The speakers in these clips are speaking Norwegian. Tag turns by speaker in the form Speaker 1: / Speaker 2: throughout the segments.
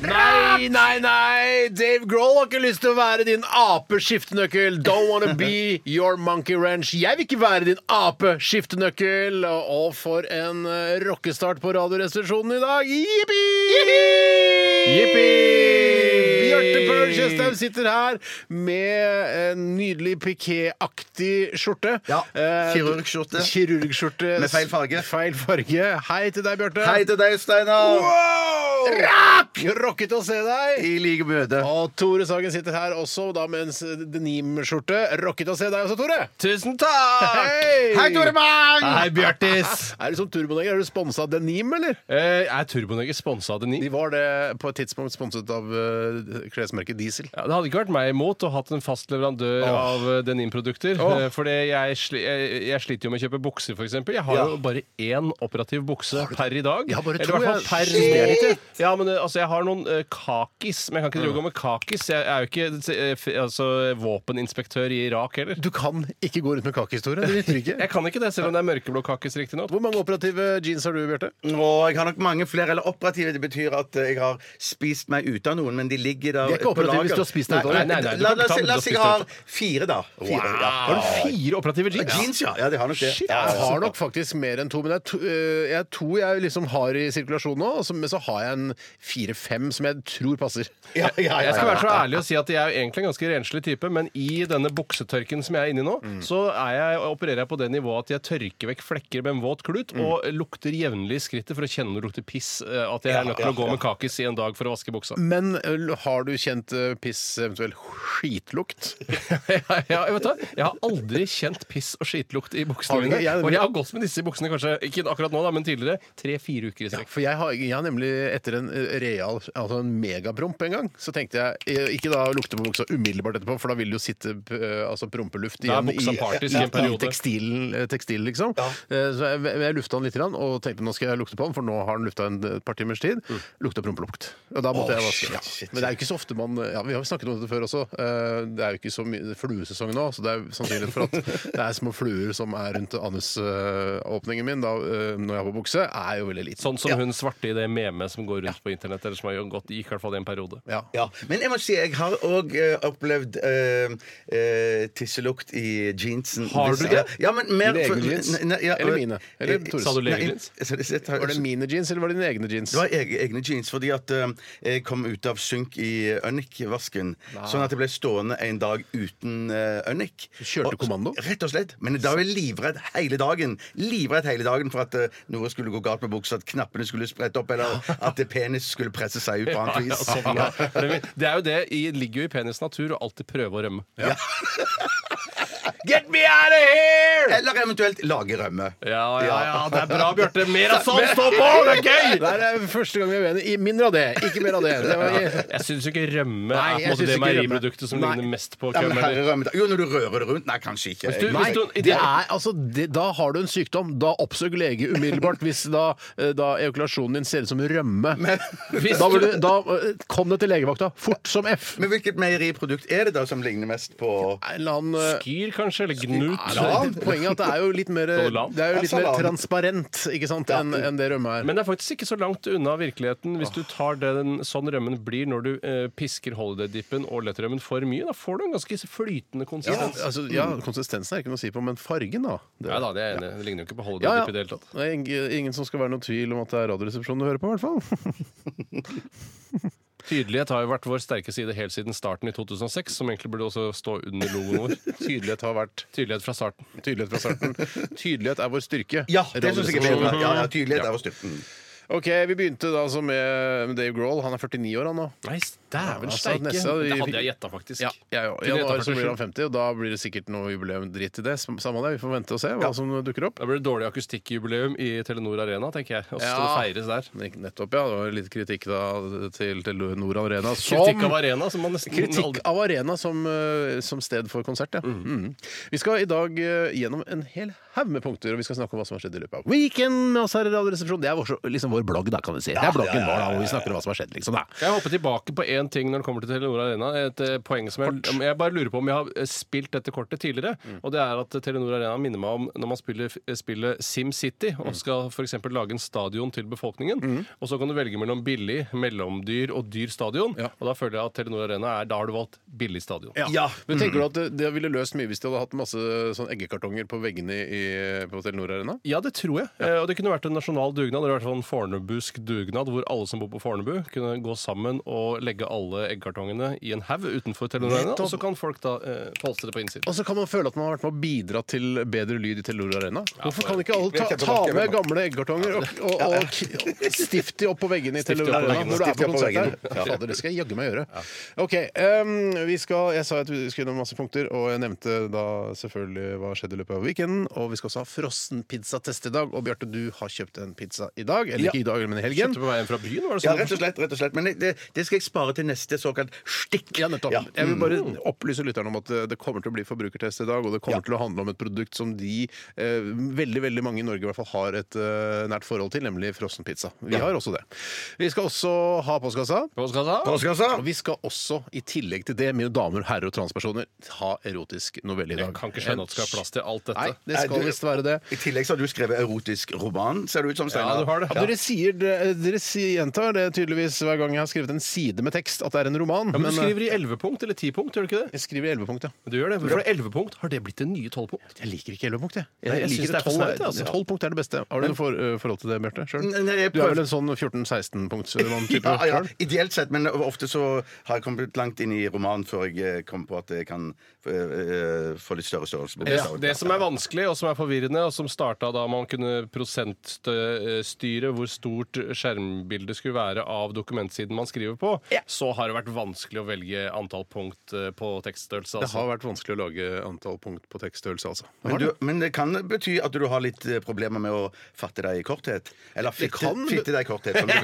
Speaker 1: Nei, nei, nei! Dave Grohl har ikke lyst til å være din apeskiftenøkkel. Don't wanna be your monkey wrench. Jeg vil ikke være din apeskiftenøkkel. Og for en eh, rockestart på Radioresepsjonen i dag. Jippi! Jippi! Bjarte Paul Tjøstheim sitter her med en nydelig pikéaktig skjorte.
Speaker 2: Ja,
Speaker 1: Eh,
Speaker 2: kirurgskjorte.
Speaker 1: Kirurgskjorte.
Speaker 2: Med feil farge.
Speaker 1: Feil farge. Hei til deg, Bjarte.
Speaker 2: Hei til deg, Steinar!
Speaker 1: Wow! Rock! Rocket å se deg!
Speaker 2: I like møte.
Speaker 1: Og Tore Sagen sitter her også, da med en denim-skjorte. Rocket å se deg også, Tore!
Speaker 3: Tusen takk!
Speaker 1: Hei!
Speaker 2: Hei, Tore Mang!
Speaker 3: Hei, Bjartis!
Speaker 1: Er du som Turboneger? Er du sponsa av denim, eller?
Speaker 3: Eh, er Turboneger sponsa av Deni?
Speaker 1: De var det på et tidspunkt sponset av eh, klesmerket Diesel.
Speaker 3: Ja, det hadde ikke vært meg imot å hatt en fast leverandør
Speaker 1: Åh.
Speaker 3: av eh, denimprodukter.
Speaker 1: Åh.
Speaker 3: Oh. Fordi jeg, sli, jeg, jeg sliter jo med å kjøpe bukser, f.eks. Jeg har jo bare én operativ bukse per i dag.
Speaker 1: Jeg har bare
Speaker 3: Eller
Speaker 1: to,
Speaker 3: i hvert fall
Speaker 1: jeg.
Speaker 3: per sted. Ja, men eh, altså, jeg har noen eh, kakis, men jeg kan ikke
Speaker 1: Mm.
Speaker 3: drive og gå med kakis. Jeg er jo ikke eh, f- altså, våpeninspektør i Irak heller.
Speaker 1: Du kan ikke gå rundt med kakis, Tore. Det nytter ikke.
Speaker 3: Jeg kan ikke det, selv om det er mørkeblå kakis, riktignok.
Speaker 1: Hvor mange operative jeans har du, Bjarte?
Speaker 2: Og jeg har nok mange flere eller operative. Det betyr at eh, jeg har spist meg ut av noen, men de ligger der
Speaker 1: De er ikke
Speaker 2: på
Speaker 1: operative
Speaker 2: lager.
Speaker 1: hvis du har spist deg ut av
Speaker 2: Nei,
Speaker 1: dem.
Speaker 2: nei,
Speaker 3: Nei, nei, du
Speaker 2: La
Speaker 3: kan
Speaker 2: la
Speaker 3: ikke ta
Speaker 2: oss
Speaker 3: dem,
Speaker 2: la oss
Speaker 3: du
Speaker 2: si jeg
Speaker 3: har
Speaker 2: har fire, da. Fire, ja.
Speaker 3: Har du fire operative jeans?
Speaker 2: Jeans, ja. altså, ja. De har nok det.
Speaker 1: Shit, altså. jeg har nok faktisk mer enn to, men det er to, eh, jeg er to jeg liksom har i sirkulasjon nå. og så- Men så har jeg en fire-fem som jeg tror passer.
Speaker 2: Ja, ja, ja,
Speaker 3: Jeg skal
Speaker 2: ja.
Speaker 3: være så ærlig å si at jeg er jo egentlig en ganske renslig type, men i denne buksetørken som jeg er inni nå,
Speaker 1: Mm.
Speaker 3: så er jeg, opererer jeg på det nivået at jeg tørker vekk flekker med en våt klut
Speaker 1: Mm.
Speaker 3: og lukter jevnlig i skrittet for å kjenne når det lukter piss. eh, At jeg er nødt til å gå med kakis i en dag for å vaske buksa.
Speaker 1: Men øl, har du kjent eh, piss, eventuelt skitlukt?
Speaker 3: ja, jeg, vet du, jeg har aldri kjent piss og skitlukt i
Speaker 1: Har
Speaker 3: buksene
Speaker 1: du
Speaker 3: mine.
Speaker 1: ikke? Jeg-
Speaker 3: Og jeg har gått med disse buksene kanskje, ikke akkurat nå, da, men tidligere, tre-fire uker i strekk.
Speaker 1: For jeg har, jeg har nemlig etter en eh, real, altså en megapromp en gang, så tenkte jeg eh, ikke da lukte på buksa umiddelbart etterpå, for da vil det jo sitte eh, altså, prompeluft
Speaker 3: Da er
Speaker 1: igjen
Speaker 3: buksa partisk i en
Speaker 1: i, i
Speaker 3: periode.
Speaker 1: tekstilen, eh, tekstil, liksom. Eh, Så jeg, jeg lufta den litt grann, og tenkte nå skal jeg lukte på den, for nå har den lufta en et par timers tid.
Speaker 3: Mm.
Speaker 1: Lukta prompelukt. Og da måtte jeg vaske. Ja. Men det er jo ikke så ofte man ja, Vi har jo snakket om dette før også. eh, Det er jo ikke så mye fluesesong nå, så det er sannsynlighet for at det er små fluer som er rundt anusåpningen min da, eh, når jeg har på bukse, er jo veldig liten.
Speaker 3: Sånn som hun svarte i det memet som går rundt på internett, eller som har gått, gikk i hvert fall i en periode.
Speaker 1: Ja.
Speaker 2: Ja, Men jeg må si jeg har òg opplevd eh, eh, tisselukt i jeansen.
Speaker 3: Har du det?
Speaker 2: Ja, men mer
Speaker 1: Legejeans?
Speaker 2: Nei, nei, ja,
Speaker 1: Eller mine? Eller
Speaker 2: eh,
Speaker 1: Tores?
Speaker 3: Sa du
Speaker 2: nei,
Speaker 3: legejeans?
Speaker 2: jeg- jeg- jeg tar-
Speaker 1: Var det mine jeans, eller var det dine egne jeans?
Speaker 2: Det var eg- egne jeans, fordi at eh, jeg kom ut av synk i Ønik-vasken. Sånn at jeg ble stående en dag uten eh, Ønik.
Speaker 1: Kjørte
Speaker 2: Og-
Speaker 1: kommando?
Speaker 2: Rett og slett. Men da var jeg livredd hele dagen Livredd hele dagen for at eh, noe skulle gå galt med buksa, at knappene skulle sprette opp, eller at eh, penis skulle presse seg ut på annet
Speaker 3: Ja,
Speaker 2: vis.
Speaker 3: sånn, ja. Det er jo det i- ligger jo i penis natur å alltid prøve å rømme.
Speaker 1: Get me out of here!
Speaker 2: Eller eventuelt lage rømme.
Speaker 3: Ja, ja,
Speaker 2: Ja.
Speaker 3: ja, det er bra, Bjarte. Mer av sånn! Stå på! Det er gøy!
Speaker 1: Det er første gang vi er uenige. I mindre av det, ikke mer av det. det var,
Speaker 3: Jeg syns ikke rømme
Speaker 1: Nei,
Speaker 3: er på en
Speaker 1: jeg synes
Speaker 3: måte det
Speaker 1: ikke rømme.
Speaker 3: meieriproduktet som
Speaker 1: Nei.
Speaker 3: ligner mest på
Speaker 2: Ja,
Speaker 3: køm.
Speaker 2: men
Speaker 3: eller-
Speaker 2: herre rømme Jo, når du rører det rundt. Nei, kanskje ikke.
Speaker 3: du-
Speaker 1: Nei,
Speaker 3: hvis du-
Speaker 1: det er, altså, det, da har du en sykdom. Da oppsøk lege umiddelbart hvis da, eh, da ejakulasjonen din ser ut som rømme.
Speaker 3: Hvis
Speaker 1: da, vil du,
Speaker 3: du-
Speaker 1: da eh, kom det til legevakta fort som F.
Speaker 2: Men hvilket meieriprodukt er det da som ligner mest på
Speaker 1: En eller annen eh,
Speaker 3: Skyr, kanskje? Eller
Speaker 1: Nei,
Speaker 3: gnut?
Speaker 2: Ja.
Speaker 1: det- Poenget er at det er jo litt mer,
Speaker 3: Salam.
Speaker 1: det er jo litt mer
Speaker 2: Ja, salam.
Speaker 1: transparent ikke sant, enn enn det rømme er.
Speaker 3: Men det er faktisk ikke så langt unna virkeligheten hvis du tar den sånn rømmen blir når du eh, pisker holiday-dippen og lettrømmen for mye. Da får du en ganske flytende konsistens. Ja,
Speaker 1: Altså, ja, konsistensen er ikke noe å si på, men fargen, da. Det,
Speaker 3: da, det er jeg enig. i. Det ligner jo ikke på
Speaker 1: Ja,
Speaker 3: holiday-dipp i det
Speaker 1: ja.
Speaker 3: hele tatt.
Speaker 1: Det er ing- ingen som skal være noen tvil om at det er Radioresepsjonen du hører på, i hvert fall.
Speaker 3: Tydelighet har jo vært vår sterke side helt siden starten i 2006, som egentlig burde også stå under logoen vår.
Speaker 1: Tydelighet har vært
Speaker 3: Tydelighet fra starten.
Speaker 1: tydelighet fra starten. Tydelighet er vår styrke.
Speaker 2: Ja, det syns jeg er
Speaker 1: Radioresepsjonen.
Speaker 2: bedre. Ja, ja, tydelighet er å styrke.
Speaker 1: Ok, Vi begynte da altså med Dave Grohl. Han er 49 år, han nå.
Speaker 3: Nei, dæven
Speaker 1: Altså,
Speaker 3: steike!
Speaker 1: neste-
Speaker 3: det hadde jeg gjetta, faktisk.
Speaker 1: Ja, jeg òg. I
Speaker 3: Kunne
Speaker 1: januar
Speaker 3: gjette
Speaker 1: så blir han
Speaker 3: 47.
Speaker 1: 50, og da blir det sikkert noe jubileum. Drit i det. Samme det, vi får vente og se hva som dukker opp.
Speaker 3: Da blir det dårlig akustikkjubileum i Telenor Arena, tenker jeg. Og så
Speaker 1: Ja.
Speaker 3: skal det feires der.
Speaker 1: Men ikke- Nettopp, ja. Det var litt kritikk da til, til Nord Arena.
Speaker 3: Kritikk av Arena, som man nesten
Speaker 1: Kritikk
Speaker 3: aldri Mhm.
Speaker 1: av Arena som, eh, som sted for konsert, ja. Mm. Vi skal i dag eh, gjennom en hel haug med punkter, og vi skal snakke om hva som har skjedd i løpet av weekenden med oss her i Radioresepsjonen. Det er vår, liksom vår vår blogg, da, kan du si. Det er bloggen vår, da, hvor vi snakker om hva som har skjedd, liksom. da.
Speaker 3: Jeg hopper tilbake på én ting når det kommer til Telenor Arena. Et eh, poeng som jeg, jeg bare lurer på om jeg har eh, spilt dette kortet tidligere. Og det er at Telenor Arena minner meg om når man spiller f- spillet SimCity og skal f.eks. lage en stadion til befolkningen. Og så kan du velge mellom billig, mellomdyr og dyr stadion. Og da føler jeg at Telenor Arena er Da har du valgt billig stadion.
Speaker 2: Ja.
Speaker 1: Men tenker
Speaker 3: Mhm.
Speaker 1: du at det, det ville løst mye hvis de hadde hatt masse sånn eggekartonger på veggene i, på Telenor Arena?
Speaker 3: Ja, det tror jeg. Eh, Og det kunne vært en nasjonal dugnad. Eller i hvert fall en fornebusk dugnad hvor alle som bor på Fornebu, kunne gå sammen og legge alle eggkartongene i en haug utenfor Telenor. Og så kan folk da eh, polstre det på innsiden.
Speaker 1: Og så kan man føle at man har vært med å bidra til bedre lyd i Telenor Arena. Hvorfor kan ikke alle ta,
Speaker 2: kjempemange,
Speaker 1: ta med
Speaker 2: kjempemange.
Speaker 1: gamle eggekartonger og, og, og, k- stifte opp på veggene i Telenor
Speaker 3: opp
Speaker 1: Arena
Speaker 3: på veggene,
Speaker 1: når du er på
Speaker 2: stifte opp på
Speaker 1: konsert der?
Speaker 2: veggene.
Speaker 1: Ja, Fader, det skal jeg jaggu meg gjøre. Ok, em, vi skal, Jeg sa at vi skulle gjennom masse punkter, og jeg nevnte da selvfølgelig hva skjedde i løpet av weekenden. Og vi skal også ha frossenpizzatest i dag. Og Bjarte, du har kjøpt en pizza i dag. Eller ikke i dag, men i helgen.
Speaker 3: Kjøpte på veien fra byen, var det
Speaker 2: Ja,
Speaker 3: sånn?
Speaker 2: rett og slett. rett og slett Men det, det skal jeg spare til neste såkalt stikk.
Speaker 1: Ja, nettopp.
Speaker 2: Ja.
Speaker 1: Jeg vil bare
Speaker 3: Mm.
Speaker 1: opplyse lytterne om at eh, det kommer til å bli forbrukertest i dag, og det kommer
Speaker 2: Ja.
Speaker 1: til å handle om et produkt som de, eh, veldig veldig mange i Norge i hvert fall, har et eh, nært forhold til, nemlig frossenpizza. Vi har også det. Vi skal også ha postkassa.
Speaker 3: Postkassa?
Speaker 2: Postkassa?
Speaker 1: Og vi skal også, i tillegg til det, mine damer, herrer og transpersoner, ha erotisk novelle i dag.
Speaker 3: Jeg kan ikke skjønne at det skal være plass til alt dette.
Speaker 1: Nei, det
Speaker 2: Nei,
Speaker 1: skal
Speaker 2: du-
Speaker 1: visst være det.
Speaker 2: I tillegg så har du skrevet erotisk roman, ser det ut som. Steinar.
Speaker 3: Ja, du har det.
Speaker 1: Ja, dere sier, dere dere sier- gjentar det tydeligvis hver gang jeg har skrevet en side med tekst, at det er en roman.
Speaker 3: Ja, men du
Speaker 1: men, eh,
Speaker 3: skriver i 11-punkt eller 10-punkt, gjør du ikke det?
Speaker 1: jeg skriver i 11 punkt, ja.
Speaker 3: Du gjør det. For 11-punkt har det blitt det nye 12-punkt.
Speaker 1: Jeg liker ikke 11 punkt, jeg.
Speaker 3: Nei, jeg synes det er for
Speaker 1: 12,
Speaker 3: snaut, jeg, altså.
Speaker 1: 12 punkt er det beste. Har du noe for, ø, forhold til det, Bjarte? selv?
Speaker 2: Nei, nei, jeg
Speaker 1: Du er
Speaker 2: prøver-
Speaker 1: vel en sånn 14-16-punktsmann? type
Speaker 2: Ja, ja,
Speaker 1: selv?
Speaker 2: ideelt sett, men ofte så har jeg kommet langt inn i romanen før jeg eh, kom på at jeg kan eh, eh, få litt større størrelse. på
Speaker 3: Ja,
Speaker 2: bokstaven.
Speaker 3: det som er vanskelig og som er forvirrende, og som starta da man kunne prosentstyre hvor stort skjermbildet skulle være av dokumentsiden man skriver på, så har det vært vanskelig å velge antall punkt eh, på tekststørrelse.
Speaker 1: Det
Speaker 3: Altså.
Speaker 1: har vært vanskelig å lage antall punkt på tekststørrelse, altså.
Speaker 2: Men, du, men det kan bety at du har litt eh, problemer med å fatte deg i korthet. Eller fitte,
Speaker 1: kan-
Speaker 2: fitte deg i korthet. Som du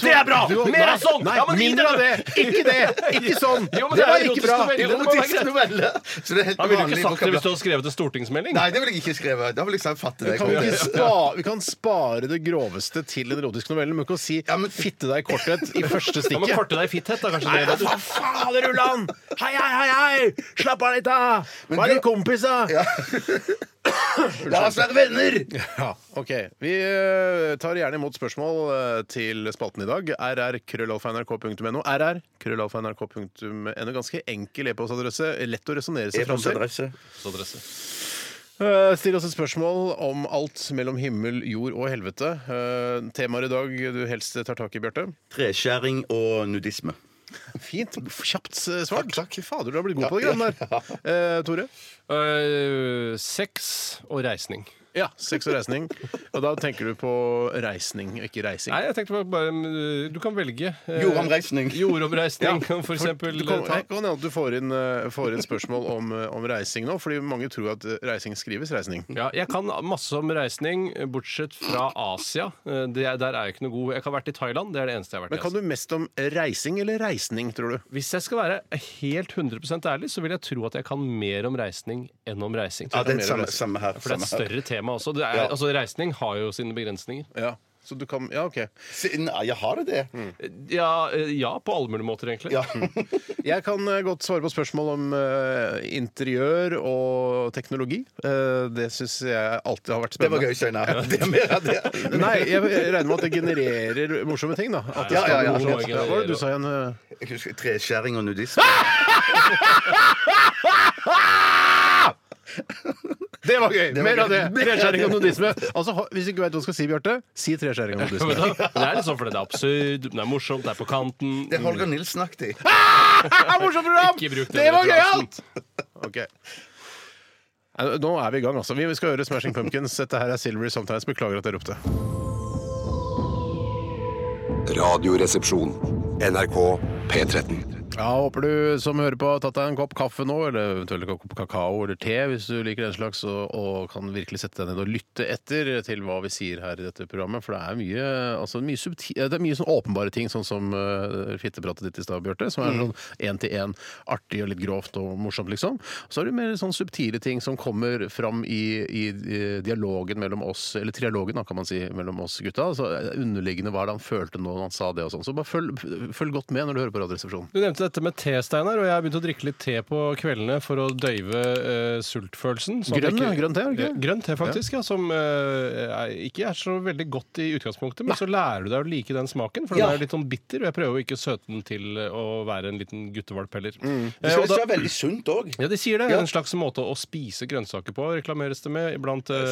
Speaker 3: Det er bra!
Speaker 1: Du-
Speaker 3: Mer
Speaker 1: Nei,
Speaker 3: av sånn!
Speaker 1: Nei,
Speaker 3: Ja, men gi
Speaker 1: mindre av det!
Speaker 3: dere-
Speaker 1: Ikke det! Ikke sånn!
Speaker 3: Jo,
Speaker 1: det
Speaker 3: men det er
Speaker 1: var
Speaker 3: jo
Speaker 1: ikke
Speaker 3: bra.
Speaker 1: bra!
Speaker 3: Det må være greit.
Speaker 2: Erotisk novelle! Så det er helt
Speaker 3: Han ville ikke
Speaker 2: vanlig.
Speaker 3: sagt det hvis du
Speaker 2: vokabular.
Speaker 3: hadde skrevet en stortingsmelding.
Speaker 2: Nei, det ville jeg ikke skrevet. Da ville jeg sagt fatte deg i
Speaker 1: Kan vi, ikke
Speaker 2: korthet.
Speaker 1: spa, vi kan spare det groveste til en erotisk novelle, men ikke å si
Speaker 2: Ja, men-
Speaker 1: 'fitte deg i korthet' i første
Speaker 3: Ja, men
Speaker 1: stikket.
Speaker 3: korte deg i fitthet, da, kanskje.
Speaker 1: Nei,
Speaker 3: det.
Speaker 1: hva faen, Rulland! Hei, hei, hei! hei! Slapp av litt, da! Hva er
Speaker 2: du-
Speaker 1: det, kompis, da?
Speaker 2: La oss være venner!
Speaker 1: Ja, ok. Vi eh, tar gjerne imot spørsmål eh, til spalten i dag. rr.krøllalfa.nrk.no. rr.krøllalfa.nrk.no. Ganske enkel e-postadresse. Lett å resonnere seg fram til.
Speaker 2: E-postadresse.
Speaker 1: Eh, Still oss et spørsmål om alt mellom himmel, jord og helvete. Eh, Temaer i dag du helst tar tak i, Bjarte?
Speaker 2: Treskjæring og nudisme.
Speaker 1: Fint. Kjapt eh, svart. Takk, Fader, du har blitt god på det greiene der. Eh, Tore?
Speaker 3: Øh, sex og reisning.
Speaker 1: Ja, sex og reisning. Og da tenker du på reisning, og ikke reising.
Speaker 3: Nei, jeg tenkte bare, bare mm, Du kan velge. eh,
Speaker 2: Jordomreisning.
Speaker 3: Jordomreisning kan for eksempel eh,
Speaker 1: Du kan,
Speaker 3: ta.
Speaker 1: jeg kan hende at du får inn, eh, får inn spørsmål om, eh, om reising nå, fordi mange tror at eh, reising skrives reisning.
Speaker 3: Ja, jeg kan masse om reisning, bortsett fra Asia. Eh, Det, er- der er jeg ikke noe god. Jeg har vært i Thailand. Det er det eneste jeg har vært
Speaker 1: Men
Speaker 3: i.
Speaker 1: kan
Speaker 3: Asia.
Speaker 1: du mest om reising eller reisning, tror du?
Speaker 3: Hvis jeg skal være helt 100 ærlig, så vil jeg tro at jeg kan mer om reisning enn om reising.
Speaker 2: Ja, det
Speaker 1: mer
Speaker 2: er samme, samme her.
Speaker 3: For det er et
Speaker 2: samme her.
Speaker 3: større tema også. Det er, altså, reisning har jo sine begrensninger.
Speaker 1: Ja. Så du kan, ja, ok.
Speaker 2: Se- Nei, jeg har det, det.
Speaker 3: Ja, eh, ja på alle mulige måter, egentlig.
Speaker 2: Ja.
Speaker 1: Jeg kan eh, godt svare på spørsmål om eh, interiør og teknologi. Eh, det syns jeg alltid har vært
Speaker 2: Det var
Speaker 1: spennende.
Speaker 2: gøy, Steinar. Det er mer av det.
Speaker 1: Nei, jeg regner med at det genererer morsomme ting, da. At det
Speaker 2: Ja, ja,
Speaker 1: skal
Speaker 2: ja,
Speaker 1: noe-
Speaker 2: sånn.
Speaker 1: Hva var det du sa igjen? eh?
Speaker 2: Jeg husker Treskjæring og nudisme.
Speaker 1: Det var gøy!
Speaker 2: var
Speaker 1: Mer av
Speaker 2: gøy.
Speaker 1: det! Treskjæring og nudisme. Altså, ha- hvis ikke du veit hva du skal si, Bjarte, si treskjæring og
Speaker 3: Men
Speaker 1: nudisme.
Speaker 3: da- Det er litt sånn fordi det er absurd, det er morsomt, det er på kanten.
Speaker 2: Det er Holger Nilsen-aktig.
Speaker 1: Ja, morsomt program!
Speaker 3: Ikke bruk den
Speaker 1: det var
Speaker 3: referansen.
Speaker 1: gøyalt! Ok. Nei, Nå er vi i gang, altså. Vi skal høre Smashing Pumpkins. Dette her er Silvery Sometimes. Beklager at jeg ropte.
Speaker 4: Radioresepsjon. NRK P13.
Speaker 1: Ja, Ja, Håper du som hører på har tatt deg en kopp kaffe nå, eller eventuelt en kopp kakao eller te hvis du liker den slags, og, og kan virkelig sette deg ned og lytte etter til hva vi sier her i dette programmet. For det er mye, altså, mye, subti det er mye sånn åpenbare ting, sånn som eh, fittepratet ditt i stad, Bjarte, som er sånn én-til-én, artig og litt grovt og morsomt, liksom. Så er det mer sånn subtile ting som kommer fram i, i, i dialogen mellom oss, eller trialogen, da, kan man si, mellom oss gutta. Så eh, underliggende hva er det han følte nå når han sa det og sånn. Så bare følg, følg godt med når du hører på Radioresepsjonen.
Speaker 3: Du nevnte dette med te, Steinar, og jeg har begynt å drikke litt te på kveldene for å døyve eh, sultfølelsen. sånn at jeg
Speaker 1: Grønn, ja, grønn te, er det ikke det?
Speaker 3: Grønn te, faktisk, ja. Som eh, er- ikke er så veldig godt i utgangspunktet, men så lærer du deg å like den smaken, for den er litt sånn bitter, og jeg prøver å ikke søte den til å være en liten guttevalp heller.
Speaker 1: Mm.
Speaker 3: Eh,
Speaker 2: Det
Speaker 3: og
Speaker 2: skal
Speaker 3: da-
Speaker 2: visst være veldig sunt òg.
Speaker 3: ja, de sier det. En slags måte å spise grønnsaker på, reklameres det med blant eh,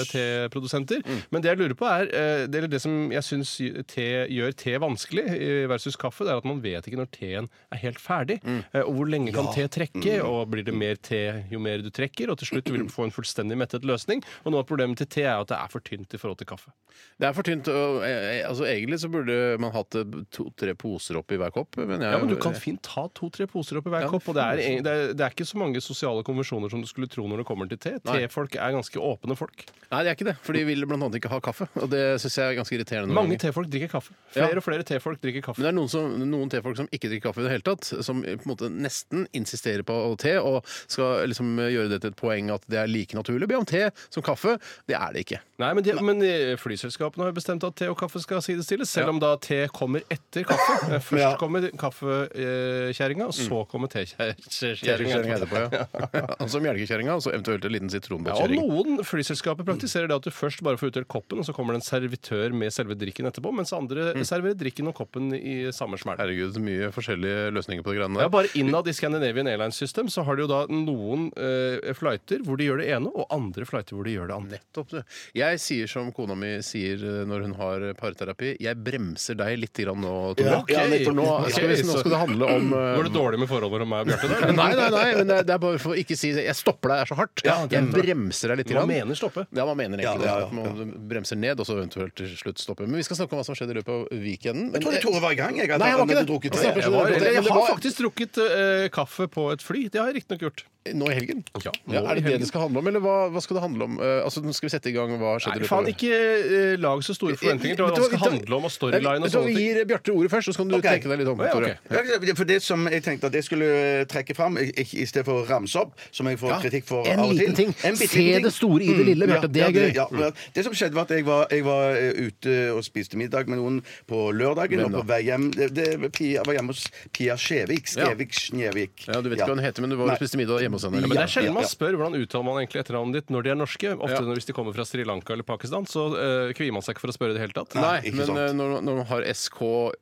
Speaker 3: teprodusenter. Men det jeg lurer på er eh, det, er det som jeg syns te, gjør te vanskelig eh, versus kaffe, det er at man vet ikke når teen er helt ferdig. Eh, og hvor lenge kan te trekke, og blir det mer te jo mer du trekker? Og til slutt vil du få en fullstendig mettet løsning. Og noe av problemet til te er at det er for tynt i forhold til kaffe.
Speaker 1: Det er for tynt. Og, eh, eh, altså, egentlig så burde man hatt eh, to-tre poser oppi hver kopp. Men jeg,
Speaker 3: Ja, men Du kan fint ta to-tre poser oppi hver
Speaker 1: Ja,
Speaker 3: kopp. og det er,
Speaker 1: fint.
Speaker 3: eng- det, er, det er ikke så mange sosiale konvensjoner som du skulle tro når det kommer til te.
Speaker 1: Nei.
Speaker 3: Tefolk er ganske åpne folk.
Speaker 1: Nei, det er ikke det. For de vil blant annet ikke ha kaffe. Og det syns jeg er ganske irriterende. noen
Speaker 3: Mange
Speaker 1: ganger.
Speaker 3: tefolk drikker kaffe.
Speaker 1: Ja.
Speaker 3: Flere og flere tefolk drikker kaffe.
Speaker 1: Men det er noen, som, noen tefolk som ikke drikker kaffe i det hele tatt. Som eh, på en måte nesten insisterer på te, og skal liksom gjøre det til et poeng at det er like naturlig å be om te som kaffe. Det er det ikke.
Speaker 3: Nei, men, de, men eh, flyselskapene har jo bestemt at te og kaffe skal sidestilles, selv om da te kommer etter kaffe. Eh, Først kommer kaffekjerringa, og så kommer
Speaker 1: Kjerringa
Speaker 3: tekjerringa.
Speaker 1: Mm. etterpå, ja. Og så melkekjerringa, og så eventuelt en liten
Speaker 3: Ja, og
Speaker 1: sitronbåtkjerring.
Speaker 3: noen flyselskaper praktiserer det at du først bare får utdelt koppen, og så kommer det en servitør med selve drikken etterpå, mens andre serverer drikken og koppen i samme smell.
Speaker 1: Mm. Herregud, så mye forskjellige løsninger på de greiene der.
Speaker 3: Ja, bare innad i Scandinavian Airlines System så har de jo da noen eh, flighter hvor de gjør det ene, og andre flighter hvor de gjør det andre.
Speaker 1: Nettopp, du. Jeg sier som kona mi sier eh, når hun har parterapi, jeg bremser deg litt grann nå, Tore.
Speaker 2: Ja, ja, nettopp.
Speaker 1: For nå, skal vi,
Speaker 3: Ok,
Speaker 1: nå
Speaker 3: så-
Speaker 1: skal det handle om eh,
Speaker 3: Går det dårlig med forholdet mellom meg og Bjarte? der?
Speaker 1: Nei, nei, nei, men det er- det er bare for å ikke si det. Jeg stopper deg så hardt.
Speaker 3: Ja, det er
Speaker 1: jeg
Speaker 3: det.
Speaker 1: bremser deg litt.
Speaker 3: Hva
Speaker 1: grann.
Speaker 3: mener stoppe?
Speaker 1: Ja, man mener egentlig
Speaker 2: Ja, ja, ja.
Speaker 1: det. At man bremser ned, og så eventuelt til slutt stopper. Men vi skal snakke om hva som skjedde i løpet av weekenden.
Speaker 2: Jeg trodde Tore var i gang. Jeg, at
Speaker 1: Mm. Nei, han var
Speaker 2: hadde
Speaker 1: ikke det.
Speaker 2: drukket
Speaker 1: Han
Speaker 2: te.
Speaker 1: snakker
Speaker 3: Jeg,
Speaker 1: sånn.
Speaker 3: var,
Speaker 1: det-
Speaker 3: jeg,
Speaker 1: det
Speaker 3: har
Speaker 1: var-
Speaker 3: faktisk drukket eh, kaffe på et fly. Det har jeg riktignok gjort.
Speaker 1: eh, Nå i helgen?
Speaker 3: Ja,
Speaker 1: er
Speaker 3: nå i
Speaker 1: det det
Speaker 3: helgen.
Speaker 1: det skal handle om, eller hva, hva skal det handle om? Eh, altså, nå skal vi sette i gang. Hva skjedde
Speaker 3: Nei, faen,
Speaker 1: av-
Speaker 3: ikke eh, lag så store forventninger til hva det skal handle om, og storyline og
Speaker 1: Vet du hva,
Speaker 3: sånne
Speaker 1: Vi
Speaker 3: ting.
Speaker 1: gir Bjarte ordet først, så kan du
Speaker 2: Ok.
Speaker 1: tenke deg litt om.
Speaker 3: Å, ja,
Speaker 1: Tore.
Speaker 3: ok.
Speaker 2: Ja, For det som jeg tenkte at jeg skulle trekke fram, i- i i stedet for å ramse opp, som jeg får
Speaker 1: Ja,
Speaker 2: kritikk for
Speaker 1: en
Speaker 2: av og til
Speaker 1: liten ting.
Speaker 2: En bitte
Speaker 1: Se
Speaker 2: liten ting. Mm.
Speaker 1: det store i det lille, Bjarte. Det er gøy. Mm.
Speaker 2: Ja, ja. Det som skjedde, var at jeg var, jeg var eh, ute og spiste middag med noen på lørdagen. Og på vei hjem det, det, Pia, var hjemme hos Pia Skjevik. Skjevik Snjevik.
Speaker 1: Ja, Du vet ikke hva hun heter, men du var og spiste middag hjemme hos henne.
Speaker 3: Men det er sjelden
Speaker 2: Ja,
Speaker 3: man
Speaker 2: ja.
Speaker 3: spør hvordan uttaler man egentlig etternavnet ditt når de er norske. Ofte
Speaker 1: Ja.
Speaker 3: når- hvis de kommer fra Sri Lanka eller Pakistan, så eh, kvier man seg ikke for å spørre i det hele tatt.
Speaker 1: Nei,
Speaker 2: Nei, ikke
Speaker 1: men
Speaker 2: sant.
Speaker 1: eh, når, når man har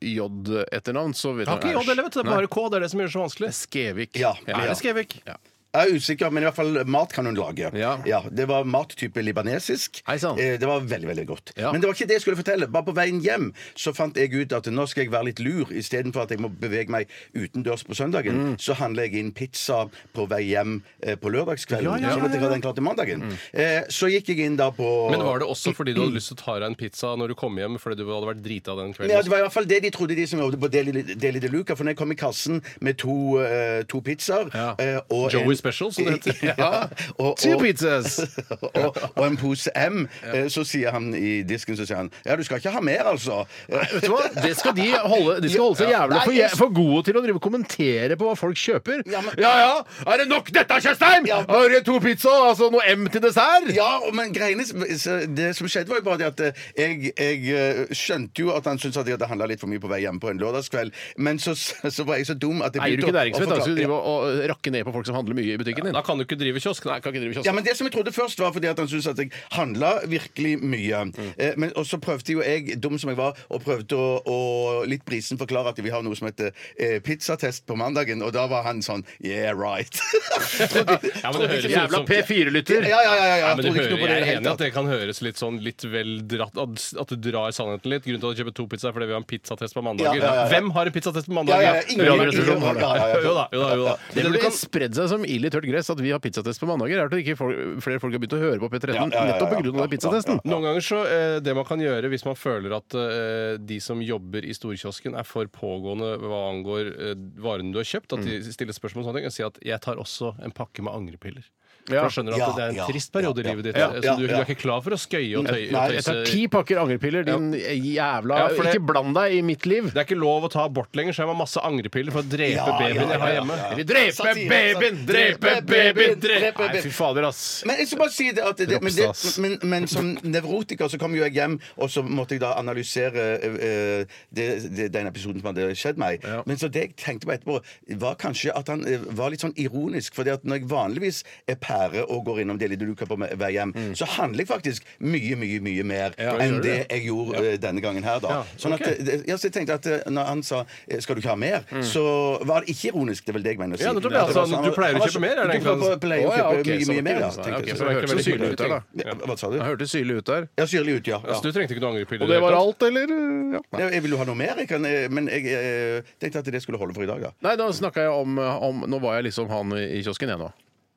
Speaker 1: SKJ-etternavn, så vet
Speaker 3: Det har ikke J, eller vet du. Det er
Speaker 1: Nei.
Speaker 3: bare K. Det er det som gjør det så vanskelig.
Speaker 1: Skevik.
Speaker 2: Ja,
Speaker 3: Ja, det er Skevik.
Speaker 2: Jeg er usikker, men i hvert fall mat kan hun lage.
Speaker 1: Ja.
Speaker 2: det var mattype libanesisk.
Speaker 1: Hei sann.
Speaker 2: Eh, Det var veldig, veldig godt.
Speaker 1: Ja.
Speaker 2: Men det var ikke det jeg skulle fortelle. Bare på veien hjem så fant jeg ut at nå skal jeg være litt lur. Istedenfor at jeg må bevege meg utendørs på søndagen,
Speaker 3: Mm.
Speaker 2: så handler jeg inn pizza på vei hjem eh, på lørdagskvelden.
Speaker 3: Ja, ja, ja,
Speaker 2: Sånn at jeg hadde den klar til mandagen. Eh, Så gikk jeg inn da på
Speaker 3: Men var det også fordi du hadde lyst til å ta deg en pizza når du kom hjem fordi du hadde vært drita den kvelden?
Speaker 2: Ja, det var i hvert fall det de trodde, de som jobbet på Deli, Deli de Luca. For når jeg kom i kassen med to, eh, to pizzaer
Speaker 3: Ja.
Speaker 2: eh, og
Speaker 3: Joey Special, som det heter.
Speaker 2: ja, og,
Speaker 1: Two
Speaker 2: og,
Speaker 1: pizzas!
Speaker 2: og, og en pose M, eh, så sier han i disken så sier han, Ja, du skal ikke ha mer, altså.
Speaker 1: Vet du hva? Det skal de holde, de skal holde seg
Speaker 2: Ja.
Speaker 1: jævlig for,
Speaker 2: Nei,
Speaker 1: je-
Speaker 2: jeg-
Speaker 1: for gode til å drive og kommentere på hva folk kjøper. Ja,
Speaker 2: Ja, men-
Speaker 1: ja! Er det nok dette, Tjøstheim?
Speaker 2: Ja.
Speaker 1: Har dere to pizza, altså noe M til dessert?
Speaker 2: Ja, og- men greiene s- så Det som skjedde, var jo bare det at eh, jeg, jeg eh, skjønte jo at han syntes at jeg hadde handla litt for mye på vei hjemme på en lørdagskveld, men så, så var jeg så dum at jeg
Speaker 1: Eier du ikke
Speaker 2: å- å
Speaker 1: næringsfett? Da
Speaker 2: forklare-
Speaker 1: skal du drive og, og rakke ned på folk som handler mye i butikken din.
Speaker 3: Da kan du ikke drive kiosk. Nei,
Speaker 1: kan ikke drive kiosk.
Speaker 2: Ja, men Det som jeg trodde først, var fordi at han syntes at jeg handla virkelig mye.
Speaker 3: Mm.
Speaker 2: Eh, men, og så prøvde jo jeg, dum som jeg var, og prøvde å, å litt brisen forklare at vi har noe som heter eh, pizzatest på mandagen, og da var han sånn Yeah, right.
Speaker 3: Ja, men det høres ut
Speaker 1: Jævla
Speaker 3: som
Speaker 2: ja,
Speaker 1: P4-lytter!
Speaker 2: sånn- ja, ja, ja,
Speaker 3: Ja,
Speaker 2: jeg
Speaker 3: men du
Speaker 2: trodde ikke noe
Speaker 3: hører, jeg
Speaker 2: på det i det
Speaker 3: er
Speaker 2: hele
Speaker 3: enig i at
Speaker 2: tatt.
Speaker 3: det kan høres litt sånn litt vel dratt At det drar sannheten litt. Grunnen til at du kjøper to pizzaer fordi vi har en pizzatest på mandager.
Speaker 2: Ja, ja, ja, ja.
Speaker 3: Hvem har en pizzatest på
Speaker 2: Ja,
Speaker 3: mandager?
Speaker 2: ja, ja, ingen-
Speaker 3: Radioresepsjonen har det.
Speaker 2: ingen- ja, ja, ja.
Speaker 3: Jo da, jo da. jo da
Speaker 1: Det
Speaker 3: Men du
Speaker 1: burde
Speaker 3: kan-
Speaker 1: spredd seg som ild tidlig tørt gress at vi har pizzatest på mandager, er at ikke folk, flere folk har begynt å høre på P13
Speaker 2: Ja, ja, ja, ja,
Speaker 1: nettopp
Speaker 2: ja,
Speaker 1: pga.
Speaker 2: ja,
Speaker 1: den pizzatesten.
Speaker 3: Noen ganger så eh, Det man kan gjøre hvis man føler at eh, de som jobber i storkiosken er for pågående hva angår eh, varene du har kjøpt, at de stiller spørsmål og sånne ting, og sier at 'jeg tar også en pakke med angrepiller'. For jeg skjønner at
Speaker 5: Ja,
Speaker 3: det er en
Speaker 5: ja,
Speaker 3: trist periode i
Speaker 5: ja,
Speaker 3: livet ditt.
Speaker 2: ja,
Speaker 3: eh,
Speaker 2: ja,
Speaker 3: så du, du
Speaker 2: ja.
Speaker 3: er ikke klar for å skøye og tøye?
Speaker 2: Nei,
Speaker 3: og
Speaker 1: Jeg
Speaker 3: tøyse.
Speaker 1: tar ti pakker angrepiller, din jævla
Speaker 3: Ja, for det-
Speaker 1: Ikke bland deg i mitt liv!
Speaker 3: Det er ikke lov å ta abort lenger, så jeg må ha masse angrepiller for å drepe
Speaker 2: Ja, ja,
Speaker 3: babyen jeg
Speaker 2: ja,
Speaker 3: har
Speaker 2: ja,
Speaker 3: hjemme.
Speaker 2: ja, ja.
Speaker 1: Vi dreper
Speaker 2: Satire,
Speaker 1: babyen!
Speaker 2: satire.
Speaker 1: Drepe
Speaker 2: Drepe
Speaker 1: babyen!
Speaker 2: babyen,
Speaker 1: Drepe
Speaker 2: drepe
Speaker 1: Nei, fy fader, ass.
Speaker 2: Men jeg skal bare si det at det, men, det,
Speaker 3: Ropstad.
Speaker 2: men, men som nevrotiker så kom jo jeg hjem, og så måtte jeg da analysere eh, eh, det, det, den episoden som hadde skjedd meg. Men så det jeg tenkte på etterpå, var kanskje at han eh, var litt sånn ironisk. For når jeg vanligvis er pære og går innom Deli de Luca på me- vei hjem, så handler jeg faktisk mye, mye, mye mer enn
Speaker 3: Mm. gjør du
Speaker 2: det
Speaker 3: det?
Speaker 2: jeg gjorde eh, denne gangen her, da.
Speaker 3: Ja,
Speaker 2: Sånn at,
Speaker 3: ok. Mm.
Speaker 2: eh, det- ja, så jeg tenkte at eh, når han sa eh, 'skal du ikke ha mer', så var det ikke ironisk. Det er vel det jeg mener å si.
Speaker 3: Ja, nettopp,
Speaker 2: At det
Speaker 3: altså,
Speaker 2: var sånn-
Speaker 3: du pleier å
Speaker 2: han var
Speaker 3: kjøpe
Speaker 2: så-
Speaker 3: mer, er det
Speaker 2: du
Speaker 3: egentlig han-
Speaker 2: pleier å
Speaker 1: Å, ja,
Speaker 2: kjøpe
Speaker 1: ok,
Speaker 2: mye,
Speaker 1: så-
Speaker 2: mye mer. Ja,
Speaker 1: ok,
Speaker 2: tenkte jeg.
Speaker 1: så det var ikke
Speaker 3: Så
Speaker 1: veldig
Speaker 3: syrlig
Speaker 1: syrlig ut
Speaker 3: ut
Speaker 1: der, da.
Speaker 2: Ja, Hva sa du?
Speaker 1: Det
Speaker 2: Ja,
Speaker 1: hørtes syrlig ut der.
Speaker 2: syrlig ut, ja. ja.
Speaker 3: Så du trengte ikke noe angrepiller?
Speaker 1: Og det
Speaker 3: i
Speaker 1: var
Speaker 3: hele tatt?
Speaker 1: alt, eller? Ja.
Speaker 2: Nei, Jeg vil jo ha noe mer, jeg kan, eh, men jeg eh, tenkte at det skulle holde for i dag, da.
Speaker 1: Nei, da snakka jeg om, om Nå var jeg liksom han i i kiosken, jeg nå.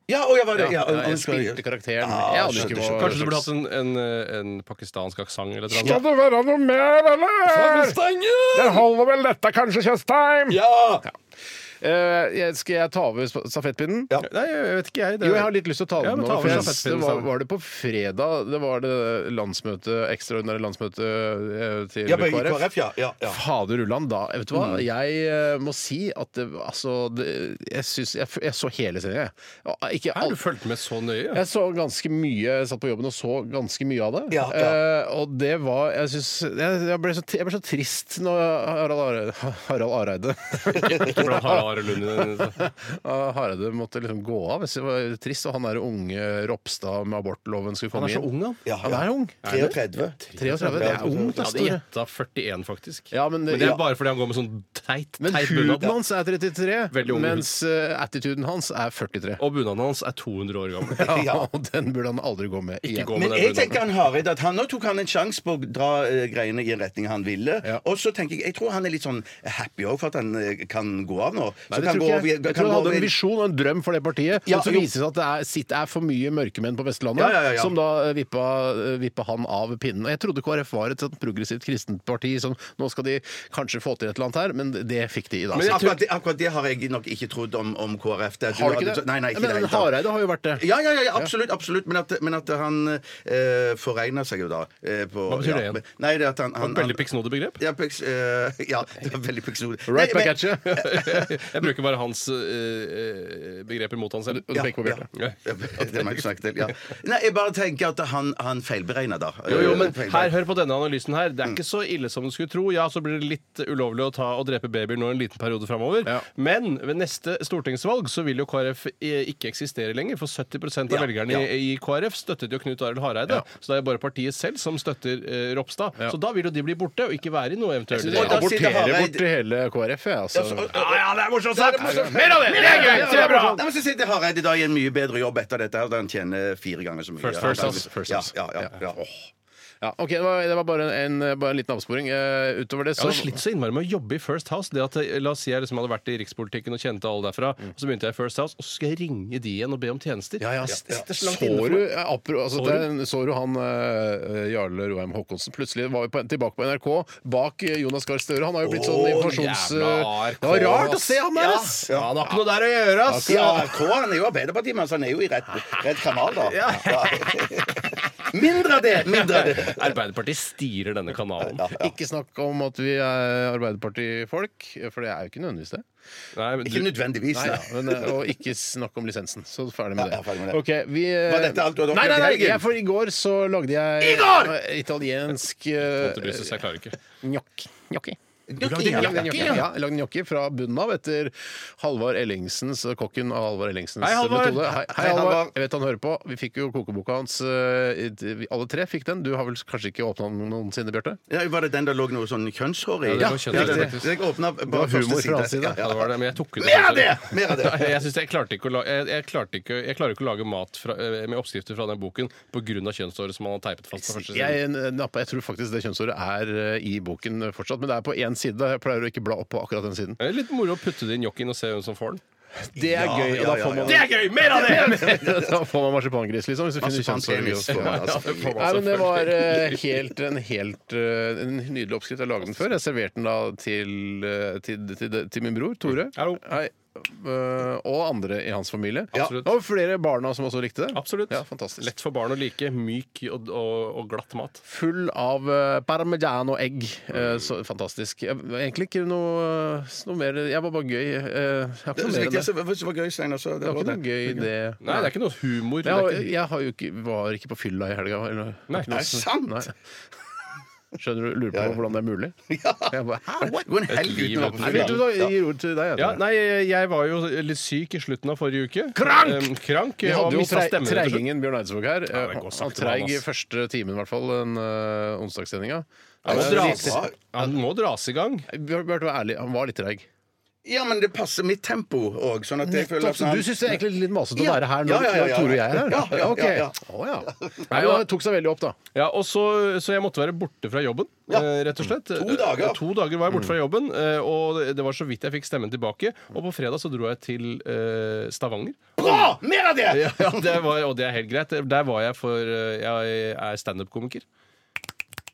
Speaker 2: Ja, å, ja, var det, ja,
Speaker 1: Ja,
Speaker 2: om- om
Speaker 1: jeg
Speaker 2: du skal-
Speaker 1: spilte karakteren.
Speaker 2: Ja,
Speaker 1: Jeg hadde
Speaker 2: skjønte,
Speaker 1: ikke hva
Speaker 2: skjønte.
Speaker 3: Kanskje du burde hatt en, en, eh, en pakistansk aksent eller et eller
Speaker 1: Skal det være noe mer, eller? Det holder vel dette, kanskje, Tjøstheim?
Speaker 2: Ja!
Speaker 1: Eh, jeg- skal jeg ta over sp- stafettpinnen?
Speaker 2: Ja.
Speaker 3: annet? Nei, jeg vet ikke, jeg. Det
Speaker 1: Jo, jeg har litt lyst til å ta
Speaker 3: Eh, Ja,
Speaker 1: den
Speaker 3: men
Speaker 1: nå.
Speaker 3: ta
Speaker 1: for
Speaker 3: over
Speaker 1: jeg- Det
Speaker 3: stafettpinnen
Speaker 1: var,
Speaker 3: sammen.
Speaker 1: var det på fredag det var det landsmøte, ekstraordinære landsmøte eh, til
Speaker 2: Ja, bare i
Speaker 1: KrF?
Speaker 2: KrF, ja. ja, Mm. ja.
Speaker 1: Fader Ulland, da. Vet du hva? Jeg eh, må si at det, altså det, jeg, synes, jeg, f- jeg så hele serien, jeg. Ja, Ikke
Speaker 3: Har
Speaker 1: alt.
Speaker 3: du fulgt med så nøye?
Speaker 1: Jeg så ganske mye, jeg satt på jobben og så ganske mye av det.
Speaker 2: Ja,
Speaker 1: Eh, og det var Jeg syns jeg, jeg, ble så, jeg ble så trist når Harald Are- Harald Areide
Speaker 3: Ikke blant Harald Are Lund i den.
Speaker 2: altså.
Speaker 1: Ah, Hareide måtte liksom gå av. Det var trist, og han der unge Ropstad med abortloven skulle komme inn.
Speaker 3: han.
Speaker 2: ja,
Speaker 1: Han er ung.
Speaker 2: 33.
Speaker 1: 33, det er ungt,
Speaker 3: Jeg
Speaker 1: ass.
Speaker 3: hadde
Speaker 1: Tore.
Speaker 3: gjetta 41, faktisk.
Speaker 1: Ja, men,
Speaker 3: Men det er bare fordi han går med sånn teit,
Speaker 1: men
Speaker 3: teit
Speaker 1: huden
Speaker 3: bunad.
Speaker 1: hans er 33,
Speaker 3: Veldig ung hud.
Speaker 1: mens eh, attituden hans er 43.
Speaker 3: Og bunaden hans er 200 år gammel.
Speaker 1: Ja, og den burde han aldri gå med
Speaker 3: Ikke
Speaker 1: igjen.
Speaker 3: gå
Speaker 2: Men
Speaker 3: med
Speaker 2: jeg
Speaker 3: den
Speaker 2: tenker
Speaker 3: bunaden.
Speaker 2: han Hareide at han nå tok han en sjanse på å dra eh, greiene i en retning han ville.
Speaker 1: Ja.
Speaker 2: Og så tenker jeg jeg tror han er litt sånn happy òg for at han eh, kan gå av nå. Så
Speaker 1: Nei, det
Speaker 2: kan
Speaker 1: tror
Speaker 2: gå
Speaker 1: ikke
Speaker 2: over i-
Speaker 1: jeg. jeg
Speaker 2: kan
Speaker 1: tror
Speaker 2: gå
Speaker 1: han hadde
Speaker 2: over i-
Speaker 1: en visjon og en drøm for det partiet.
Speaker 2: Ja,
Speaker 1: og så
Speaker 2: jo.
Speaker 1: viser det seg at det er, sitt, er for mye mørkemenn på Vestlandet
Speaker 2: Ja, ja, ja, ja.
Speaker 1: som da eh, vippa, eh, vippa han av pinnen. Og jeg trodde KrF var et sånt progressivt kristent parti som nå skal de kanskje få til et eller annet her, men det fikk de i dag.
Speaker 3: Men Altså, jeg tror-
Speaker 2: Akkurat det, akkurat det har jeg nok ikke trodd om, om KrF. Det, at
Speaker 1: har
Speaker 2: du
Speaker 1: du ikke
Speaker 2: hadde-
Speaker 1: det?
Speaker 2: Nei, nei, ikke i
Speaker 1: men,
Speaker 2: det hele
Speaker 1: men
Speaker 2: tatt.
Speaker 1: Hareide har jo vært det.
Speaker 2: Ja, ja, ja, ja absolutt. absolutt. Men, at, men at han eh, forregna seg jo da. eh, på,
Speaker 3: Hva betyr
Speaker 2: ja,
Speaker 3: det igjen?
Speaker 2: men- Nei, det er at han, han,
Speaker 3: Et Veldig pikksnodig begrep.
Speaker 2: Ja, piks, eh, ja, det var veldig piksnod.
Speaker 1: Right back at you.
Speaker 3: Jeg bruker bare hans eh, eh, begreper mot han selv.
Speaker 1: Og du peker på Bjarte.
Speaker 2: Ja, ja, det må jeg ikke snakke til. Ja. Nei, jeg bare tenker at han, han feilberegna, da.
Speaker 3: Jo, jo, men
Speaker 2: Feilberegna.
Speaker 3: her, Hør på denne analysen her. Det er ikke så ille som du skulle tro. Ja, så blir det litt ulovlig å ta og drepe babyer nå en liten periode framover.
Speaker 1: Ja.
Speaker 3: Men ved neste stortingsvalg så vil jo KrF eh, ikke eksistere lenger. For 70 av
Speaker 2: Ja,
Speaker 3: velgerne i, i KrF støttet jo Knut Arild Hareide. Så det er jo bare partiet selv som støtter eh, Ropstad. Så da vil jo de bli borte og ikke være i noe eventuelt.
Speaker 1: Jeg
Speaker 2: Og da sitter
Speaker 1: aborterer
Speaker 2: Hareide-
Speaker 1: bort hele KrF, jeg,
Speaker 2: eh, Ja, så-
Speaker 1: altså.
Speaker 3: det er morsomt
Speaker 2: sagt! Mer av det! Det er gøy! Det er bra! Nei, men så sitter Hareide da i en mye bedre jobb etter dette, her, da han tjener fire ganger så mye.
Speaker 3: First, first,
Speaker 2: Ja,
Speaker 3: first,
Speaker 1: first,
Speaker 2: ja,
Speaker 1: first.
Speaker 2: ja, ja, ja.
Speaker 1: Ja, ok, Det var, det var bare, en, bare en liten avsporing. Eh, utover det
Speaker 3: Jeg
Speaker 1: så
Speaker 3: hadde slitt så innmari med å jobbe i First House. Det at, eh, la oss si jeg liksom hadde vært i rikspolitikken og kjente alle derfra, og så begynte jeg i First House, og så skal jeg ringe de igjen og be om tjenester.
Speaker 1: Ja, ja,
Speaker 3: Det sitter så langt
Speaker 1: Så
Speaker 3: inne for
Speaker 1: du,
Speaker 3: meg.
Speaker 1: eh, apro, altså,
Speaker 3: Så
Speaker 1: det er en- så du han eh, Jarle Roheim Haakonsen? Plutselig var vi på, tilbake på NRK bak eh, Jonas Gahr Støre. Han har jo blitt sånn
Speaker 2: Åh,
Speaker 1: informasjons...
Speaker 3: jævla
Speaker 1: eh, det var
Speaker 3: ARK,
Speaker 1: rart å se han der,
Speaker 2: Ja,
Speaker 1: ass!
Speaker 3: Ja, han har ikke noe der å gjøre, ass!
Speaker 2: Ja, AK han er jo Arbeiderpartiet, men altså, han er jo i rett, rett kanal, da. Ja. Mindre av det! Mindre av det.
Speaker 3: Arbeiderpartiet styrer denne kanalen.
Speaker 1: Ikke snakk om at vi er Arbeiderpartifolk, for det er jo ikke nødvendigvis det.
Speaker 3: Nei, men
Speaker 2: Ikke
Speaker 3: du,
Speaker 2: nødvendigvis,
Speaker 1: Nei,
Speaker 2: nei.
Speaker 1: ja, men, eh, og ikke snakk om lisensen. Så ferdig med
Speaker 2: Ja,
Speaker 1: det.
Speaker 2: ja, ferdig med det.
Speaker 1: Ok, vi, eh,
Speaker 2: Var dette alt du hadde
Speaker 1: nei, nei,
Speaker 2: opplevd i
Speaker 1: nei,
Speaker 2: helgen?
Speaker 1: jeg, for i går så lagde jeg eh, italiensk eh,
Speaker 3: Måtte lyses, jeg klarer ikke.
Speaker 1: gnocchi. Gnocchi. Lagde
Speaker 2: Gnocchi, ja.
Speaker 1: gnocchi,
Speaker 2: Gnocchi,
Speaker 1: ja. Ja, jeg lagde gnocchi fra bunnen av etter Halvard Ellingsens, eh, kokken av Halvard Ellingsens
Speaker 3: Hei, Halvard.
Speaker 1: metode. Hei, hei,
Speaker 2: Hei,
Speaker 1: Halvard.
Speaker 2: Halvard.
Speaker 1: Jeg vet han hører på. Vi fikk jo kokeboka hans. eh, i- vi Alle tre fikk den. Du har vel kanskje ikke åpna den noensinne, Bjarte?
Speaker 2: Ja, var det den der lå noe sånn kjønnshår i?
Speaker 3: Ja, det var kjønnshår,
Speaker 2: det,
Speaker 3: faktisk.
Speaker 2: jeg åpna
Speaker 1: Det var
Speaker 2: bare
Speaker 1: humor
Speaker 2: første
Speaker 1: fra hans
Speaker 2: side.
Speaker 1: side.
Speaker 3: Ja, det var det, men jeg tok ut
Speaker 2: Mer av det! Mer av det.
Speaker 3: Nei, Jeg, synes jeg, klarte ikke å la, jeg, jeg, klarte ikke, jeg klarer ikke å lage mat fra, eh, med oppskrifter fra den boken pga. kjønnshåret som han har teipet fast på første side.
Speaker 1: Jeg, nappa- jeg tror faktisk det kjønnsordet er eh, i boken fortsatt, men det er på én side. Jeg pleier å ikke bla opp på akkurat den siden.
Speaker 3: Det er litt moro å putte det i njokkien og se hvem som får den.
Speaker 1: Det er
Speaker 2: Ja,
Speaker 1: gøy. og
Speaker 2: ja,
Speaker 1: da
Speaker 2: ja,
Speaker 1: får man
Speaker 2: ja.
Speaker 3: er gøy! Mer av det!
Speaker 1: da får man marsipangris, liksom. Hvis du finner
Speaker 2: Marsipanpenis får man, altså.
Speaker 1: kjønnsorgan.
Speaker 2: Får man,
Speaker 1: Nei, men det var eh, helt, en helt eh, en nydelig oppskrift. Jeg lagde den før. Jeg serverte den da til, eh, til, til, til min bror Tore.
Speaker 3: Hallo.
Speaker 1: Hei. Eh, og andre i hans familie.
Speaker 2: Ja.
Speaker 1: Det var flere barna som også likte det.
Speaker 3: Absolutt.
Speaker 1: Ja, fantastisk.
Speaker 3: Lett for barn å like. Myk og, og, og glatt mat.
Speaker 1: Full av eh, parmigiano-egg. Eh, så fantastisk. Jeg, egentlig ikke noe, noe mer Jeg var bare gøy. Eh, jeg har ikke
Speaker 2: Det
Speaker 1: noe mer
Speaker 2: er
Speaker 1: enn
Speaker 2: viktig, altså,
Speaker 1: det.
Speaker 2: så- Det var gøy, Stein, også.
Speaker 1: Det
Speaker 2: Det
Speaker 1: var
Speaker 2: var
Speaker 1: ikke noe
Speaker 2: det.
Speaker 1: gøy, det.
Speaker 3: Nei, det er ikke noe humor.
Speaker 1: Jeg, har,
Speaker 3: det er ikke...
Speaker 1: jeg har jo ikke, var ikke på fylla i helga. Eller,
Speaker 3: Nei.
Speaker 1: Ikke noe
Speaker 3: Er det
Speaker 2: sant?
Speaker 1: Skjønner du, Lurer på
Speaker 2: Ja, ja.
Speaker 1: hvordan det er mulig? Jeg bare, Hæ, what?
Speaker 2: Gå en helg
Speaker 3: liv
Speaker 2: uten å være
Speaker 3: uten
Speaker 2: på
Speaker 1: Nei,
Speaker 2: fylla.
Speaker 1: vet du hva, jeg gir ordet til deg. jeg,
Speaker 3: Ja,
Speaker 1: Tore.
Speaker 3: nei, jeg var jo litt syk i slutten av forrige uke.
Speaker 1: Krank!
Speaker 3: Em, krank
Speaker 1: Vi
Speaker 3: og
Speaker 1: hadde jo
Speaker 3: mista
Speaker 1: tre-
Speaker 3: stemmen. rett og slett.
Speaker 1: treigingen Bjørn Eidsvåg her.
Speaker 3: Ja, det er
Speaker 1: han
Speaker 3: godt sagt,
Speaker 1: var treig i
Speaker 3: Johannes.
Speaker 1: første timen, i hvert fall, den uh, onsdagssendinga.
Speaker 3: Han må
Speaker 2: Ja,
Speaker 3: dras-
Speaker 2: det er riktig.
Speaker 3: Han må dras i gang.
Speaker 1: Bjør- Bjørn, vær ærlig, han var litt treig.
Speaker 2: Ja, men det passer mitt tempo òg. Sånn at jeg føler
Speaker 1: Nettopp,
Speaker 2: at
Speaker 1: så
Speaker 2: han-
Speaker 1: du syns det er egentlig litt masete å
Speaker 2: Ja.
Speaker 1: være her når
Speaker 2: Ja, ja, ja, ja.
Speaker 1: Tore og jeg er her?
Speaker 2: Ja, ja,
Speaker 1: ok.
Speaker 2: ja, ja.
Speaker 1: Å, ja. Nei, han tok seg veldig opp, da.
Speaker 3: Ja, og så, så jeg måtte være borte fra jobben, eh, rett og slett.
Speaker 2: To dager.
Speaker 3: Eh, To dager var jeg borte fra jobben, eh, og det- det var så vidt jeg fikk stemmen tilbake. Og på fredag så dro jeg til eh, Stavanger.
Speaker 2: Bra! Mer av det!
Speaker 3: Ja, det var, og det er helt greit. Der var jeg for eh, Jeg er standup-komiker.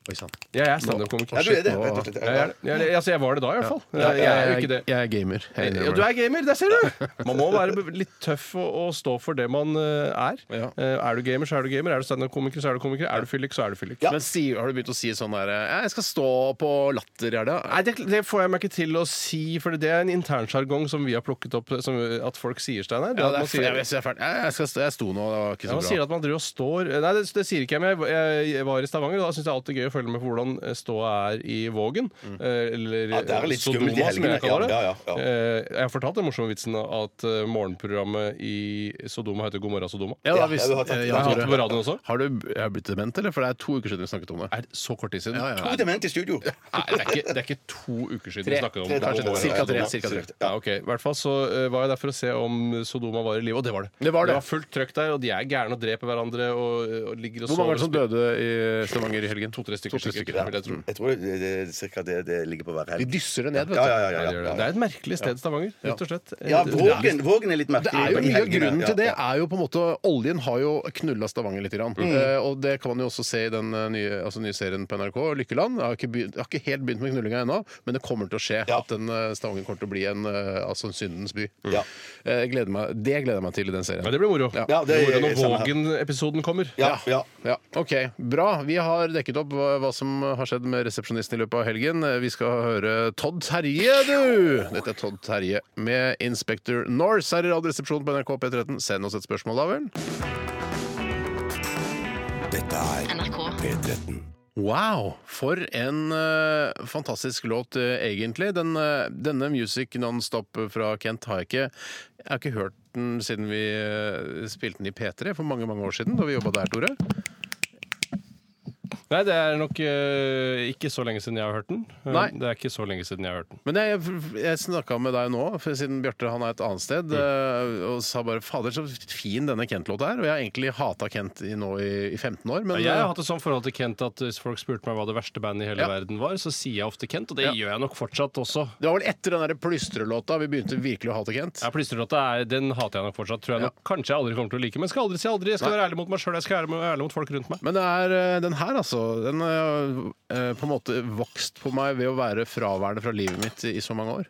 Speaker 1: Oi sann.
Speaker 3: Jeg er standup-komiker.
Speaker 2: Ja, du er det, rett og slett.
Speaker 3: Jeg, er det. jeg, er- altså, jeg var det da, i hvert fall.
Speaker 1: Ja,
Speaker 3: Jeg er jo ikke det.
Speaker 1: jeg er gamer. Jeg
Speaker 3: Ja,
Speaker 1: innrømmer
Speaker 3: du
Speaker 1: det.
Speaker 3: er gamer, der ser du! Man må være be- litt tøff og, og stå for det man eh, er.
Speaker 1: Ja.
Speaker 3: Eh, Er du gamer, så er du gamer. Er du standup-komiker, så er du komiker. Er du fyllik, så er du fyllik.
Speaker 1: Men si, har du begynt å si sånn der «Ja, Jeg skal stå på latter i helga.
Speaker 3: Nei, det, det får jeg meg ikke til å si, for det er en internsjargong som vi har plukket opp som, at folk sier, Steinar. Det
Speaker 1: Ja, det er,
Speaker 3: at man
Speaker 1: jeg,
Speaker 3: sier-
Speaker 1: jeg, jeg, jeg, jeg, skal stå- jeg sto nå, det var ikke
Speaker 3: ja, man
Speaker 1: så
Speaker 3: sier
Speaker 1: bra.
Speaker 3: at man driver og står Nei, det, det sier ikke jeg, men jeg, jeg, jeg var i Stavanger, og da syns jeg alltid gøy å følge med på hvordan ståa er i Vågen. eh, Eller
Speaker 2: Mm. Ja, det er litt
Speaker 3: Sodoma,
Speaker 2: skummelt i
Speaker 3: som jeg
Speaker 2: helgene.
Speaker 3: kaller det.
Speaker 2: Ja, ja, ja, ja.
Speaker 3: Eh, Jeg har fortalt den morsomme vitsen at eh, morgenprogrammet i Sodoma heter God morgen, Sodoma.
Speaker 1: Ja, da,
Speaker 2: Ja,
Speaker 1: hvis,
Speaker 2: jeg har tatt-
Speaker 1: eh,
Speaker 3: Jeg har hatt
Speaker 1: Tore.
Speaker 3: det på radioen også.
Speaker 1: Har du jeg har blitt dement, eller? For det er to uker siden vi snakket om det.
Speaker 3: Er det så kort tid siden?
Speaker 1: Ja, ja,
Speaker 2: To demente i studio.
Speaker 3: Nei, det er, ikke, det er ikke to uker siden vi snakket om
Speaker 2: tre
Speaker 3: det.
Speaker 2: dager.
Speaker 1: Cirka tre,
Speaker 3: Ja,
Speaker 1: cirka tre.
Speaker 3: Ja, ok. I hvert fall så eh, var jeg der for å se om Sodoma var i live, og det var det.
Speaker 1: Det var det.
Speaker 3: fullt trøkk der, og de er gærne og dreper hverandre og, og ligger og
Speaker 1: Hvor mange var det som
Speaker 3: sover.
Speaker 1: døde i Stavanger i helgen?
Speaker 3: To-tre stykker,
Speaker 1: To-tre
Speaker 3: sikkert,
Speaker 1: stykker.
Speaker 3: vil jeg tro.
Speaker 2: Jeg tror det, det er cirka det det ligger på hver
Speaker 1: De
Speaker 2: helg.
Speaker 1: dysser det ned,
Speaker 2: Ja, ja,
Speaker 1: vet du.
Speaker 2: ja. ja,
Speaker 3: Nei, det, gjør
Speaker 2: ja,
Speaker 3: det. det er et merkelig sted, Stavanger. Rett og slett. Eh,
Speaker 2: Ja,
Speaker 3: Det- det er-
Speaker 2: Vågen, vågen er litt merkelig.
Speaker 1: Det er jo
Speaker 2: i
Speaker 1: Mye av
Speaker 2: helgene.
Speaker 1: grunnen
Speaker 2: Ja,
Speaker 1: til det
Speaker 2: ja. Mm.
Speaker 1: er jo på en måte Oljen har jo knulla Stavanger litt. Grann. Eh, og det kan man jo også se i den eh, nye, altså, nye serien på NRK, Lykkeland. Jeg har ikke, begynt, jeg har ikke helt begynt med knullinga ennå, men det kommer til å skje.
Speaker 2: Ja.
Speaker 1: At den, eh, Stavanger kommer til å bli en, eh, altså en syndens by.
Speaker 2: Ja.
Speaker 1: Eh, jeg gleder meg, det gleder jeg meg til i den serien.
Speaker 3: Ja, det blir moro.
Speaker 1: Ja.
Speaker 2: Ja, det
Speaker 3: blir
Speaker 2: er-
Speaker 3: moro
Speaker 2: samme
Speaker 3: når
Speaker 2: her.
Speaker 3: Vågen-episoden kommer.
Speaker 2: Ja, ja.
Speaker 1: Ja, ok, Bra. Vi har dekket opp hva hva som har skjedd med resepsjonisten i løpet av helgen. Eh, Vi skal høre Todd Terje, du! Dette er Todd Terje med Inspector Norse her i Radioresepsjonen på NRK P13. Send oss et spørsmål, da vel.
Speaker 4: Dette er
Speaker 6: NRK.
Speaker 4: P13.
Speaker 1: Wow! For en eh, fantastisk låt, eh, egentlig. Den, eh, denne Music Nonstop fra Kent har jeg ikke Jeg har ikke hørt den siden vi eh, spilte den i P3 for mange, mange år siden, da vi jobba der, Tore.
Speaker 3: Nei, det er nok eh, ikke så lenge siden jeg har hørt den. Eh,
Speaker 1: Nei.
Speaker 3: Det er ikke så lenge siden jeg har hørt den.
Speaker 1: Men jeg, jeg snakka med deg nå, for siden Bjarte han er et annet
Speaker 3: Mm.
Speaker 1: sted, eh, og sa bare 'fader, så fin denne Kent-låta er'. Og jeg har egentlig hata Kent i, nå i, i 15 år, men eh,
Speaker 3: Jeg har hatt et sånt forhold til Kent at hvis folk spurte meg hva det verste bandet i hele
Speaker 1: Ja.
Speaker 3: verden var, så sier jeg ofte Kent, og det
Speaker 1: Ja.
Speaker 3: gjør jeg nok fortsatt også.
Speaker 1: det var vel etter den der Plystrelåta vi begynte virkelig å hate Kent.
Speaker 3: Ja, Plystrelåta er, den hater jeg nok fortsatt. Tror jeg nok kanskje jeg aldri kommer til å like. Men jeg skal aldri si aldri. Jeg skal være ærlig mot meg sjøl. Jeg skal være ærlig mot folk rundt meg.
Speaker 1: Men det er eh, den her, altså. Den har eh, på en måte vokst på meg ved å være fraværende fra livet mitt i, i så mange år.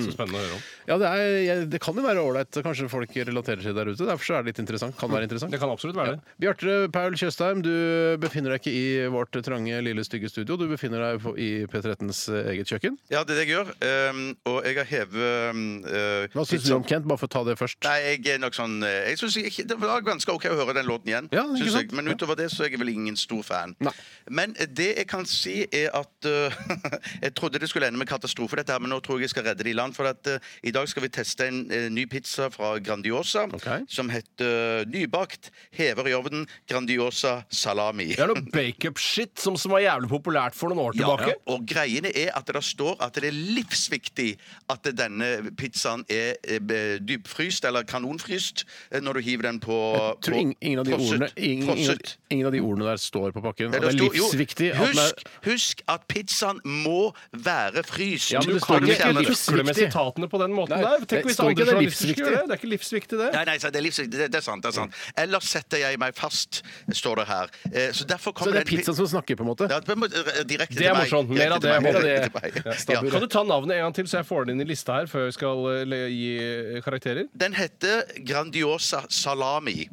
Speaker 3: Så spennende å høre om.
Speaker 1: Ja, det, er, jeg, det kan jo være ålreit. Kanskje folk relaterer til det der ute. Derfor så er det litt interessant. Kan være interessant.
Speaker 3: Det kan absolutt være det.
Speaker 1: Bjarte Paul Tjøstheim, du befinner deg ikke i vårt trange, lille, stygge studio. Du befinner deg på- i P13s eget kjøkken.
Speaker 7: Ja, det er det jeg gjør. Ehm, og jeg har hevet ehm, eh,
Speaker 1: Hva syns du om Kent? Bare for å ta det først.
Speaker 7: Nei, jeg er nok sånn eh, Jeg synes ikke, Det var ganske OK å høre den låten igjen.
Speaker 1: Ja, ikke
Speaker 7: synes jeg.
Speaker 1: sant?
Speaker 7: Men utover det så er jeg vel ingen stor fan.
Speaker 1: Nei.
Speaker 7: Men eh, det jeg kan si, er at eh, Jeg trodde det skulle ende med katastrofe, dette her, men nå tror jeg jeg skal redde det i land. For at eh, i dag skal vi teste en eh, ny pizza fra Grandiosa
Speaker 1: Ok.
Speaker 7: som heter eh, nybakt, hever i ovnen, Grandiosa salami.
Speaker 3: Det er noe bakeup-shit som, som var jævlig populært for noen år
Speaker 7: Ja,
Speaker 3: tilbake.
Speaker 7: og greiene er at det står at det er livsviktig at denne pizzaen er
Speaker 2: er eh, be- dypfryst eller kanonfryst eh, når du hiver den på
Speaker 1: Jeg tror
Speaker 2: på-
Speaker 1: ingen, ingen, av de
Speaker 2: frosset.
Speaker 1: ordene, ingen, ingen,
Speaker 2: Frosset.
Speaker 1: ingen av de ordene der står på pakken.
Speaker 2: Ja,
Speaker 1: Og det er
Speaker 2: står- jo,
Speaker 1: livsviktig at den
Speaker 2: husk,
Speaker 1: er
Speaker 2: husk at pizzaen må være fryst.
Speaker 3: Ja, men
Speaker 1: Du
Speaker 3: Du kan
Speaker 1: kan ikke
Speaker 3: ikke
Speaker 2: fjerne det.
Speaker 3: tukle med
Speaker 1: livsviktig.
Speaker 3: sitatene på den måten
Speaker 1: Nei,
Speaker 3: der.
Speaker 1: det
Speaker 3: Tenk hvis
Speaker 1: står ikke
Speaker 3: andre
Speaker 1: det er
Speaker 3: journalister skulle
Speaker 1: livsviktig.
Speaker 3: gjøre det. Det er ikke livsviktig, det.
Speaker 2: Nei, nei, så det er livsviktig. Det, det er sant. det er sant. Ellers setter jeg meg fast, står det her. Eh, Så derfor
Speaker 1: Så
Speaker 2: kommer
Speaker 1: det er
Speaker 2: den pi-
Speaker 1: pizzaen som snakker, på en måte?
Speaker 2: Ja, på en måte, eh, direkte
Speaker 3: Det er
Speaker 2: til meg.
Speaker 3: morsomt. Mer
Speaker 2: Direkte
Speaker 3: av
Speaker 2: til
Speaker 3: det.
Speaker 2: meg.
Speaker 3: Mer av det.
Speaker 2: Direkte til meg.
Speaker 3: Ja,
Speaker 2: Ja.
Speaker 3: stabburet. Kan du ta navnet en gang til, så jeg får det inn i lista her før vi skal eh, le- gi eh, karakterer?
Speaker 2: Den heter Grandiosa salami.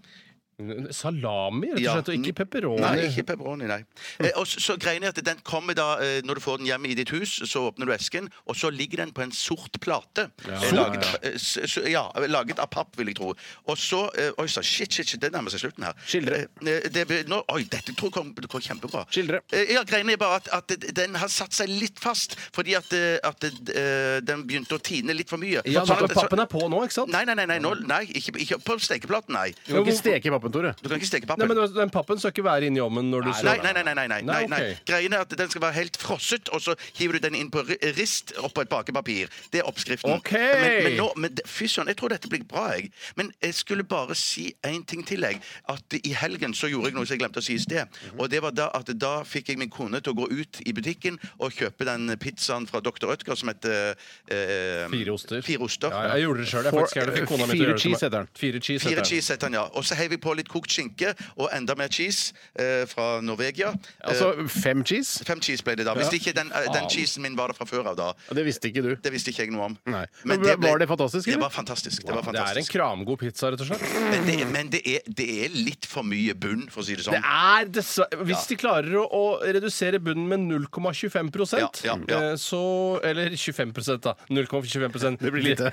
Speaker 3: Salami, rett og
Speaker 2: Ja.
Speaker 3: slett, og ikke pepperoni.
Speaker 2: Nei, ikke pepperoni, nei. Eh, og så, så greien er at den kommer da, eh, Når du får den hjemme i ditt hus, så åpner du esken, og så ligger den på en sort plate. Eh, Laget, av- eh, s- s- ja, laget av papp, vil jeg tro. Og så eh, Oi sann, shit, shit, shit, det nærmer seg slutten her.
Speaker 1: Skildre.
Speaker 2: Eh, det, be- nå, oi, dette tror jeg kom, det kom kjempebra.
Speaker 1: Skildre.
Speaker 2: Eh, ja, greien er bare at, at den har satt seg litt fast, fordi at, eh, at eh, den begynte å tine litt for mye.
Speaker 3: Ja,
Speaker 2: Sånn
Speaker 3: men
Speaker 2: at- så-
Speaker 3: Pappen er på nå, ikke sant?
Speaker 2: Nei, nei, nei, nei, nå, nei ikke, ikke på stekeplaten, nei.
Speaker 1: Du kan ikke steke pappen, Tore.
Speaker 2: Du kan ikke steke
Speaker 3: Nei,
Speaker 2: pappen.
Speaker 3: men Den pappen skal ikke være inni ovnen når du
Speaker 2: Nei, nei, nei. nei, nei, nei,
Speaker 3: Nei,
Speaker 2: nei,
Speaker 3: ok.
Speaker 2: Greien er at den skal være helt frosset, og så hiver du den inn på ri- rist oppå et bakepapir. Det er oppskriften.
Speaker 3: Ok.
Speaker 2: Men, men nå, men det- fy søren, jeg tror dette blir bra, jeg. Men jeg skulle bare si én ting til, jeg. At i helgen så gjorde jeg noe som jeg glemte å si i sted.
Speaker 3: Mhm.
Speaker 2: Og det var da at da fikk jeg min kone til å gå ut i butikken og kjøpe den pizzaen fra Dr. Rødtger som heter eh,
Speaker 3: Fire oster.
Speaker 2: Fire oster.
Speaker 3: Ja, jeg gjorde det sjøl. Jeg
Speaker 1: For-
Speaker 3: faktisk gjorde det. Fikk kona mi til å
Speaker 1: fire
Speaker 3: gjøre det til
Speaker 1: cheese
Speaker 3: meg.
Speaker 1: heter den.
Speaker 3: Fire cheese
Speaker 2: Fire
Speaker 3: heter den.
Speaker 2: cheese heter den, ja. Og så heiv vi på litt kokt skinke og enda mer cheese eh, fra Norvegia.
Speaker 3: Eh,
Speaker 1: Altså fem cheese?
Speaker 2: Fem cheese ble det da. Hvis ikke den, eh, den cheesen min var der fra før av da.
Speaker 1: Ja, Det visste ikke du.
Speaker 2: Det visste ikke jeg noe om.
Speaker 1: Nei. Men var det fantastisk,
Speaker 2: Det
Speaker 1: eller?
Speaker 2: var fantastisk. Det var
Speaker 3: Det er en
Speaker 2: fantastisk.
Speaker 3: kramgod pizza, rett og slett.
Speaker 2: Men, det, men det, er, det er litt for mye bunn, for å si det sånn.
Speaker 3: Det er dessverre Hvis de klarer å, å redusere bunnen med 0,25
Speaker 2: Ja, ja, ja.
Speaker 3: eh, så Eller 25 da. 0,25
Speaker 1: Det blir lite.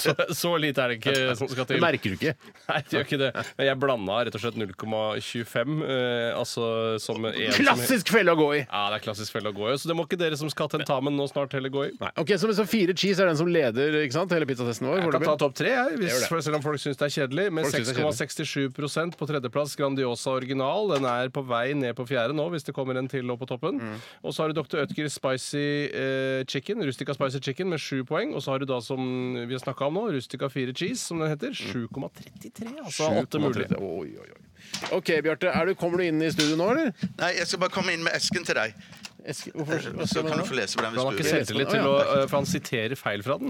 Speaker 3: så, så lite er det ikke som skal
Speaker 1: Det
Speaker 3: til.
Speaker 1: merker du ikke.
Speaker 3: Nei, det gjør ikke det. Men Jeg blanda rett og slett 0,25, eh, altså som en Som,
Speaker 1: Klassisk felle å gå i!
Speaker 3: ja, det er klassisk felle å gå i. Så det må ikke dere som skal ha tentamen nå snart heller gå i.
Speaker 1: Ok, så, så Fire cheese er den som leder ikke sant, hele pizzatesten vår?
Speaker 3: Jeg kan ta
Speaker 1: foreløpig?
Speaker 3: topp tre, jeg, hvis,
Speaker 1: Gjør det.
Speaker 3: selv om folk syns det er kjedelig. Med
Speaker 1: Folk synes det er
Speaker 3: 6,67 på tredjeplass Grandiosa original. Den er på vei ned på fjerde nå, hvis det kommer en til opp på toppen. Og så har du Dr. Ødger Spicy eh, Chicken, Rustica Spicy Chicken, med sju poeng. Og så har du da, som vi har snakka om nå, Rustica 4 Cheese, som den heter. 7,33, altså. Åtte mulig.
Speaker 1: Oi, oi, oi. OK, Bjarte. Er du, kommer du inn i studio nå, eller?
Speaker 2: Nei, jeg skal bare komme inn med esken til deg.
Speaker 1: Eske, hvorfor, hva
Speaker 2: Eh, Så
Speaker 1: skal
Speaker 2: kan
Speaker 1: man
Speaker 2: du
Speaker 1: da?
Speaker 2: få lese på den
Speaker 3: Han har
Speaker 2: hvis
Speaker 3: ikke
Speaker 2: du vil.
Speaker 3: selvtillit til å eh, For han siterer feil fra den.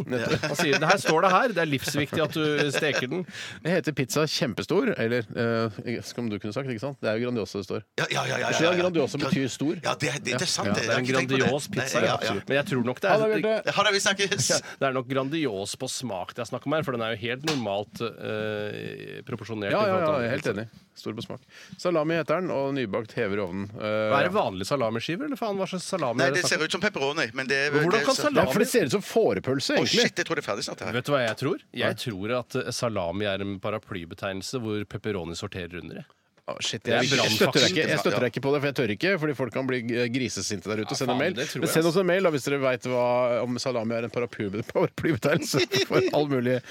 Speaker 3: Han sier det her står det her, det er livsviktig at du steker den.
Speaker 1: Det heter pizza kjempestor, eller eh, som du kunne sagt. ikke sant? Det er jo Grandiosa det står.
Speaker 2: Ja, ja, ja, ja,
Speaker 1: Jeg
Speaker 2: ja,
Speaker 1: skjønner at
Speaker 2: ja.
Speaker 1: Grandiosa betyr stor.
Speaker 2: Ja, det, det, det er sant.
Speaker 1: Ja,
Speaker 2: det.
Speaker 3: Det er en
Speaker 2: Jeg har ikke tenkt på det.
Speaker 3: grandios pizza.
Speaker 2: Nei, ja, ja.
Speaker 3: Men jeg tror nok det
Speaker 1: Ha det,
Speaker 3: er
Speaker 1: Bjarte.
Speaker 2: Ha det, vi snakkes.
Speaker 3: Det er nok grandios på smak det er snakk om her, for den er jo helt normalt eh, proporsjonert.
Speaker 1: Ja, ja,
Speaker 3: i forhold
Speaker 1: ja,
Speaker 3: til
Speaker 1: jeg er helt enig. Stor på smak. Salami heter den, og nybakt hever i ovnen. Eh,
Speaker 3: Er det vanlige salamiskiver, eller faen, hva slags salami
Speaker 2: Nei,
Speaker 3: er
Speaker 2: det
Speaker 3: det?
Speaker 2: ser ut som pepperoni, men det
Speaker 3: Hvordan
Speaker 2: det-
Speaker 3: kan
Speaker 2: så-
Speaker 3: salat-
Speaker 1: ja, for det ser ut som fårepølse,
Speaker 2: Å,
Speaker 1: egentlig.
Speaker 2: shit, jeg tror det er ferdig snart. det her.
Speaker 3: Vet du hva jeg tror? Jeg tror at eh, salami er en paraplybetegnelse hvor pepperoni sorterer under. det.
Speaker 1: Å, shit,
Speaker 3: er
Speaker 1: jeg, jeg,
Speaker 3: brannfakkel.
Speaker 1: støtter deg ikke, jeg støtter deg ikke på det, for jeg tør ikke. Fordi folk kan bli eh, grisesinte der ute. og sende
Speaker 3: faen,
Speaker 1: mail.
Speaker 3: det tror
Speaker 1: Men
Speaker 3: jeg,
Speaker 1: send
Speaker 3: altså.
Speaker 1: oss en mail da, hvis dere veit om salami er en paraply- paraplybetegnelse for all mulig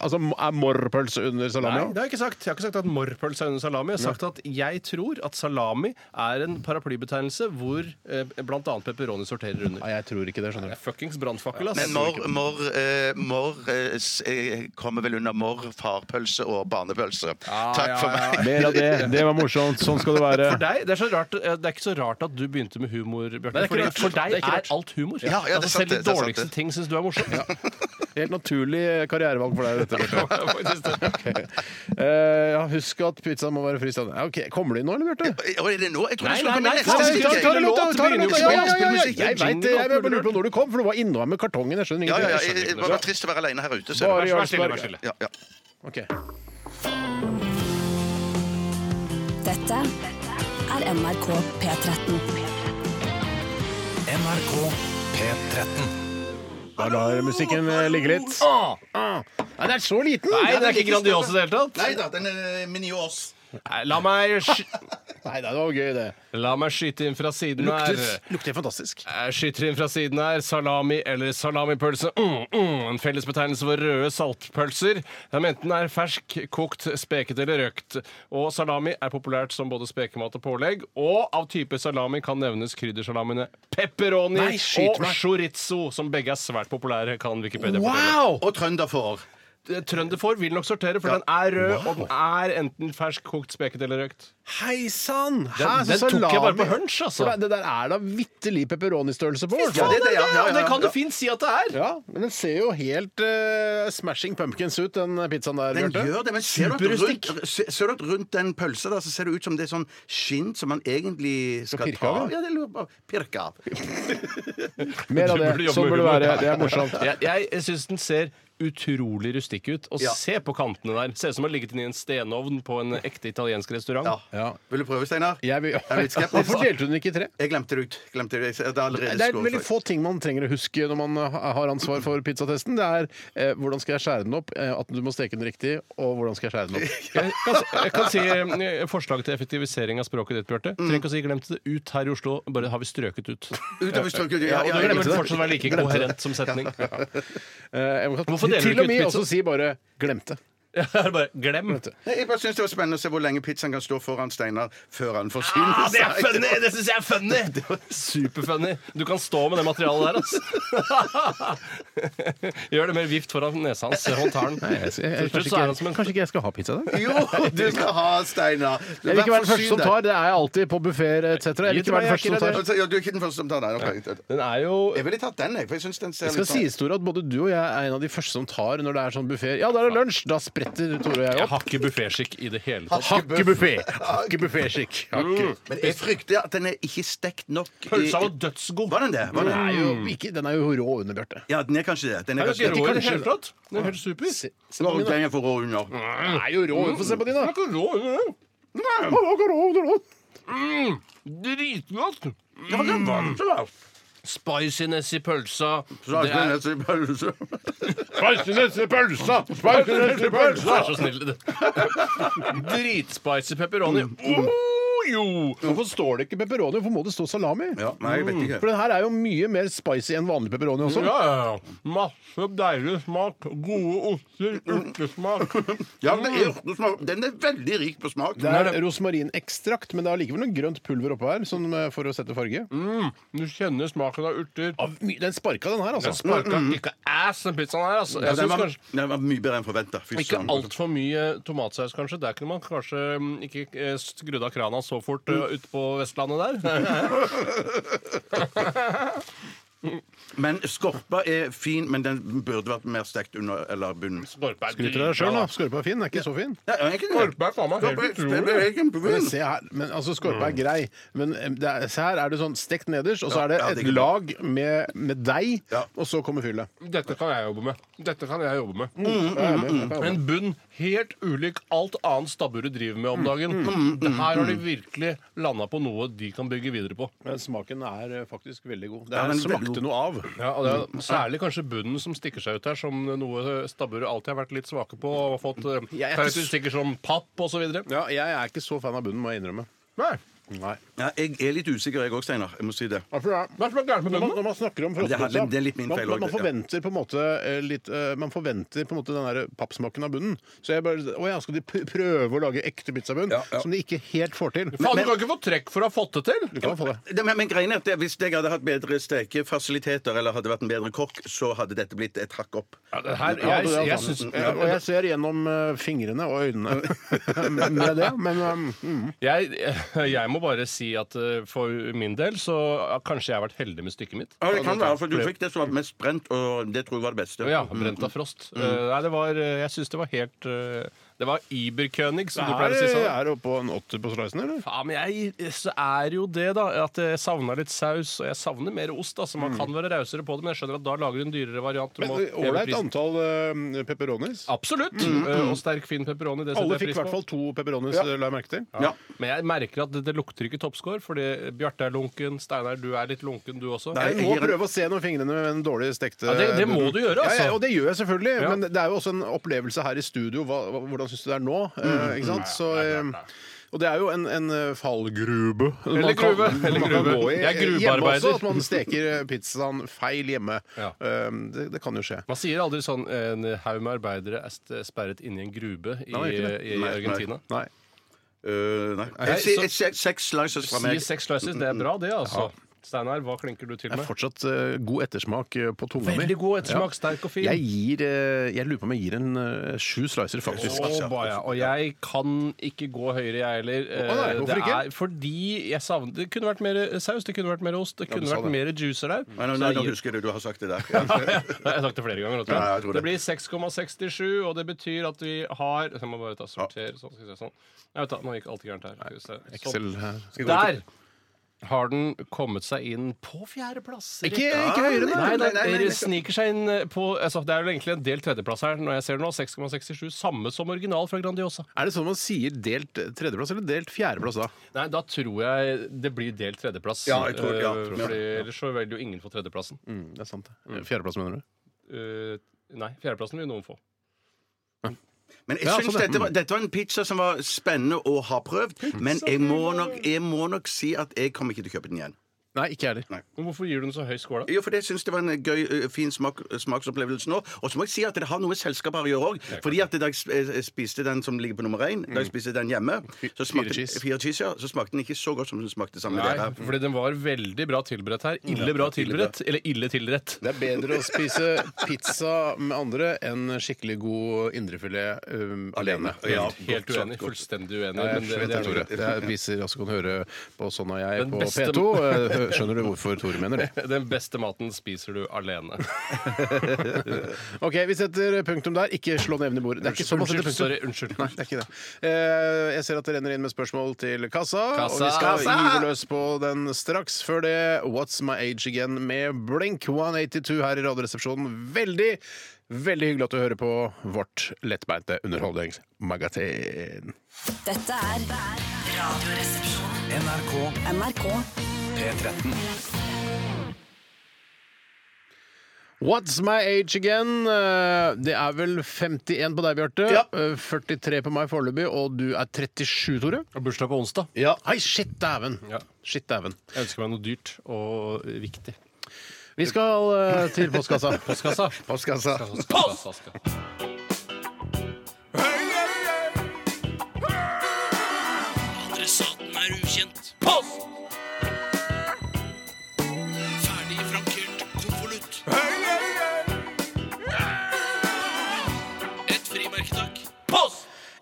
Speaker 1: Altså, er morrpølse under
Speaker 3: Nei,
Speaker 1: salami?
Speaker 3: det har jeg ikke sagt. Jeg har ikke sagt at morrpølse er under salami. Jeg har sagt at jeg tror at salami er en paraplybetegnelse hvor eh, bl.a. pepperoni sorterer under.
Speaker 1: Nei, jeg tror ikke det. skjønner du
Speaker 3: Det er fuckings brannfakkel, ass.
Speaker 2: Men mor, mor, eh, mor eh, s- eh, kommer vel under mor, farpølse og barnepølse. Takk
Speaker 3: ja,
Speaker 2: for
Speaker 3: ja.
Speaker 2: meg.
Speaker 1: Mer av det. Det var morsomt. Sånn skal det være.
Speaker 3: For deg, det, er så rart, det er ikke så rart at du begynte med humor, Bjarte.
Speaker 1: Nei, det er ikke
Speaker 3: fordi
Speaker 1: rart.
Speaker 3: For deg
Speaker 1: Det er ikke
Speaker 3: er,
Speaker 1: rart.
Speaker 3: alt humor.
Speaker 2: Ja, ja, det er
Speaker 3: altså,
Speaker 2: sant
Speaker 3: selv de
Speaker 2: det, det er sant
Speaker 3: dårligste
Speaker 2: det.
Speaker 3: ting syns du er morsomt.
Speaker 1: Helt naturlig
Speaker 3: eh,
Speaker 1: karrierevalg for deg, dette. Bjarte.
Speaker 3: Nei,
Speaker 1: Ok. Eh, ja, husk at pizzaen må være fristående. Ja, ok. Kommer du inn nå, eller, Bjarte?
Speaker 2: Å, er det nå? Jeg trodde
Speaker 3: Nei, nei,
Speaker 2: det skulle komme
Speaker 3: nei,
Speaker 2: neste.
Speaker 3: faen,
Speaker 2: uke.
Speaker 3: ta- ta- ta-
Speaker 1: Jeg veit det. Jeg bare lurte på når du kom, for du var innom med kartongen. Jeg skjønner
Speaker 2: Ja, ja, ja,
Speaker 1: ingenting.
Speaker 2: jeg- Det var trist å være alene her ute. Så
Speaker 1: Bare
Speaker 3: Vær
Speaker 1: gjør det
Speaker 3: stille, vær
Speaker 1: sparket.
Speaker 3: stille.
Speaker 2: ja, ja.
Speaker 1: Ok.
Speaker 6: Dette er NRK P13.
Speaker 8: NRK P13.
Speaker 1: Da lar musikken eh, ligge litt. Ah. Nei, den er så liten!
Speaker 3: det er ikke Grandiosa i det hele tatt.
Speaker 2: da, den er minios.
Speaker 3: Nei, La meg sk-
Speaker 1: Nei, det var gøy, det.
Speaker 3: La meg skyte inn fra siden
Speaker 1: Lukter,
Speaker 3: her.
Speaker 1: lukter fantastisk.
Speaker 3: Jeg skyter inn Eh, fra siden her. Salami eller salamipølse. Mm, mm, en fellesbetegnelse for røde saltpølser. De enten er fersk, kokt, speket eller røkt. Og salami er populært som både spekemat og pålegg. Og av type salami kan nevnes kryddersalamiene pepperoni
Speaker 1: Nei, skyt
Speaker 3: og
Speaker 1: meg.
Speaker 3: chorizo, som begge er svært populære, kan Wikipedia fortelle.
Speaker 1: Wow!
Speaker 2: Og trønder får.
Speaker 3: Trønderfòr vil nok sortere, for den er rød, og den er enten fersk, kokt, speket eller røkt.
Speaker 1: Hei sann!
Speaker 3: Den-
Speaker 1: Hæ,
Speaker 3: den
Speaker 1: så
Speaker 3: tok jeg bare
Speaker 1: salami-
Speaker 3: på hunch, altså.
Speaker 1: For det- Det der er da vitterlig pepperoni-størrelse på. i hvert fall.
Speaker 2: det- det- ja, ja, ja,
Speaker 3: det kan du
Speaker 2: ja.
Speaker 3: fint si at det er!
Speaker 1: Ja, men den ser jo helt eh, Smashing Pumpkins ut, den eh, pizzaen der,
Speaker 2: Den
Speaker 1: Bjarte.
Speaker 2: gjør det, men ser du, at
Speaker 1: Superrustikk.
Speaker 2: rundt, se- ser du at rundt den pølsa der, så ser det ut som det er sånn skinn som man egentlig skal
Speaker 1: pirke
Speaker 2: ta
Speaker 1: av,
Speaker 2: av? Ja, det lurer jeg på. Pirke av.
Speaker 1: Mer av
Speaker 3: Du
Speaker 1: det.
Speaker 3: burde jobbe
Speaker 1: Sånn burde
Speaker 3: med
Speaker 1: det
Speaker 3: humor.
Speaker 1: være. Det er morsomt.
Speaker 3: Jeg, jeg syns den ser utrolig rustikk ut. Og
Speaker 2: Ja.
Speaker 3: se på kantene der. Ser ut som den har ligget inne i en stenovn på en ekte italiensk restaurant.
Speaker 2: Ja.
Speaker 1: Ja.
Speaker 2: Vil du prøve, Steinar?
Speaker 1: Jeg vil...
Speaker 2: er litt skeptisk.
Speaker 1: Hvorfor delte du den ikke i tre?
Speaker 2: Jeg glemte det ut. Glemte det. Jeg- Det er allerede
Speaker 1: Det er
Speaker 2: skåret
Speaker 1: veldig
Speaker 2: for.
Speaker 1: få ting man trenger å huske når man eh, har ansvar for pizzatesten. Det er eh, hvordan skal jeg skjære den opp, eh, at du må steke den riktig, og hvordan skal jeg skjære den opp.
Speaker 3: Jeg kan, jeg kan si eh, forslag til effektivisering av språket ditt, Bjarte. Trenger ikke å si 'glemte det ut' her i Oslo, bare har vi strøket ut.
Speaker 2: Utover strøket.
Speaker 3: Ja,
Speaker 2: Ja,
Speaker 3: og
Speaker 2: ja,
Speaker 3: det
Speaker 2: ja,
Speaker 3: vil
Speaker 2: ja.
Speaker 3: fortsatt være like koherent som setning. Ja.
Speaker 1: Eh, jeg må-
Speaker 3: Hvorfor deler du
Speaker 1: Til
Speaker 3: ikke
Speaker 1: og med
Speaker 3: ut pizza?
Speaker 1: også si bare 'glemte'.
Speaker 3: Bare glem.
Speaker 2: Nei, Jeg bare synes det var spennende å se hvor lenge pizzaen kan stå foran Steinar før han forsyner
Speaker 3: Ah, det er
Speaker 2: seg.
Speaker 3: funny! Det syns jeg er funny! Superfunny. Du kan stå med det materialet der, altså. Gjør det med vift foran nesa hans. eh, Håndtaren.
Speaker 1: Kanskje
Speaker 3: Til slutt så er
Speaker 1: ikke,
Speaker 3: han som en
Speaker 1: kanskje ikke jeg skal ha pizza i dag?
Speaker 2: Jo, du skal ha, Steinar.
Speaker 1: Jeg vil ikke være den
Speaker 2: Vær
Speaker 1: første som
Speaker 2: forsynt.
Speaker 1: tar. Det er jeg alltid på buffeer etc. Jeg vil
Speaker 3: Gi
Speaker 1: ikke
Speaker 3: til
Speaker 1: være den første
Speaker 3: meg,
Speaker 1: som
Speaker 3: jeg
Speaker 1: tar.
Speaker 2: Altså, ja, du er ikke den første som tar den? ok.
Speaker 3: Den er jo
Speaker 2: Jeg ville tatt den, jeg. For jeg synes den ser
Speaker 1: Det skal
Speaker 2: litt sånn
Speaker 1: sies, Tore, at både du og jeg er en av de første som tar når det er sånn buffé. Ja, da er det lunsj! Da spretter Tore og jeg
Speaker 3: Jeg
Speaker 1: opp.
Speaker 3: har ikke bufféskikk i det hele tatt.
Speaker 1: Hakkebuffé! Hakkebufféskikk. Hakke.
Speaker 2: Men jeg frykter at den er ikke stekt nok. i-
Speaker 3: Pølsa var dødsgod.
Speaker 2: Var den det? Var den?
Speaker 1: Den er jo
Speaker 2: Mm.
Speaker 1: ikke- Den er jo rå under, Bjarte.
Speaker 2: Ja, den er kanskje det. Den
Speaker 3: Den
Speaker 2: er
Speaker 3: er
Speaker 2: kanskje
Speaker 3: ikke rå i Mm. det
Speaker 2: det.
Speaker 3: hele tatt. Mm. Den er helt super.
Speaker 1: Se- se på
Speaker 2: Nå
Speaker 1: min, da.
Speaker 2: den er for rå under.
Speaker 1: Den er jo rå.
Speaker 2: Mm.
Speaker 1: Vi får se på din,
Speaker 3: Den
Speaker 1: da.
Speaker 3: er ikke rå i det.
Speaker 1: Ja, den er rå, den er rå.
Speaker 3: Mm. Dritgodt.
Speaker 2: Ja, men den var ikke så verst.
Speaker 3: Spiciness i pølsa.
Speaker 2: Så er
Speaker 3: Det er-
Speaker 2: det en pølse.
Speaker 1: Spiciness i pølsa! Spiciness i pølsa!
Speaker 3: Vær så snill. Dritspicy pepperoni. Oh, jo!
Speaker 1: Hvorfor står det ikke pepperoni? Hvorfor må det stå salami?
Speaker 2: Ja, nei, jeg vet ikke.
Speaker 3: Mm.
Speaker 1: For den her er jo mye mer spicy enn vanlig pepperoni også.
Speaker 3: Ja, ja, ja. Masse deilig smak. Gode oster, urtesmak.
Speaker 2: Ja, men det er urtesmak. Den er veldig rik på smak.
Speaker 1: Det er rosmarinekstrakt, men det er allikevel noe grønt pulver oppå her sånn, eh, for å sette farge.
Speaker 2: Mm.
Speaker 3: Du kjenner smaken av urter.
Speaker 1: Av my- Den sparka, den her, altså.
Speaker 3: Den sparka ikke ass, den pizzaen her. Altså.
Speaker 2: Ja,
Speaker 3: Jeg synes
Speaker 2: den, var,
Speaker 3: kanskje
Speaker 2: den var mye bedre enn forventa.
Speaker 3: Ikke altfor mye tomatsaus, kanskje. Der kunne man kanskje mm, ikke eh, skrudd av krana så fort eh, ute på Vestlandet der.
Speaker 2: Men skorpa er fin, men den burde vært mer stekt under eller bunnen.
Speaker 3: Skorpa er
Speaker 1: Skryter av deg sjøl, da. Skorpa er fin. Den er ikke så fin.
Speaker 2: Ja, egentlig.
Speaker 3: Skorpa er faen meg helt utrolig.
Speaker 2: Skorpa
Speaker 1: Men
Speaker 2: er kjempefin.
Speaker 1: se her, men altså Skorpa er grei, men eh, det er, se her er det sånn stekt nederst, og så er det
Speaker 2: Mm. ja,
Speaker 1: et
Speaker 2: det er ikke
Speaker 1: lag med, med deig,
Speaker 2: Ja.
Speaker 1: og så kommer fyllet.
Speaker 3: Dette kan jeg jobbe med. Dette kan jeg jobbe med.
Speaker 2: Mm,
Speaker 1: Jeg er med, jeg er med.
Speaker 3: En bunn helt ulik alt annet stabburet driver med om dagen. Det Her har de virkelig landa på noe de kan bygge videre på.
Speaker 1: Men smaken er eh, faktisk veldig god. Det
Speaker 2: Ja,
Speaker 1: er
Speaker 2: den er veldig
Speaker 1: smakte noe av.
Speaker 3: Ja, og det er Mm. Særlig kanskje bunnen som stikker seg ut her, som noe stabburet alltid har vært litt svake på. Og har fått eh,
Speaker 1: Jeg er-
Speaker 3: karakteristikker som papp osv.
Speaker 1: Ja, jeg er ikke så fan av bunnen, må jeg innrømme. Nei.
Speaker 2: Ja, jeg er litt usikker, jeg òg, Steinar. Jeg må si det.
Speaker 1: Hva er
Speaker 3: Hva er det som er gærent
Speaker 1: Når
Speaker 3: med
Speaker 1: man,
Speaker 3: bunnen?
Speaker 1: når man snakker om
Speaker 2: det er-
Speaker 1: frostpølsa
Speaker 2: det er litt min
Speaker 1: man,
Speaker 2: feil også,
Speaker 1: man forventer på en måte eh, litt eh, Man forventer på en måte den der pappsmaken av bunnen. Så jeg bare Å ja, skal de p- prøve å lage ekte pizzabunn?
Speaker 2: Ja, ja.
Speaker 1: Som de ikke helt får til.
Speaker 3: Faen, du kan ikke få trekk for å ha fått det til!
Speaker 1: Du kan få det.
Speaker 2: Det, men, men greien er at det, Hvis jeg hadde hatt bedre stekefasiliteter eller hadde vært en bedre kokk, så hadde dette blitt et hakk opp.
Speaker 3: Ja, det her,
Speaker 1: Ja,
Speaker 3: jeg,
Speaker 1: det er
Speaker 3: jeg
Speaker 1: sant.
Speaker 3: syns
Speaker 1: Ja, og jeg ser gjennom eh, fingrene og øynene med det, men um, mm.
Speaker 3: jeg, jeg må bare si at eh, for min del så har kanskje jeg har vært heldig med stykket mitt.
Speaker 2: Ja, det kan være, for Du fikk det som var mest brent, og det tror jeg var det beste.
Speaker 3: Ja,
Speaker 1: Mm,
Speaker 3: brent av frost. Eh, nei, det var eh, Jeg syns det var helt eh, Det var Iberkönig, som du
Speaker 1: Er
Speaker 3: pleier å si.
Speaker 1: det
Speaker 3: Sånn.
Speaker 1: er oppe på en åtter på slicen, eller?
Speaker 3: Ja, men jeg eh, så er jo det, da. At jeg savna litt saus, og jeg savner mer ost. Altså, man kan være rausere på det, men jeg skjønner at da lager du en dyrere variant. Du
Speaker 1: Mm. Men
Speaker 3: må
Speaker 1: eh,
Speaker 3: heve
Speaker 1: Ålreit
Speaker 3: prisen.
Speaker 1: antall eh, pepperonis.
Speaker 3: Absolutt! Eh, Og sterk, fin pepperoni. Det
Speaker 1: Alle
Speaker 3: setter
Speaker 1: fikk
Speaker 3: jeg
Speaker 1: i hvert
Speaker 3: pris på.
Speaker 1: fall to pepperonis, eh, la jeg merke til.
Speaker 2: Mm. Ja.
Speaker 3: Men jeg merker at det, det lukter ikke toppscore, fordi Bjarte er lunken, Steinar, du er litt lunken, du også.
Speaker 2: Nei,
Speaker 1: Jeg
Speaker 2: jeg
Speaker 1: må
Speaker 2: gir en-
Speaker 1: prøve å se gjennom fingrene med den dårlig stekte
Speaker 3: Ja, det- det må
Speaker 1: bunnen.
Speaker 3: du gjøre, altså.
Speaker 1: Ja, ja, og det gjør jeg selvfølgelig,
Speaker 3: Ja.
Speaker 2: Mm.
Speaker 1: men det er jo også en opplevelse her i studio. Hva, hva- hvordan syns du det er nå? eh, ikke sant? Så, eh, Og det er jo en, en eh, fallgrube.
Speaker 3: Eller grube. Eller
Speaker 1: man
Speaker 3: grube.
Speaker 1: kan gå i
Speaker 3: Jeg er
Speaker 1: hjemme også,
Speaker 3: grubearbeider.
Speaker 1: at man steker eh, pizzaen feil hjemme.
Speaker 3: Ja.
Speaker 1: Um, det, det kan jo skje.
Speaker 3: Man sier aldri sånn en haug med arbeidere er st- sperret inne i en grube i,
Speaker 1: Nei, det er ikke det.
Speaker 3: i Argentina.
Speaker 1: Nei.
Speaker 2: Øh, nei.
Speaker 3: Nei,
Speaker 2: Jeg
Speaker 3: så-
Speaker 2: sier- jeg sier Seks slices fra meg.
Speaker 3: Sier seks slices, det er bra det, altså. Steinar, hva klinker du til
Speaker 1: Det er
Speaker 3: med?
Speaker 1: fortsatt eh, god ettersmak eh, på tunga mi.
Speaker 3: Veldig god ettersmak, sterk og fin.
Speaker 1: Jeg gir eh, Jeg lurer på om jeg gir en eh, sju slicer, faktisk.
Speaker 3: Å, ba, ja. Og jeg kan ikke gå høyere, jeg heller.
Speaker 1: Å,
Speaker 3: Eh,
Speaker 1: nei, hvorfor
Speaker 3: det
Speaker 1: ikke?
Speaker 3: er fordi jeg savner Det kunne vært mer saus, det kunne vært mer ost, det kunne
Speaker 1: sa
Speaker 3: vært
Speaker 1: det.
Speaker 3: mer juicer der.
Speaker 2: Nei, nei,
Speaker 3: Så
Speaker 2: nei,
Speaker 3: jeg
Speaker 2: nå
Speaker 3: gir-
Speaker 2: husker jeg det. Du har sagt det der.
Speaker 3: Nei, Jeg har sagt det flere ganger. nå,
Speaker 2: Ja,
Speaker 3: Tror
Speaker 2: jeg
Speaker 3: jeg.
Speaker 2: tror
Speaker 3: Det
Speaker 2: det.
Speaker 3: blir 6,67, og det betyr at vi har Jeg må bare ta sorter. Sånn, skal vi se, sånn. Nei, vet du, nå gikk alt gærent her. Skal vi se.
Speaker 1: Excel her.
Speaker 3: Sånn. Der har den kommet seg inn på fjerdeplass. Ah,
Speaker 1: Ikke, ikke høyere,
Speaker 3: Nei,
Speaker 1: nei.
Speaker 3: nei, den sniker seg inn på altså, Det er vel egentlig en delt tredjeplass her når jeg ser det nå. 6,67. Samme som original fra Grandiosa.
Speaker 1: Er det sånn man sier delt tredjeplass eller delt fjerdeplass da?
Speaker 3: Nei, da tror jeg det blir delt tredjeplass.
Speaker 2: Ja, jeg tror- ja,
Speaker 3: Eh,
Speaker 2: tror-
Speaker 3: fordi, Ellers så velger jo ingen for tredjeplassen.
Speaker 1: Mm, det er sant. Fjerdeplass, mener du?
Speaker 3: Eh, nei, fjerdeplassen vil noen få.
Speaker 2: Men jeg
Speaker 1: Ja,
Speaker 2: synes
Speaker 1: sånn, ja.
Speaker 2: dette, var, dette var en pizza som var spennende å ha prøvd, men jeg må, nok, jeg må nok si at jeg kommer ikke til å kjøpe den igjen.
Speaker 1: Nei, ikke jeg heller.
Speaker 3: Men hvorfor gir du den så høy skål, da?
Speaker 2: Jo, for det synes det var en gøy, ø, fin smak, smaksopplevelse nå. Og så må jeg si at det har noe med selskapet her å gjøre òg. Fordi at da jeg sp- eh, spiste den som ligger på nummer én, da jeg spiste den hjemme, så smakte,
Speaker 1: Mm. cheese.
Speaker 2: fire cheese, ja, så smakte den ikke så godt som den smakte sammen med
Speaker 3: Nei,
Speaker 2: dere.
Speaker 3: fordi den var veldig bra tilberedt her. Ille bra tilberedt, eller ille tilrett.
Speaker 1: Det er bedre å spise pizza med andre enn skikkelig god indrefilet um, alene.
Speaker 2: Ja,
Speaker 3: Helt
Speaker 2: godt,
Speaker 3: uenig.
Speaker 2: godt, godt.
Speaker 3: Fullstendig uenig.
Speaker 1: Jeg
Speaker 3: Men det, det er
Speaker 1: Tore.
Speaker 3: Tore.
Speaker 1: Det er viser altså kan høre på sånn er jeg
Speaker 3: Den
Speaker 1: på
Speaker 3: beste-
Speaker 1: P2. Eh, Skjønner du hvorfor Tore mener det?
Speaker 3: Den beste maten spiser du alene.
Speaker 1: Ok, vi setter punktum der. Ikke slå nevene i bordet. Det er ikke sånn man setter
Speaker 3: Unnskyld.
Speaker 1: punktum.
Speaker 3: Sorry, unnskyld.
Speaker 1: Nei, det er ikke det. Eh, jeg ser at det renner inn med spørsmål til kassa.
Speaker 3: Kassa!
Speaker 1: Og vi skal
Speaker 3: Kassa!
Speaker 1: gyve løs på den straks. Før det What's My Age Again med Blink 182 her i Radioresepsjonen. Veldig, veldig hyggelig at du hører på vårt lettbeinte underholdningsmagasin.
Speaker 6: Dette er Radioresepsjonen.
Speaker 5: NRK
Speaker 6: NRK
Speaker 5: P13.
Speaker 1: What's My Age Again? Eh, Det er vel 51 på deg, Bjarte.
Speaker 2: Ja.
Speaker 1: Eh, 43 på meg foreløpig, og du er 37, Tore.
Speaker 3: Og bursdag på onsdag.
Speaker 1: Ja. Hei, shit dæven!
Speaker 3: Ja.
Speaker 1: Shit dæven.
Speaker 3: Jeg ønsker meg noe dyrt og viktig.
Speaker 1: Vi skal eh, til postkassa.
Speaker 3: Postkassa.
Speaker 1: postkassa.
Speaker 3: Postkassa, skal.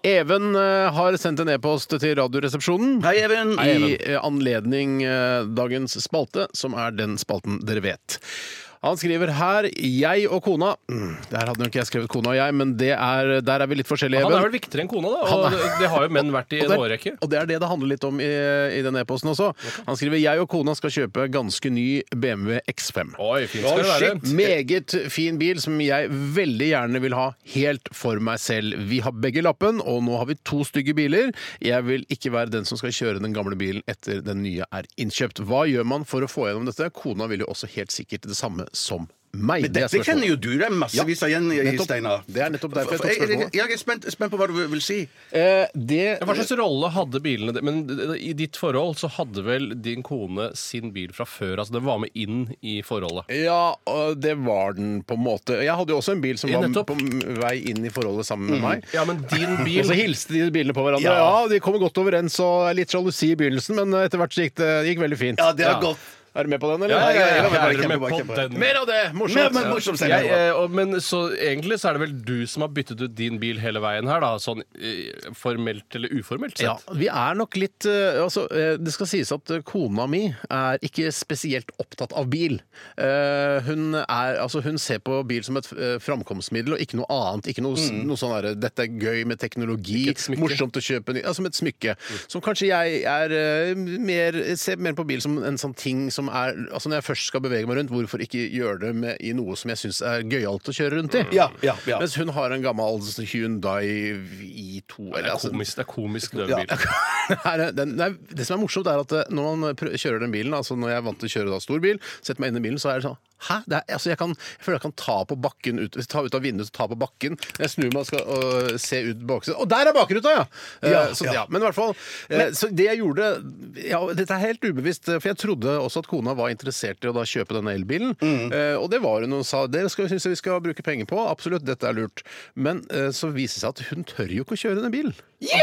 Speaker 1: Even eh, har sendt en e-post til Radioresepsjonen.
Speaker 2: Hei, Even.
Speaker 1: I eh, anledning eh, dagens spalte, som er den spalten dere vet. Han skriver her 'jeg og kona'. Mm, Der hadde nok jeg skrevet 'kona og jeg', men det er, der er vi litt forskjellige.
Speaker 3: Han er
Speaker 1: Even.
Speaker 3: vel viktigere enn kona, da. Og det det har jo menn vært i
Speaker 1: Og
Speaker 3: en
Speaker 1: det,
Speaker 3: årrekke.
Speaker 1: og det er det det handler litt om i, i den e-posten også. Han skriver 'jeg og kona skal kjøpe ganske ny BMW X5'.
Speaker 3: Oi, fint skal det være.
Speaker 1: Meget fin bil som jeg veldig gjerne vil ha helt for meg selv. Vi har begge lappen, og nå har vi to stygge biler. Jeg vil ikke være den som skal kjøre den gamle bilen etter den nye er innkjøpt. Hva gjør man for å få gjennom dette? Kona vil jo også helt sikkert det samme som meg.
Speaker 2: Men dette kjenner jo du deg massevis av igjen, i,
Speaker 1: Nettopp.
Speaker 2: Steinar.
Speaker 1: Det er nettopp derfor jeg tok
Speaker 2: jeg, jeg,
Speaker 1: spørsmålet.
Speaker 2: jeg er spent, spent på hva du vil si.
Speaker 1: Eh, det
Speaker 3: Ja, Hva slags rolle hadde bilene det- Men i ditt forhold så hadde vel din kone sin bil fra før? Altså den var med inn i forholdet?
Speaker 1: Ja, og det var den på en måte. Jeg hadde jo også en bil som
Speaker 3: Ja,
Speaker 1: var
Speaker 3: nettopp.
Speaker 1: på
Speaker 3: Mhm.
Speaker 1: m- vei inn i forholdet sammen med meg.
Speaker 3: Ja, men din
Speaker 1: Og
Speaker 3: bil
Speaker 1: så hilste de bilene på hverandre. Ja, de kommer godt overens og er litt sjalusi i begynnelsen, men eh, etter hvert så gikk det gikk veldig fint.
Speaker 2: Ja, det er
Speaker 3: Ja.
Speaker 2: godt.
Speaker 1: Er du med på den, eller?
Speaker 3: Ja, ja, ja, ja,
Speaker 2: var
Speaker 3: jeg er med
Speaker 2: kjempebra,
Speaker 3: på
Speaker 2: kjempebra.
Speaker 3: den.
Speaker 1: Mer av det!
Speaker 2: Men,
Speaker 1: Morsomt!
Speaker 2: men, morsomt, Steinar.
Speaker 3: Jeg, eh, og- men så egentlig så er det vel du som har byttet ut din bil hele veien her, da? Sånn eh, formelt eller uformelt sett?
Speaker 1: Ja, vi er nok litt eh, altså, eh, Det skal sies at eh, kona mi er ikke spesielt opptatt av bil. Eh, hun, er, altså, hun ser på bil som et eh, framkomstmiddel og ikke noe annet. Ikke noe, s- noe sånn derre 'dette er gøy med teknologi',
Speaker 3: Mm. Ikke et smykke. Mm.
Speaker 1: morsomt å kjøpe ny ja, Som et smykke. Som kanskje jeg er eh, mer, ser mer på bil som en sånn ting som er Altså når jeg først skal bevege meg rundt, hvorfor ikke gjøre det med, i noe som jeg syns er gøyalt å kjøre rundt i?
Speaker 2: Ja, ja, ja.
Speaker 1: Mens hun har en gammel Hyundai i2 to.
Speaker 3: Det
Speaker 1: Eller,
Speaker 3: er
Speaker 1: altså,
Speaker 3: komisk, det er komisk døvbil.
Speaker 1: her er- den, nei, det som er morsomt, er at eh, når man prø- kjører den bilen, altså når jeg er vant til å kjøre da, stor bil, setter meg inn i bilen, så er det sånn Hæ? Det er, altså jeg, kan, jeg føler jeg kan ta på bakken ut, ta ut av vinduet og ta på bakken. Jeg snur meg og skal og se ut baksiden. Og der er bakruta, ja! Eh,
Speaker 2: Ja,
Speaker 1: så,
Speaker 2: ja.
Speaker 1: ja. Men i hvert fall eh, Så det jeg gjorde ja, og Dette er helt ubevisst, eh, for jeg trodde også at kona var interessert i å da kjøpe denne elbilen.
Speaker 2: Mm.
Speaker 1: Eh, og det var hun og sa det skal, synes jeg vi skal bruke penger på. Absolutt, dette er lurt. Men eh, så viser det seg at hun tør jo ikke å kjøre den bilen. Ja,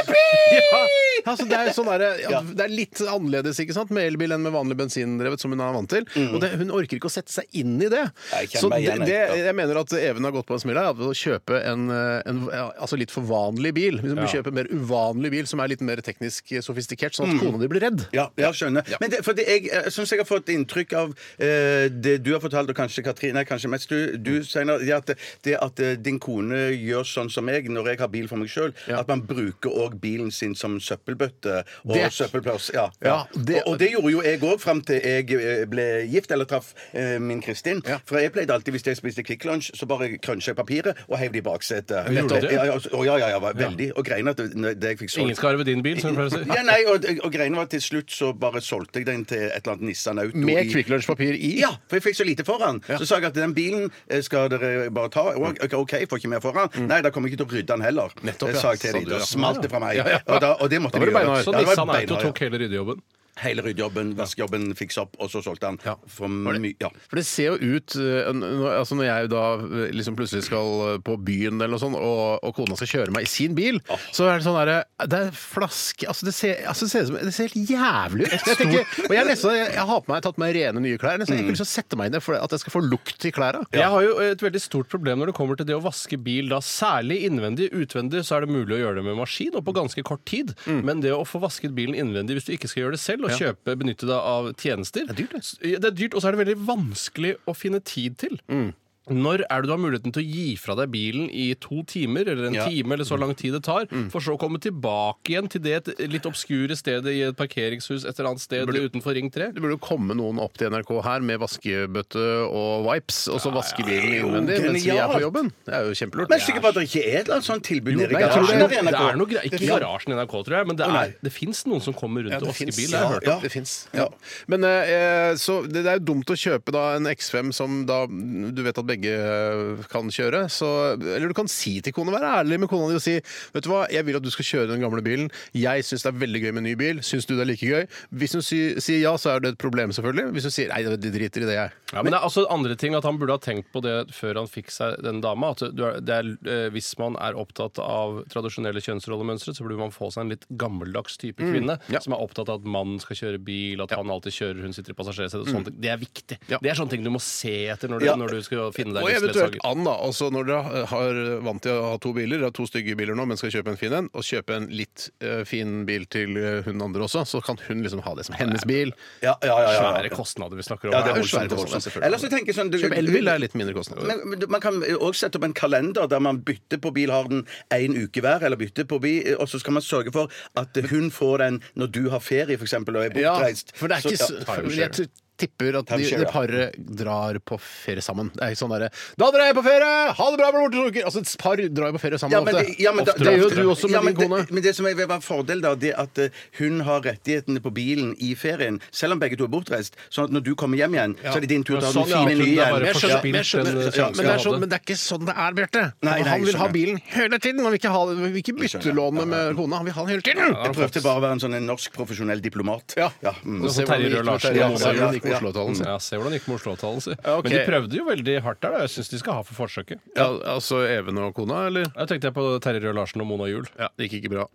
Speaker 1: altså det, er jo sånn derre- ja, det er litt annerledes ikke sant? med elbil enn med vanlig bensindrevet, som hun er vant til. Og det, hun orker ikke å sette seg inn i det.
Speaker 2: Mm. Jeg kjenner
Speaker 1: Så
Speaker 2: meg
Speaker 1: det,
Speaker 2: igjen,
Speaker 1: det,
Speaker 2: jeg, ja.
Speaker 1: jeg mener at Even har gått på en smell her. at Ved å kjøpe en, eh, en ja, altså litt for vanlig bil, hvis du kjøper en mer uvanlig bil som er litt mer teknisk eh, sofistikert,
Speaker 2: Mm.
Speaker 1: sånn at kona di blir redd.
Speaker 2: Ja, jeg skjønner. Men det, fordi jeg, jeg syns jeg har fått inntrykk av eh, det du har fortalt, og kanskje Katrine, nei, kanskje mest du, du Steinar, det at, det at eh, din kone gjør sånn som jeg når jeg har bil for meg sjøl,
Speaker 1: Ja.
Speaker 2: at man bruker òg bilen sin som søppelbøtte og
Speaker 1: Det-
Speaker 2: søppelplass. Ja,
Speaker 1: Ja, det-
Speaker 2: og, og det gjorde jo jeg òg fram til jeg eh, ble gift, eller traff eh, min Kristin.
Speaker 1: Ja.
Speaker 2: For jeg pleide alltid, hvis jeg spiste Kvikk Lunsj, så bare krønsja jeg papiret og heiv det i baksetet.
Speaker 3: gjorde du det?
Speaker 2: Ja, ja, og- ja, ja, ja, veldig. Og greiene at det, det jeg fikk solgt
Speaker 3: Ingen skal arve din bil, som du pleier å si.
Speaker 2: ja, nei, og, og greiene var at til slutt så bare solgte jeg den til et eller annet Nissan Auto.
Speaker 1: Med
Speaker 2: i-
Speaker 1: Kvikk Lunsj-papir i.
Speaker 2: Ja, for jeg fikk så lite foran. Så sa jeg at den bilen eh, skal dere bare ta. Og- Ok, OK, jeg får ikke mer foran. Nei, da kommer jeg ikke til å rydde den heller.
Speaker 1: Mm. Nettopp,
Speaker 2: Eh,
Speaker 1: ja.
Speaker 2: Sa jeg til
Speaker 1: Sa
Speaker 2: dem.
Speaker 1: du, ja.
Speaker 2: Da smalt det fra meg.
Speaker 1: Ja, ja.
Speaker 2: Og, da, og det måtte
Speaker 1: Da var
Speaker 2: vi
Speaker 1: det
Speaker 2: gjøre.
Speaker 1: beinhard.
Speaker 3: Så
Speaker 2: Ja, det var
Speaker 3: Nissan Auto
Speaker 2: beinhard, ja.
Speaker 3: tok hele ryddejobben.
Speaker 2: Hele ryddejobben, vaskejobben, fikse opp, og så solgte han.
Speaker 1: Ja.
Speaker 2: For
Speaker 1: Var det-
Speaker 2: mye. Ja.
Speaker 1: For det ser jo ut eh, n- når- altså Når jeg da eh, liksom plutselig skal eh, på byen eller noe sånt, og, og kona skal kjøre meg i sin bil, så er det sånn derre Det er flaske Altså, det ser, altså det, ser ut som, det ser helt jævlig ut. Jeg tenker, og jeg, er nesten, jeg, jeg har på meg tatt på meg rene, nye klær. Nesten, jeg har ikke lyst til å sette meg inn i det for at jeg skal få lukt i klærne.
Speaker 3: Jeg har jo et veldig stort problem når det kommer til det å vaske bil, da særlig innvendig. Utvendig så er det mulig å gjøre det med maskin og på ganske kort tid,
Speaker 2: Mm.
Speaker 3: men det å få vasket bilen innvendig hvis du ikke skal gjøre det selv, og kjøpe, benytte deg av tjenester Det er dyrt, det. er dyrt, og så er det veldig vanskelig å finne tid til.
Speaker 2: Mm.
Speaker 3: Når er det du har muligheten til å gi fra deg bilen i to timer, eller en time,
Speaker 2: Mm.
Speaker 3: eller så lang tid det tar, for så å komme tilbake igjen til det et litt obskure stedet i et parkeringshus et eller annet sted utenfor Ring 3?
Speaker 1: Det burde jo komme noen opp til NRK her med vaskebøtte og wipes, og så vaske bilen
Speaker 2: jo
Speaker 1: innvendig mens vi er
Speaker 2: genialt.
Speaker 1: på jobben. Det er jo kjempelurt.
Speaker 2: Men jeg er sikker på at det ikke er et eller annet sånt tilbud nede i
Speaker 1: nei, jeg tror
Speaker 2: garasjen.
Speaker 1: det er-
Speaker 2: der i
Speaker 3: Det
Speaker 2: NRK.
Speaker 3: er noe greit. Ikke i garasjen i NRK, tror jeg, men det,
Speaker 2: nei.
Speaker 3: er, det fins noen som kommer rundt
Speaker 1: Ja,
Speaker 3: og
Speaker 1: det
Speaker 3: vasker
Speaker 1: finnes.
Speaker 3: bil. Jeg har hørt.
Speaker 1: Ja, det finnes. Ja. Men eh, så det, det er jo dumt å kjøpe da en X5 som da du vet at begge eh, kan kjøre. Så, eller du kan si til kona, være ærlig med kona di og si Vet du hva, jeg vil at du skal kjøre den gamle bilen. Jeg syns det er veldig gøy med ny bil. Syns du det er like gøy? Hvis hun sy- sier ja, så er det et problem, selvfølgelig. Hvis hun sier nei, det driter i det, jeg.
Speaker 3: Ja, men det er altså andre ting at Han burde ha tenkt på det før han fikk seg den dama. At du er, det er, eh, hvis man er opptatt av tradisjonelle kjønnsrollemønstre, så burde man få seg en litt gammeldags type kvinne
Speaker 1: Mm, ja.
Speaker 3: som er opptatt av at mannen skal kjøre bil, at han alltid kjører, hun sitter i passasjersetet. og sånne ting. Det er viktig.
Speaker 1: Mm. Ja.
Speaker 3: Det er sånne ting du må se etter når du,
Speaker 2: Ja.
Speaker 3: når du skal finne deg
Speaker 1: Og eventuelt
Speaker 3: livsledsager.
Speaker 1: an, da. Altså når dere har vant til å ha to biler, dere har to stygge biler nå, men skal kjøpe en fin en, og kjøpe en litt eh, fin bil til eh, hun andre også, så kan hun liksom ha det som hennes bil.
Speaker 2: Ja, ja, ja, ja,
Speaker 3: Svære
Speaker 2: ja.
Speaker 3: kostnader vi snakker om.
Speaker 2: Ja, det
Speaker 1: er jo
Speaker 2: er voldsomt.
Speaker 1: svære
Speaker 2: voldsomt.
Speaker 1: kostnader, selvfølgelig.
Speaker 2: Ellers så tenker jeg sånn du-
Speaker 1: Kjøpe elbil er litt mindre kostnader.
Speaker 2: Men, men du- man kan også sette opp en kalender der man bytter på bilharden én uke hver, eller bytter på bil, og så skal man sørge for at hun får den når du har ferie, f.eks., og er bortreist.
Speaker 1: Ja, for det er ikke
Speaker 2: Så-
Speaker 1: så,
Speaker 2: ja.
Speaker 1: for Jeg t- tipper at de, det
Speaker 2: Timeshare, ja.
Speaker 1: paret drar på ferie sammen. Det er ikke sånn derre 'Da drar jeg på ferie! Ha det bra, bror!' Torker!» Altså, et par drar jo på ferie sammen
Speaker 2: Ja, men
Speaker 1: ofte.
Speaker 2: det, ja, men da-
Speaker 1: ofte. Det gjør jo du også med
Speaker 2: Ja, men
Speaker 1: din kone.
Speaker 2: Det, men det som vil være fordel, da, det er at eh, hun har rettighetene på bilen i ferien, selv om begge to er bortreist. Sånn at når du kommer hjem igjen, så er det din tur til å
Speaker 3: Ja,
Speaker 2: ha den
Speaker 3: sånn, ja, at
Speaker 2: fine nye
Speaker 3: hun er
Speaker 2: igjen.
Speaker 3: bare
Speaker 1: Jeg skjønner, men jeg skjønner, ja, men,
Speaker 3: forspilt den
Speaker 1: det er
Speaker 3: sjansen
Speaker 1: sånn,
Speaker 3: han
Speaker 1: men det er ikke sånn det er, Bjarte.
Speaker 2: Nei, nei,
Speaker 1: han vil ha
Speaker 2: skjønner.
Speaker 1: bilen hele tiden. Han vil ikke ha, han vil ikke bytte lånet med kona. Han vil ha den hele tiden!
Speaker 2: Jeg prøvde bare å være en sånn en norsk profesjonell diplomat.
Speaker 1: Ja.
Speaker 2: mm.
Speaker 1: Og se hvordan det gikk med Terje
Speaker 3: Ja,
Speaker 1: Rød-Larsen.
Speaker 2: ja,
Speaker 1: Hvordan det gikk med
Speaker 2: ja.
Speaker 1: Oslo-avtalen sin.
Speaker 3: sånn- Ja, se hvordan det gikk med Oslo-avtalen, si.
Speaker 1: Ja, ok.
Speaker 3: Men de prøvde jo veldig hardt der. da. Jeg syns de skal ha for forsøket.
Speaker 1: Ja, altså Even og kona, eller?
Speaker 3: Jeg tenkte jeg på Terje Røe Larsen og Mona Juel.
Speaker 1: Ja, det gikk ikke bra.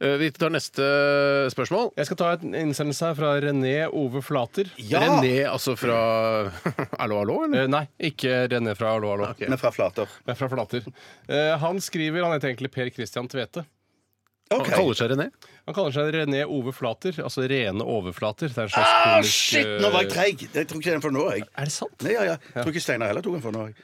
Speaker 1: Eh, Vi tar neste spørsmål.
Speaker 3: Jeg skal ta en innsendelse her fra René Ove Flater.
Speaker 1: René, altså fra Hallo, hallo, eller?
Speaker 3: Eh, nei, ikke René fra Hallo, hallo.
Speaker 2: Men fra Flater.
Speaker 3: Men fra Flater. Eh, han skriver Han heter egentlig Per Christian Tvete.
Speaker 1: Han kaller seg René.
Speaker 3: Han kaller seg René Ove Flater. Altså rene overflater. Det er en slags ah,
Speaker 2: Shit, nå var jeg treig! Jeg tror ikke den får nå, jeg.
Speaker 3: Er det sant?
Speaker 2: Nei, ja, ja. Jeg tror ikke Steinar heller tok den for nå. jeg.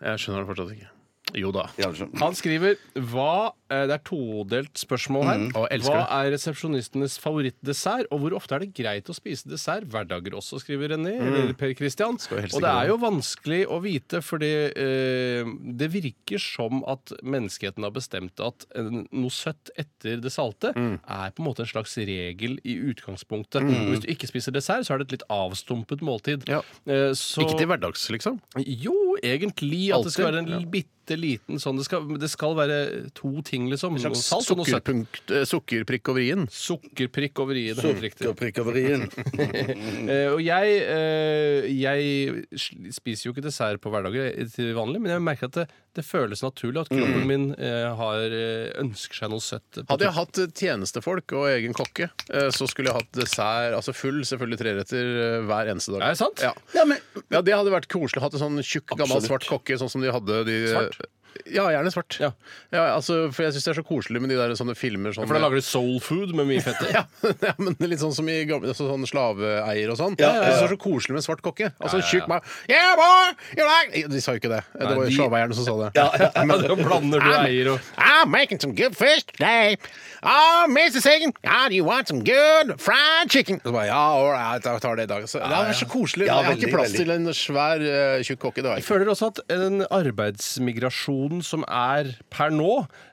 Speaker 1: Jeg skjønner det fortsatt ikke. Jo da.
Speaker 2: Ja, altså.
Speaker 3: Han skriver Hva eh, det er todelt spørsmål her.
Speaker 1: Å, elsker
Speaker 3: Hva er resepsjonistenes favorittdessert, og hvor ofte er det greit å spise dessert? Hverdager også, skriver René. Eller Per Christian.
Speaker 7: helst
Speaker 3: Og
Speaker 7: ikke
Speaker 3: det er jo vanskelig å vite, fordi eh, det virker som at menneskeheten har bestemt at en, noe søtt etter det salte er på en måte en slags regel i utgangspunktet. Hvis du ikke spiser dessert, så er det et litt avstumpet måltid.
Speaker 1: Ja.
Speaker 3: Eh, så-
Speaker 1: Ikke til hverdags, liksom?
Speaker 3: jo, egentlig. At det skal være
Speaker 1: Alltid?
Speaker 3: en bitte liten sånn det skal, det skal være to ting, liksom. Noe salt og noe søtt.
Speaker 1: Sukkerpunkt, eh, sukkerprikk over i-en.
Speaker 3: Sukkerprikk over i det. helt riktig.
Speaker 2: Sukkerprikkoverien.
Speaker 3: Eh, og jeg, eh, jeg sl- spiser jo ikke dessert på hverdager eh, til vanlig, men jeg merker at det, det føles naturlig at kroppen min eh, har, eh, ønsker seg noe søtt.
Speaker 1: Hadde jeg hatt tjenestefolk og egen kokke, eh, så skulle jeg hatt dessert, altså full, selvfølgelig treretter, eh, hver eneste dag.
Speaker 3: Er det sant?
Speaker 1: Ja.
Speaker 2: Ja, men
Speaker 1: ja, det hadde vært koselig. Hatt en sånn tjukk, gammel,
Speaker 2: Absolutt.
Speaker 1: svart kokke, sånn som de hadde de
Speaker 3: Svart?
Speaker 1: Ja, gjerne svart.
Speaker 3: Ja.
Speaker 1: Ja, altså, for jeg syns det er så koselig med de der sånne filmer sånn
Speaker 3: For da lager du soul food med mye fett i.
Speaker 1: ja, ja, men litt sånn som i gamle altså, sånn slaveeier og sånn.
Speaker 2: ja,
Speaker 1: Jeg synes Det er så koselig med en svart kokke. Altså en
Speaker 3: Ja, ja, ja.
Speaker 1: tjukk mann yeah, boy, you like. De sa jo ikke det.
Speaker 3: Nei,
Speaker 1: det var
Speaker 3: de-
Speaker 1: jo slaveeierne som sa det.
Speaker 3: Ja, da blander du eier og
Speaker 1: I'm making some good fish today. Oh, Mr. Sigan, do you want some good fried chicken? Så bare, ja, all right, jeg tar det i dag. Så, det er så koselig.
Speaker 2: Ja,
Speaker 1: jeg har
Speaker 2: veldig,
Speaker 1: ikke plass
Speaker 2: veldig.
Speaker 1: til en svær, eh, tjukk kokke. Det har jeg
Speaker 3: Jeg
Speaker 1: ikke.
Speaker 3: føler også at den arbeidsmigrasjonen som er per nå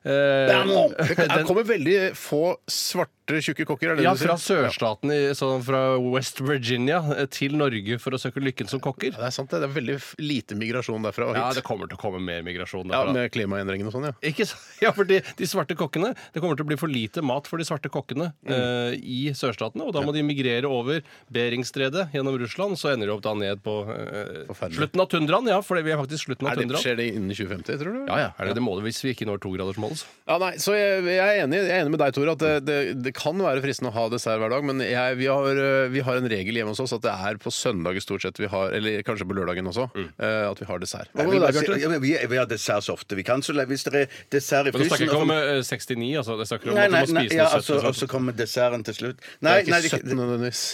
Speaker 3: eh,
Speaker 1: Det
Speaker 3: den,
Speaker 1: kommer veldig få svarte, tjukke kokker. Er det
Speaker 3: ja,
Speaker 1: det du
Speaker 3: fra
Speaker 1: sier?
Speaker 3: sørstaten, i- sånn fra West Virginia eh, til Norge for å søke lykken som kokker.
Speaker 1: Ja, det er sant, det. Det er veldig f- lite migrasjon derfra og
Speaker 3: Ja,
Speaker 1: hit.
Speaker 3: det kommer til å komme mer migrasjon
Speaker 1: Ja,
Speaker 3: derfra.
Speaker 1: med klimaendringene og sånn, ja.
Speaker 3: Ikke så, ja, for de, de svarte kokkene Det kommer til å bli for lite mat for de svarte kokkene eh, i sørstatene. Og da må de migrere over Beringstredet gjennom Russland. Så ender de opp da ned på eh,
Speaker 1: Forferdelig.
Speaker 3: slutten av tundraen. Ja, for vi er faktisk slutten av
Speaker 1: Er det,
Speaker 3: tundraen.
Speaker 1: skjer det innen 2050, tror du?
Speaker 3: Ja, ja, er det, det målet hvis vi ikke når togradersmålet, så.
Speaker 1: Ja, nei, så jeg, jeg, er enig, jeg er enig med deg, Tore, at det, det, det kan være fristende å ha dessert hver dag, men jeg, vi, har, øh, vi har en regel hjemme hos oss at det er på søndager stort sett vi har, eller kanskje på lørdagen også, øh, at vi har dessert. Hva
Speaker 2: Jeg
Speaker 1: med
Speaker 2: vil bare
Speaker 1: deg,
Speaker 2: si-
Speaker 1: Bjarte?
Speaker 2: ja, men vi, vi har dessert så ofte vi kan. Så hvis det er dessert i
Speaker 3: Men du snakker
Speaker 2: frysen
Speaker 3: ikke om eh, 69, altså? Det snakker om
Speaker 2: Nei, nei,
Speaker 3: at du må
Speaker 2: nei,
Speaker 3: spise
Speaker 2: ja,
Speaker 3: noe søtt. og
Speaker 2: altså, og
Speaker 3: sånt.
Speaker 2: så kommer desserten til slutt.
Speaker 1: Det
Speaker 2: Nei,
Speaker 1: er
Speaker 2: nei,
Speaker 1: ikke
Speaker 2: det,
Speaker 1: 17. nødvendigvis.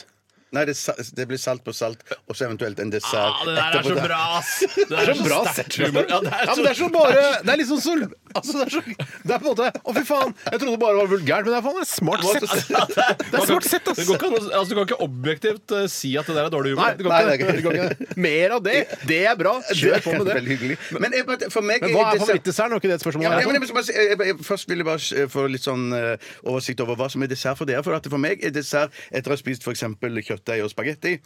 Speaker 2: nei det, sa- det blir salt på salt, og så eventuelt en dessert.
Speaker 3: Ah, det der er
Speaker 2: etterpå.
Speaker 3: så bra, ass! Det
Speaker 1: Det er så bra sett.
Speaker 3: sterk humor. Ja, det er
Speaker 1: Ja, men det er så bare Det er liksom så Altså, det er så Det er på en måte Å, fy faen! Jeg trodde det bare var vulgært, men det er faen meg smart sett. Det er smart sett,
Speaker 3: Det
Speaker 1: ass.
Speaker 3: går ikke an å altså, du kan ikke objektivt eh, si at det der er dårlig humor.
Speaker 1: Nei, det går
Speaker 2: Nei,
Speaker 1: ikke.
Speaker 2: det er
Speaker 1: det går ikke. Mer av det. Det er bra. Kjør på med det.
Speaker 2: Veldig hyggelig. Men, jeg, bare- for meg
Speaker 1: Men hva er
Speaker 2: dessert-
Speaker 1: favorittdesserten? Var ikke det et spørsmål?
Speaker 2: Ja, men jeg, må bare si- jeg, jeg, jeg, først vil jeg bare eh, få litt sånn eh, oversikt over hva som er dessert for dere. For, at for meg er dessert etter å ha spist f.eks. kjøttdeig og spagetti.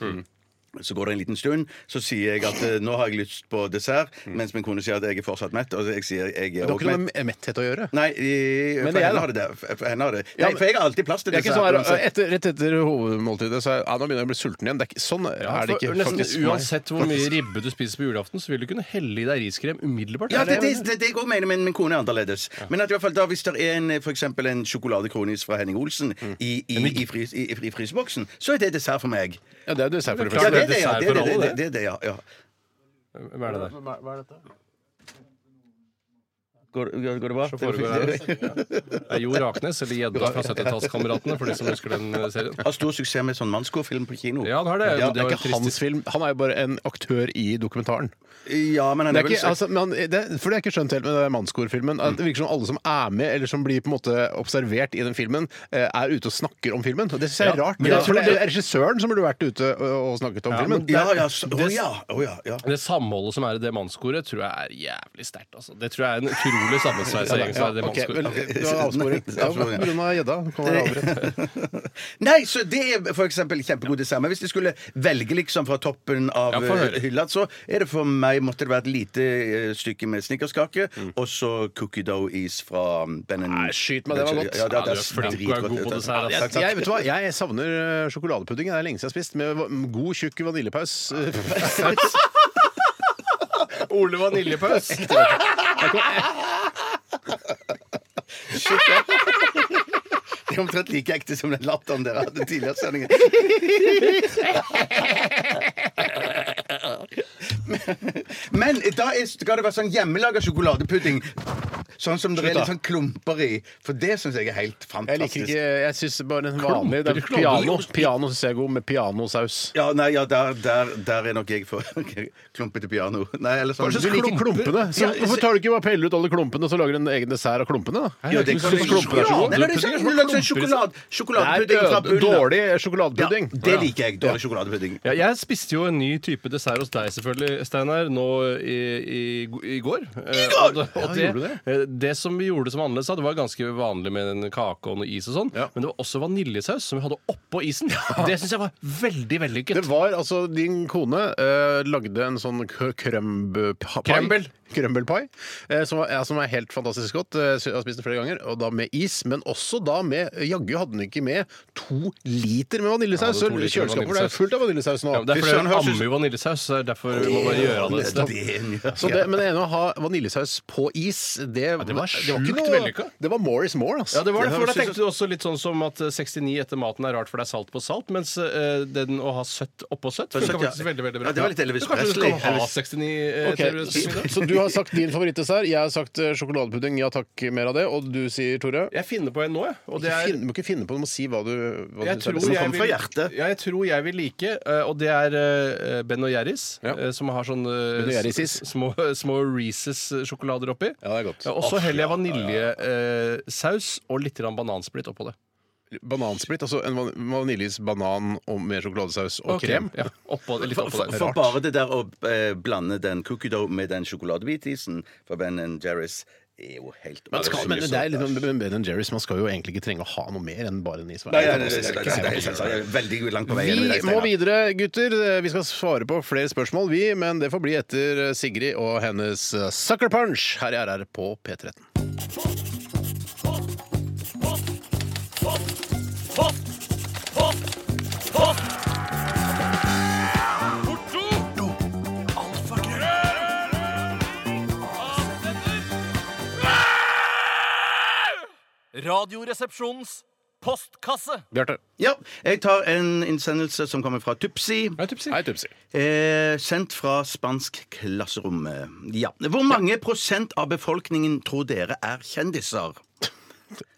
Speaker 2: Så går det en liten stund, så sier jeg at eh, nå har jeg lyst på dessert. Mens min kone sier at jeg er fortsatt mett. Og jeg sier jeg
Speaker 1: Det
Speaker 2: er
Speaker 1: har
Speaker 2: også
Speaker 1: ikke noe
Speaker 2: mett.
Speaker 1: med metthet å gjøre.
Speaker 2: Nei, i-
Speaker 1: Men jeg
Speaker 2: for
Speaker 1: da?
Speaker 2: henne har det det. For henne har det. Nei,
Speaker 1: men-
Speaker 2: for jeg har alltid plass til
Speaker 1: Det er ikke
Speaker 2: dessert.
Speaker 1: sånn her,
Speaker 2: uansett.
Speaker 1: etter, Rett etter hovedmåltidet så er, ja, Nå begynner jeg å bli sulten igjen. Det er ikke, sånn
Speaker 3: Ja,
Speaker 1: er det
Speaker 3: for
Speaker 1: ikke.
Speaker 3: nesten
Speaker 1: faktisk for meg.
Speaker 3: Uansett hvor mye ribbe du spiser på julaften, så vil du kunne helle i deg riskrem umiddelbart.
Speaker 2: Ja, det, det, det, det jeg også mener, men min kone er annerledes. Men at i hvert fall da, hvis det er en, eh, for eksempel en sjokoladekronis fra Henning Olsen i, i, i, frys, i, i fryseboksen, så er det dessert for meg.
Speaker 1: Ja, det er jo dessert for det
Speaker 3: Ja,
Speaker 2: Ja,
Speaker 1: første.
Speaker 3: dessert
Speaker 2: det er det, ja. Det er
Speaker 3: for
Speaker 2: det,
Speaker 3: alle, det.
Speaker 2: det, det, er det, ja, ja.
Speaker 3: Hva er det der?
Speaker 2: Går, går, går det bra?
Speaker 3: Så foregår det Det er Jo Raknes, eller Gjedda fra 70-tallskameratene, for de som husker den eh, serien.
Speaker 2: Har stor suksess med sånn mannskofilm på kino.
Speaker 3: Ja, han har det.
Speaker 2: Ja,
Speaker 1: Det
Speaker 3: det var
Speaker 1: er
Speaker 3: jo
Speaker 1: ikke
Speaker 3: trist.
Speaker 1: hans film. Han er jo bare en aktør i dokumentaren.
Speaker 2: Ja, men han
Speaker 1: Det
Speaker 2: er
Speaker 1: er
Speaker 2: vel
Speaker 1: ikke, altså, men han, det, for det er ikke skjønt helt med den mannskorfilmen. at Det virker som alle som er med, eller som blir på en måte observert i den filmen, eh, er ute og snakker om filmen. Og Det syns jeg er rart.
Speaker 3: men
Speaker 1: Men
Speaker 3: jeg
Speaker 1: jeg tror
Speaker 3: tror
Speaker 1: det er regissøren som burde vært ute og, og snakket om
Speaker 3: Ja,
Speaker 1: filmen.
Speaker 3: men
Speaker 2: Ja, ja. så- Å ja. Å ja, ja.
Speaker 3: Det samholdet som er i det mannskoret, tror jeg er jævlig sterkt. Altså. Det tror jeg er en utrolig sammensveisa gjeng som er i det
Speaker 1: ok, vel,
Speaker 3: mannskoret.
Speaker 1: det var avsporing. Ja,
Speaker 2: Avsporing, ja.
Speaker 1: på grunn av gjedda. kan være avbrutt.
Speaker 2: Nei, så det er for eksempel kjempegod dessert. Men hvis jeg skulle velge liksom fra toppen av
Speaker 3: Ja, få høre.
Speaker 2: eh, hylla, så er det for meg måtte det være et lite eh, stykke med snickerskake, og så cookie dough-is fra um, Ben
Speaker 1: Nei, skyt meg, det var godt.
Speaker 2: Ja,
Speaker 3: Ja,
Speaker 2: det,
Speaker 3: du er
Speaker 2: det er
Speaker 3: flink og er
Speaker 2: dritgodt,
Speaker 3: god på
Speaker 2: vet du.
Speaker 3: dessert, altså.
Speaker 2: Ja, takk,
Speaker 1: Jeg,
Speaker 2: takk.
Speaker 1: vet du hva? jeg savner eh, sjokoladepudding. Det er lenge siden jeg har spist. Med god, tjukk vaniljepaus. Eh,
Speaker 3: Ole Vaniljepaus.
Speaker 2: Det er omtrent like ekte som den latteren dere hadde tidligere i sendingen. Men, men da er, skal det være sånn hjemmelaga sjokoladepudding. Sånn som det er
Speaker 3: Slutt,
Speaker 2: litt
Speaker 3: da.
Speaker 2: sånn klumper i. For det syns jeg er helt
Speaker 1: Jeg
Speaker 2: fantastisk.
Speaker 1: liker ikke Jeg syns bare en vanlig
Speaker 3: Klumper,
Speaker 1: det er
Speaker 3: klumper.
Speaker 1: Piano Piano syns jeg er god, med pianosaus.
Speaker 2: Ja, nei, ja, der, der, der er nok jeg for klumpete piano. Nei, eller sånn.
Speaker 1: Du liker klumpene. Så hvorfor tar du ikke bare peller ut alle klumpene så lager du en egen dessert av klumpene? da?
Speaker 2: Ja, det
Speaker 3: Du
Speaker 2: kan
Speaker 3: synes
Speaker 2: jeg-
Speaker 3: klumpen er så
Speaker 2: Ja,
Speaker 3: god?
Speaker 2: nei, men det er sånn-
Speaker 3: Pudding er
Speaker 2: det er
Speaker 3: sånn
Speaker 2: sånn
Speaker 3: klumper,
Speaker 2: sjokolade-
Speaker 1: Det
Speaker 2: Sjokoladepudding
Speaker 1: er
Speaker 2: fra
Speaker 1: ø-
Speaker 2: bunnen.
Speaker 1: dårlig
Speaker 2: Ja,
Speaker 1: sjokoladepudding.
Speaker 2: det liker jeg. Dårlig sjokoladepudding.
Speaker 3: Ja, jeg spiste jo en ny type dessert hos deg selvfølgelig, Steinar, nå i, i, i går. I går! Og det, eh,
Speaker 1: gjorde du
Speaker 3: det? som vi gjorde som var annerledes, da, det var ganske vanlig med en kake og noe is og sånn,
Speaker 1: Ja.
Speaker 3: men det var også vaniljesaus som vi hadde oppå isen. Det syns jeg var veldig vellykket.
Speaker 1: Det var altså Din kone eh, lagde en sånn k- krømb... pa- pai.
Speaker 3: Krømbel.
Speaker 1: Krømbelpai. eh, som, var- ja, som er helt fantastisk godt. Eh, så jeg har spist den flere ganger. Og da med is, men også da med Jaggu hadde den ikke med to liter med vaniljesaus. så
Speaker 3: Ja, det var to liter med
Speaker 1: kjøleskapet ble
Speaker 3: vaniljesaus.
Speaker 1: fullt av vaniljesaus nå.
Speaker 3: Ja, men det er
Speaker 2: Fy
Speaker 3: fordi
Speaker 2: søren,
Speaker 3: hun
Speaker 2: høres ut
Speaker 3: ammer jo vaniljesaus, så det er derfor vi må bare gjøre det.
Speaker 2: Det er en- ja.
Speaker 1: så det, men det ene å ha vaniljesaus på is, det,
Speaker 3: det var sjukt
Speaker 1: noe,
Speaker 3: vellykka.
Speaker 1: Det var Morris Moore, altså.
Speaker 3: Ja, det var det, for Da
Speaker 2: høres ut
Speaker 3: tenkte du også litt sånn som at eh, 69 etter maten er rart, for det er salt på salt, mens eh, den å ha søtt oppå søtt funka
Speaker 2: søtt, ja.
Speaker 3: faktisk veldig veldig bra.
Speaker 2: Ja, det var litt Elvis
Speaker 3: Så kanskje du
Speaker 2: Presley.
Speaker 3: skal ha eh,
Speaker 2: Elvis-
Speaker 3: 69
Speaker 1: Ok,
Speaker 3: etter middag?
Speaker 1: Så du har sagt din favorittdessert, jeg har sagt eh, sjokoladepudding, ja takk, mer av det. Og du sier, Tore?
Speaker 3: Jeg finner på en nå, jeg. Og det
Speaker 1: Ikke
Speaker 3: er
Speaker 1: finne- Du må ikke finne på, du må si hva du, hva
Speaker 3: jeg
Speaker 1: du
Speaker 3: tror
Speaker 1: selv-
Speaker 3: jeg,
Speaker 2: kommer fra
Speaker 3: vil,
Speaker 2: hjertet.
Speaker 3: ja, jeg tror jeg vil like, eh, og det er eh, Ben og Jerris, eh, som har sånn eh,
Speaker 1: Ben og Jerry's is.
Speaker 3: s- små, små Reeces-sjokolader oppi.
Speaker 1: Ja, det er godt.
Speaker 3: Ja, Og så heller jeg vaniljesaus og litt grann banansplitt oppå det.
Speaker 1: Banansplitt, altså en van- vaniljeis, banan og med sjokoladesaus og
Speaker 3: Og
Speaker 1: krem.
Speaker 3: Ja, oppå, litt
Speaker 2: For,
Speaker 3: oppå der.
Speaker 2: for bare det der å eh, blande den cookie dough med den sjokoladebitisen fra Ben Jerry's er jo helt
Speaker 1: Man skal, men det er litt sånn Ben Jerry's, man skal jo egentlig ikke trenge å ha noe mer enn bare en is.
Speaker 2: Nei, nei, nei, nei, nei, nei, nei, nei, nei, Veldig langt på vei. enig med
Speaker 1: Vi
Speaker 2: deg,
Speaker 1: må
Speaker 2: Steinar.
Speaker 1: videre, gutter. Vi skal svare på flere spørsmål, vi. Men det får bli etter Sigrid og hennes eh, Sucker Punch her i RR på P13.
Speaker 9: Radioresepsjonens postkasse.
Speaker 1: Bjarte.
Speaker 2: Ja, jeg tar en innsendelse som kommer fra Tupsi.
Speaker 3: Ja, typ si.
Speaker 1: Hei, Tupsi.
Speaker 2: Eh, sendt fra spansk klasserom. Ja. Hvor mange prosent av befolkningen tror dere er kjendiser?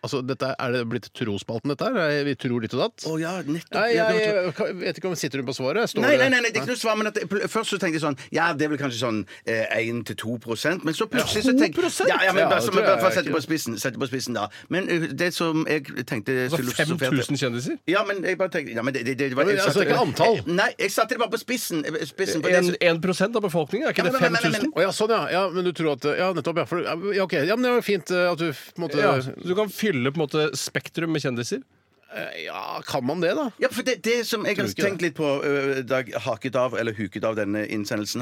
Speaker 1: Altså, dette, er det blitt trospalten, dette her? Er Vi tror litt og datt?
Speaker 2: Å ja, nettopp.
Speaker 1: Nei,
Speaker 2: Ja,
Speaker 1: jeg,
Speaker 2: det var-
Speaker 1: jeg vet ikke om sitter hun på svaret. Står
Speaker 2: Nei,
Speaker 1: det-
Speaker 2: nei, nei, nei, det er ikke noe svar, men at, pl- først så tenkte jeg sånn Ja, det er vel kanskje sånn eh, 1-2 prosent, men så plutselig så tenk-
Speaker 1: 2%?
Speaker 2: Ja, ja, men
Speaker 1: Ja,
Speaker 2: bare,
Speaker 1: det
Speaker 2: så,
Speaker 1: tror
Speaker 2: men,
Speaker 1: jeg
Speaker 2: bare for å
Speaker 1: ikke.
Speaker 2: sette på spissen, sette på spissen da. Men eh, det som jeg tenkte
Speaker 3: Altså 5000 kjendiser?
Speaker 2: Ja, men jeg bare tenkte ja, men det, det, det, var-
Speaker 1: Men
Speaker 2: jeg
Speaker 1: altså,
Speaker 2: satte-
Speaker 1: det er ikke antall.
Speaker 2: Nei, jeg satte det bare på spissen. eh, spissen for det som-
Speaker 3: 1 av befolkningen? Er ikke
Speaker 2: Ja,
Speaker 3: det
Speaker 2: men- men-
Speaker 3: 5000?
Speaker 2: men-
Speaker 1: Å ja, sånn ja. ja. Men du tror at Ja, nettopp. Ja, for, ja OK. Ja, men det var fint eh, at du på en måte
Speaker 3: Ja, så du kan fylle på en måte spektrum med kjendiser.
Speaker 1: Eh, Ja, kan man det, da?
Speaker 2: Ja, for det, det som jeg har
Speaker 1: Tror ikke
Speaker 2: tenkt litt på, ø, da jeg haket av eller huket av denne innsendelsen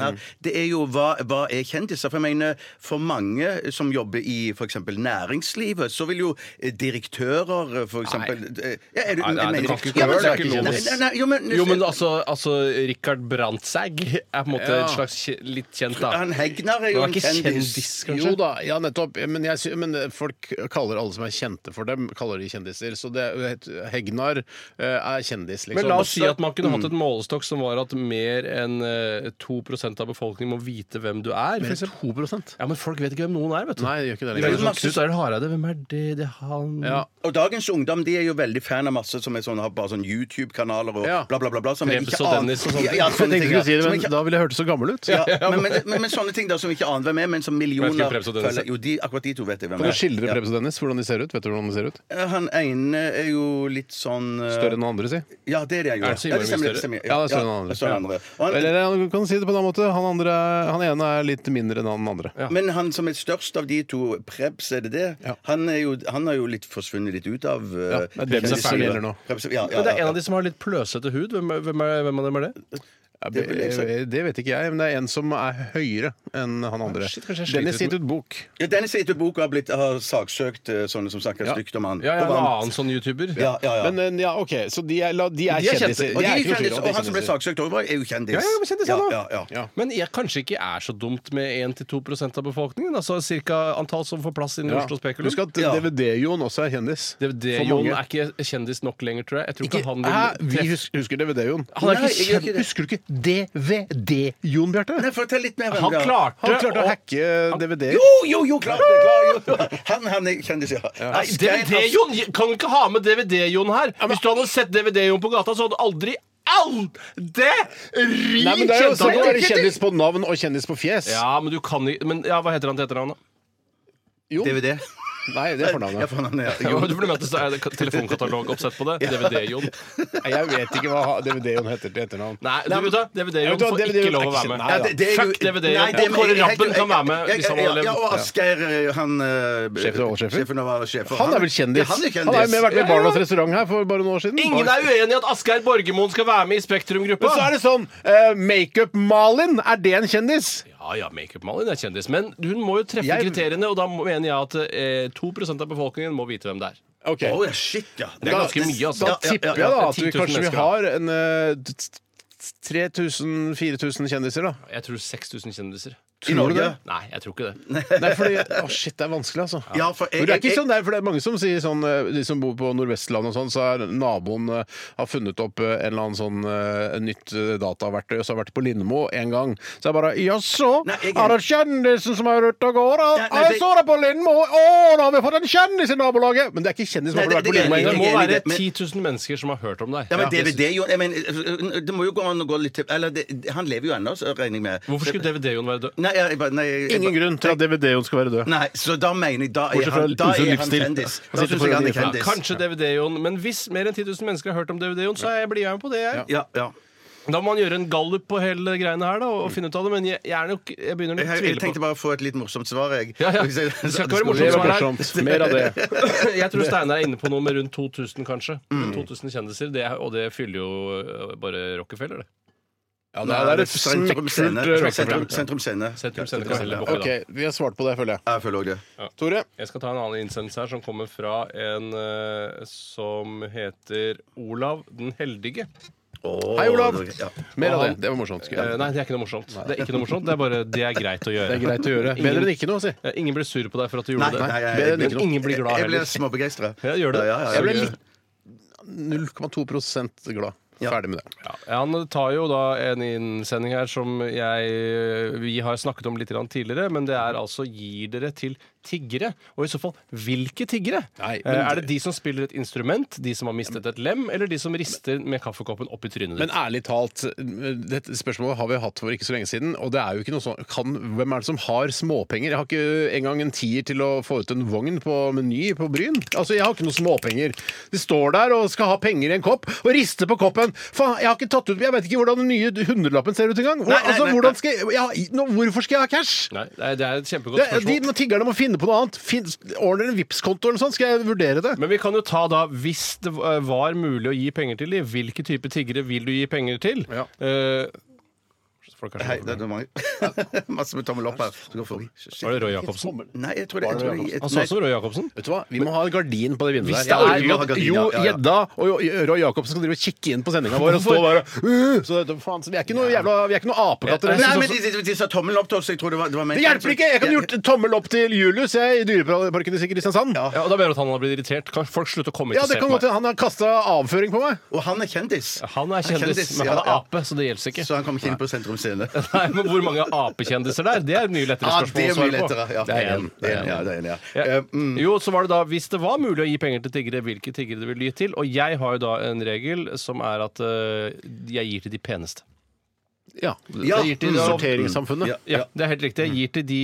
Speaker 3: Mm.
Speaker 2: her, det er jo hva, hva er kjendiser? For jeg mener, for mange som jobber i f.eks. næringslivet, så vil jo eh, direktører øh, f.eks. Nei, eh, ja, er du,
Speaker 3: Nei, nei,
Speaker 2: jeg
Speaker 3: det
Speaker 2: mener-
Speaker 3: kan ikke
Speaker 2: Ja, men-
Speaker 3: gå, det er ikke lov.
Speaker 2: Nei, nei, nei, Jo, men,
Speaker 3: Jo, men altså, altså Richard Brandtzæg er på en måte
Speaker 1: Ja.
Speaker 3: et slags kje- litt kjent, da.
Speaker 2: Han Hegnar er jo
Speaker 3: Han
Speaker 2: en
Speaker 3: er ikke
Speaker 2: kjendis.
Speaker 3: kjendis,
Speaker 1: Jo
Speaker 3: kanskje?
Speaker 1: da, ja nettopp. Men, jeg, sy- men eh, folk kaller alle som er kjente for dem, kaller de kjendiser. Så det er jo helt- Hegnar eh, er kjendis, liksom.
Speaker 3: Men la oss si at man kunne hatt et målestokk som var at mer enn eh, 2 av befolkningen må vite hvem du er. for
Speaker 1: Mer
Speaker 3: eksempel.
Speaker 1: enn 2
Speaker 3: Ja, Men folk vet ikke hvem noen er, vet du.
Speaker 1: Nei, det gjør ikke det
Speaker 3: De vet
Speaker 1: lenger.
Speaker 3: jo sånn, Knut Arild Hareide, hvem er det? Det er han
Speaker 1: Ja.
Speaker 2: Og dagens ungdom de er jo veldig fan av masse som er sånn, har bare sånn YouTube-kanaler og
Speaker 1: Ja.
Speaker 2: bla, bla, bla. bla som jeg
Speaker 3: Rebs
Speaker 2: ikke
Speaker 3: og
Speaker 2: aner-
Speaker 3: Dennis og sånne
Speaker 2: Ja, ja,
Speaker 1: Jeg tenkte
Speaker 2: sånne
Speaker 1: jeg
Speaker 2: ting. ja.
Speaker 1: skulle si det,
Speaker 2: Som jeg
Speaker 1: men
Speaker 2: ikke
Speaker 1: da ville jeg hørtes så gammel ut.
Speaker 2: Ja, men, men, men, men sånne ting da som vi ikke aner hvem er, men som
Speaker 3: Jeg vet
Speaker 2: millioner
Speaker 3: ikke Prebz og Dennis
Speaker 2: følger Jo, de, akkurat de to vet jeg hvem
Speaker 1: Kan
Speaker 2: er.
Speaker 1: du skildre
Speaker 2: Ja.
Speaker 1: Prebz og Dennis, hvordan de ser ut? Vet du hvordan de ser ut?
Speaker 2: Eh, Han ene er jo litt sånn eh,
Speaker 1: Større enn den andre, si.
Speaker 2: Ja, det er det han
Speaker 3: Er
Speaker 2: gjorde.
Speaker 3: det så innmari mye større?
Speaker 1: Ja, det er større enn den
Speaker 2: det er større enn
Speaker 1: andre.
Speaker 2: andre. Og han,
Speaker 1: Eller han kan si det på en annen måte. Han, andre, er- han ene er litt mindre enn han andre.
Speaker 2: Men han som er størst av de to, Prebz, er det det?
Speaker 1: Ja.
Speaker 2: Han, er jo, han har jo litt forsvunnet litt ut av uh,
Speaker 1: det er Prebz som gjelder nå.
Speaker 2: Prebz, ja, ja,
Speaker 3: Men det er en
Speaker 2: ja,
Speaker 3: av de som har litt pløsete hud. Hvem, er- hvem, er, hvem av dem er det?
Speaker 1: Ja, eh,
Speaker 2: Det vil jeg si.
Speaker 1: Det vet ikke jeg, men det er en som er høyere enn han andre.
Speaker 3: shit, kanskje jeg sliter
Speaker 1: Dennis
Speaker 3: litt
Speaker 1: gitt ut bok.
Speaker 2: ja, Dennis har gitt ut bok og har, blitt, har saksøkt eh, sånne som snakker stygt om han.
Speaker 3: Ja, ja, En
Speaker 2: Og vant.
Speaker 3: annen sånn YouTuber.
Speaker 2: Ja, ja, ja.
Speaker 1: Men eh, ja, OK, så de er, la- de er
Speaker 3: De er kjente.
Speaker 1: kjendiser. Det
Speaker 2: og, de
Speaker 1: er ikke
Speaker 2: er
Speaker 1: noe tvil
Speaker 2: kjendis,
Speaker 1: om
Speaker 2: og
Speaker 1: at de er
Speaker 2: han som ble
Speaker 1: kjendiser.
Speaker 2: saksøkt over, er jo kjendis.
Speaker 3: Ja, ja, men kjendis,
Speaker 2: ja,
Speaker 3: han også.
Speaker 2: ja, ja.
Speaker 1: Ja.
Speaker 3: Men jeg kanskje ikke er så dumt med 1-2 av befolkningen. Altså ca. antall som får plass inne i
Speaker 1: Ja.
Speaker 3: Oslo Spekulum.
Speaker 1: Husk at
Speaker 2: Ja.
Speaker 1: DVD-Jon også er kjendis. For
Speaker 3: DVD-Jon
Speaker 1: mange.
Speaker 3: er ikke kjendis nok lenger, tror jeg. Jeg tror ikke,
Speaker 1: Ikke,
Speaker 3: han
Speaker 1: hæ?
Speaker 3: vil
Speaker 1: Vi husker, husker DVD-Jon.
Speaker 3: Han er
Speaker 2: Nei,
Speaker 3: ikke
Speaker 2: jeg gjør ikke
Speaker 3: kjent...
Speaker 2: det.
Speaker 1: Husker du ikke DVD, Jon Bjarte.
Speaker 2: Nei, fortell litt mer om
Speaker 3: Han
Speaker 2: det.
Speaker 3: klarte,
Speaker 1: Han klarte å
Speaker 3: å
Speaker 1: hacke DVD-er.
Speaker 2: Jo, jo, jo, klart det! Klart, jo. Han, han er kjendis, ja.
Speaker 3: Nei, DVD-Jon! Kan du ikke ha med DVD-Jon her? Hvis du hadde sett DVD-Jon på gata, så hadde du aldri Aldri
Speaker 1: Nei, men det er jo
Speaker 3: kjent
Speaker 1: sånn å
Speaker 3: han igjen!
Speaker 1: være kjendis på navn og kjendis på fjes.
Speaker 3: Ja, men du kan ikke Men ja, hva heter han til etternavn, da?
Speaker 1: Jo.
Speaker 2: DVD.
Speaker 1: Nei, det er fornavnet.
Speaker 2: Ja, for han er,
Speaker 3: Jo,
Speaker 2: jo.
Speaker 3: du burde møtes det er telefonkatalogoppsett på det. DVD-Jon.
Speaker 1: Nei, Jeg vet ikke hva DVD-en heter til etternavn.
Speaker 3: Nei, du vet du,
Speaker 1: Jeg vet
Speaker 3: DVD-Jon
Speaker 1: hva,
Speaker 3: får
Speaker 1: DVD-Jon
Speaker 3: ikke lov å
Speaker 1: er ikke
Speaker 3: være med.
Speaker 1: kjent. Nei,
Speaker 2: Ja, det- det er jo-
Speaker 3: Fuck DVD-Jon.
Speaker 2: Nei, det-
Speaker 3: Og Kåre Rappen kan være med
Speaker 2: Ja, ja,
Speaker 3: hvis han hadde
Speaker 2: ja,
Speaker 3: levd.
Speaker 2: og Asgeir, han eh,
Speaker 1: Sjefen over sjefen?
Speaker 2: Sjefen over alle sjefer.
Speaker 1: Han er vel kjendis?
Speaker 2: Ja, han er
Speaker 1: Han har jo med
Speaker 2: kjendis.
Speaker 1: vært med i Barnas restaurant her for bare noen år siden.
Speaker 3: Ingen er uenig i at Asgeir Borgermoen skal være med i
Speaker 1: Men så
Speaker 3: Spektrum-gruppa.
Speaker 1: er det sånn eh, Makeup-Malin, er det en kjendis?
Speaker 3: Ja, ja, Makeup-Malin er kjendis, men hun må jo treffe
Speaker 1: Jeg-
Speaker 3: kriteriene, og da må- mener jeg at eh, 2 av befolkningen må vite hvem det er.
Speaker 1: Ok.
Speaker 2: Å ja, shit, ja.
Speaker 3: Det er ganske mye, altså.
Speaker 1: Da tipper jeg da at vi
Speaker 3: 10 000
Speaker 1: kanskje vi
Speaker 3: mennesker,
Speaker 1: har en eh, t- t- 3000-4000 kjendiser, da.
Speaker 3: da. Jeg tror 6000 kjendiser.
Speaker 2: I
Speaker 1: Tror du det?
Speaker 2: Norge?
Speaker 3: Nei, jeg tror ikke det.
Speaker 1: Nei, fordi, å shit, det er vanskelig, altså.
Speaker 2: Ja, for jeg-
Speaker 1: Men det er ikke
Speaker 2: jeg-
Speaker 1: sånn der, for det er mange som sier sånn eh, De som bor på Nordvestlandet og sånn, så er naboen eh, har funnet opp eh, en eller annen sånn eh, nytt eh, dataverktøy, og så har vært på Lindmo en gang. Så er det bare Jaså,
Speaker 2: Nei, jeg-
Speaker 1: er det kjendisen som er ute og går? da?
Speaker 2: Nei, nei,
Speaker 1: jeg
Speaker 2: det-
Speaker 1: så deg på Lindmo! Å, nå har vi fått en kjendis i nabolaget! Men det er ikke kjendis som
Speaker 2: Nei,
Speaker 1: har
Speaker 2: det-
Speaker 1: vært på
Speaker 2: det-
Speaker 1: Lindmo
Speaker 3: Men
Speaker 1: en
Speaker 3: det
Speaker 1: gang.
Speaker 3: må
Speaker 2: Jeg er enig i
Speaker 3: være
Speaker 2: det, men-
Speaker 3: 10 000 mennesker som har hørt om deg.
Speaker 2: Ja, men DVD, Jon jeg mener, Det må jo gå an å gå litt til Eller det, han lever jo ennå, så regner jeg med.
Speaker 3: Hvorfor skulle DVD-Jon være død?
Speaker 2: Nei, jeg, bare- nei, jeg,
Speaker 1: Ingen grunn til at DVD-en skal være død.
Speaker 2: Nei, så da mener jeg Da er
Speaker 1: Bortsett fra
Speaker 2: han, da
Speaker 1: usunn
Speaker 2: er han
Speaker 1: livsstil.
Speaker 2: kjendis.
Speaker 1: Han
Speaker 2: Da
Speaker 1: sitter
Speaker 2: syns
Speaker 1: foran
Speaker 2: jeg han er
Speaker 1: i
Speaker 3: Ja,
Speaker 1: flaut.
Speaker 2: kjendis.
Speaker 3: kanskje DVD-Jon, men hvis mer enn 10 000 mennesker har hørt om DVD-Jon, så er jeg- blir jeg med på det. jeg.
Speaker 2: Ja, ja.
Speaker 3: Da må man gjøre en gallup på hele greiene her da, og finne ut av det, men jeg, jeg, er nok, jeg begynner nok å
Speaker 2: Jeg, jeg
Speaker 3: tvile
Speaker 2: tenkte
Speaker 3: på
Speaker 2: bare å få et litt morsomt svar, jeg.
Speaker 3: Ja, ja.
Speaker 2: Hvis jeg-
Speaker 3: Det skal ikke være
Speaker 1: Det var
Speaker 3: Morsomt
Speaker 1: morsomt. Mer av det.
Speaker 3: Jeg tror Steinar er inne på noe med rundt 2000, kanskje. Rundt
Speaker 2: Mm.
Speaker 3: 2000 kjendiser, det, er- Og det fyller jo øh, bare Rockefeller, det.
Speaker 1: Ja, det
Speaker 2: Nei,
Speaker 1: er et
Speaker 2: det er Sentrum Scene.
Speaker 1: smekkfullt eh,
Speaker 2: Sentrum- Sentrum Scene.
Speaker 3: Sentrum Sentrum
Speaker 2: Ja,
Speaker 3: Scene.
Speaker 1: OK, vi har svart på det, føler jeg.
Speaker 2: Jeg føler også det.
Speaker 1: Tore?
Speaker 3: Jeg skal ta en annen innsendelse her, som kommer fra en øh, som heter Olav den heldige.
Speaker 2: Åh,
Speaker 1: Hei, Olav.
Speaker 2: Ja.
Speaker 1: Mer av det. Det var morsomt. skulle jeg.
Speaker 3: Eh, nei, det er ikke noe morsomt. Det er ikke noe morsomt, det er bare det er greit å gjøre.
Speaker 1: Det er greit å gjøre. Bedre enn ikke noe, si.
Speaker 3: Ja, Ingen blir sur på deg for at du
Speaker 2: Nei,
Speaker 3: gjorde det.
Speaker 2: nei, jeg-
Speaker 1: Bedre enn
Speaker 3: Men
Speaker 1: ikke noe.
Speaker 3: ingen blir glad
Speaker 2: Jeg ble
Speaker 3: heller.
Speaker 2: småbegeistra.
Speaker 3: Ja, gjør det.
Speaker 2: Ja, ja, ja.
Speaker 1: Jeg ble
Speaker 3: gjør det.
Speaker 1: litt 0,2 glad.
Speaker 2: Ja.
Speaker 1: Ferdig med det.
Speaker 3: Ja, han tar jo da en innsending her som jeg, vi har snakket om litt grann tidligere, men det er altså gir dere til tiggere, og i så fall hvilke tiggere?
Speaker 1: Nei, men-
Speaker 3: Eh, er det de som spiller et instrument, de som har mistet et lem, eller de som rister med kaffekoppen opp i trynet
Speaker 1: Men
Speaker 3: ditt?
Speaker 1: ærlig talt, dette spørsmålet har vi hatt for ikke så lenge siden. Og det er jo ikke noe sånn kan, Hvem er det som har småpenger? Jeg har ikke engang en tier til å få ut en vogn på Meny på Bryn. Altså, Jeg har ikke noe småpenger. De står der og skal ha penger i en kopp, og rister på koppen. Faen, jeg har ikke tatt ut Jeg vet ikke hvordan den nye hundrelappen ser ut engang! Hvor-
Speaker 2: Nei, nei,
Speaker 1: Altså,
Speaker 2: nei,
Speaker 1: hvordan skal jeg, jeg, nå, hvorfor skal jeg ha cash?
Speaker 3: Nei, det er- det er et kjempegodt
Speaker 1: Det, de
Speaker 3: spørsmål.
Speaker 1: må- tiggerne må finne på noe annet. Fin, ordner en Vipps-konto eller noe sånt, skal jeg vurdere det.
Speaker 3: Men vi kan jo ta da, hvis det eh, var mulig å gi penger til de, hvilke type tiggere vil du gi penger til?
Speaker 1: Ja.
Speaker 3: Eh, får du kanskje-
Speaker 2: Hei, det er mange Masse med tommel opp her. Så går forbi.
Speaker 3: var det Roy Jacobsen?
Speaker 2: Nei, jeg tror det. Jeg tror det jeg-
Speaker 3: Han så ut som Roy Jacobsen.
Speaker 1: Vet du hva? Vi må ha en gardin på det vinduet
Speaker 3: Hvis
Speaker 1: der. Jeg
Speaker 3: det er-
Speaker 1: orker
Speaker 2: vi må
Speaker 1: ikke at Jo
Speaker 2: ha gardin, ja, ja, ja.
Speaker 1: Gjedda og Jo- Roy Jacobsen skal drive og kikke inn på sendinga vår og stå der og «Uh», så det, faen, så vi, er ikke noe jævla, vi er ikke noe apekatter.
Speaker 3: Jeg- jeg
Speaker 1: eller?
Speaker 2: Nei,
Speaker 1: Nei,
Speaker 2: men de, de, de sa tommelen opp til oss. Jeg tror det var, det var ment-
Speaker 1: men Det hjelper ikke! Jeg kan gjort tommel opp til Julius jeg, i Dyreparken i Kristiansand. Ja,
Speaker 3: Ja, og da mener du at han har blitt irritert. Kan folk slutte å komme hit og
Speaker 1: det
Speaker 3: se
Speaker 1: kan
Speaker 3: på
Speaker 1: godt
Speaker 3: meg?
Speaker 1: hende han har kasta avføring på meg.
Speaker 2: Og han er kjendis.
Speaker 3: Han er kjendis, men han er
Speaker 2: ja,
Speaker 3: ape, så det gjelder
Speaker 2: ja.
Speaker 3: ikke.
Speaker 2: Så han kom ikke inn på Sentrum Scene.
Speaker 3: Nei, men Hvor mange apekjendiser det er, det er et mye lettere
Speaker 2: Ja,
Speaker 3: spørsmål
Speaker 2: det er mye
Speaker 3: å svare
Speaker 2: lettere.
Speaker 3: på.
Speaker 2: Ja,
Speaker 3: Det er en.
Speaker 2: Det er en, ja, det er en, ja.
Speaker 3: Ja.
Speaker 2: Eh, mm,
Speaker 3: Jo, så var det da, Hvis det var mulig å gi penger til tiggere, hvilke tiggere det ville gi til? Og jeg har jo da en regel som er at eh, jeg gir til de peneste.
Speaker 1: Ja,
Speaker 2: Ja,
Speaker 1: Det gir til
Speaker 2: mm.
Speaker 1: sorteringssamfunnet.
Speaker 2: Ja.
Speaker 3: Ja, Det er helt riktig. Jeg gir til de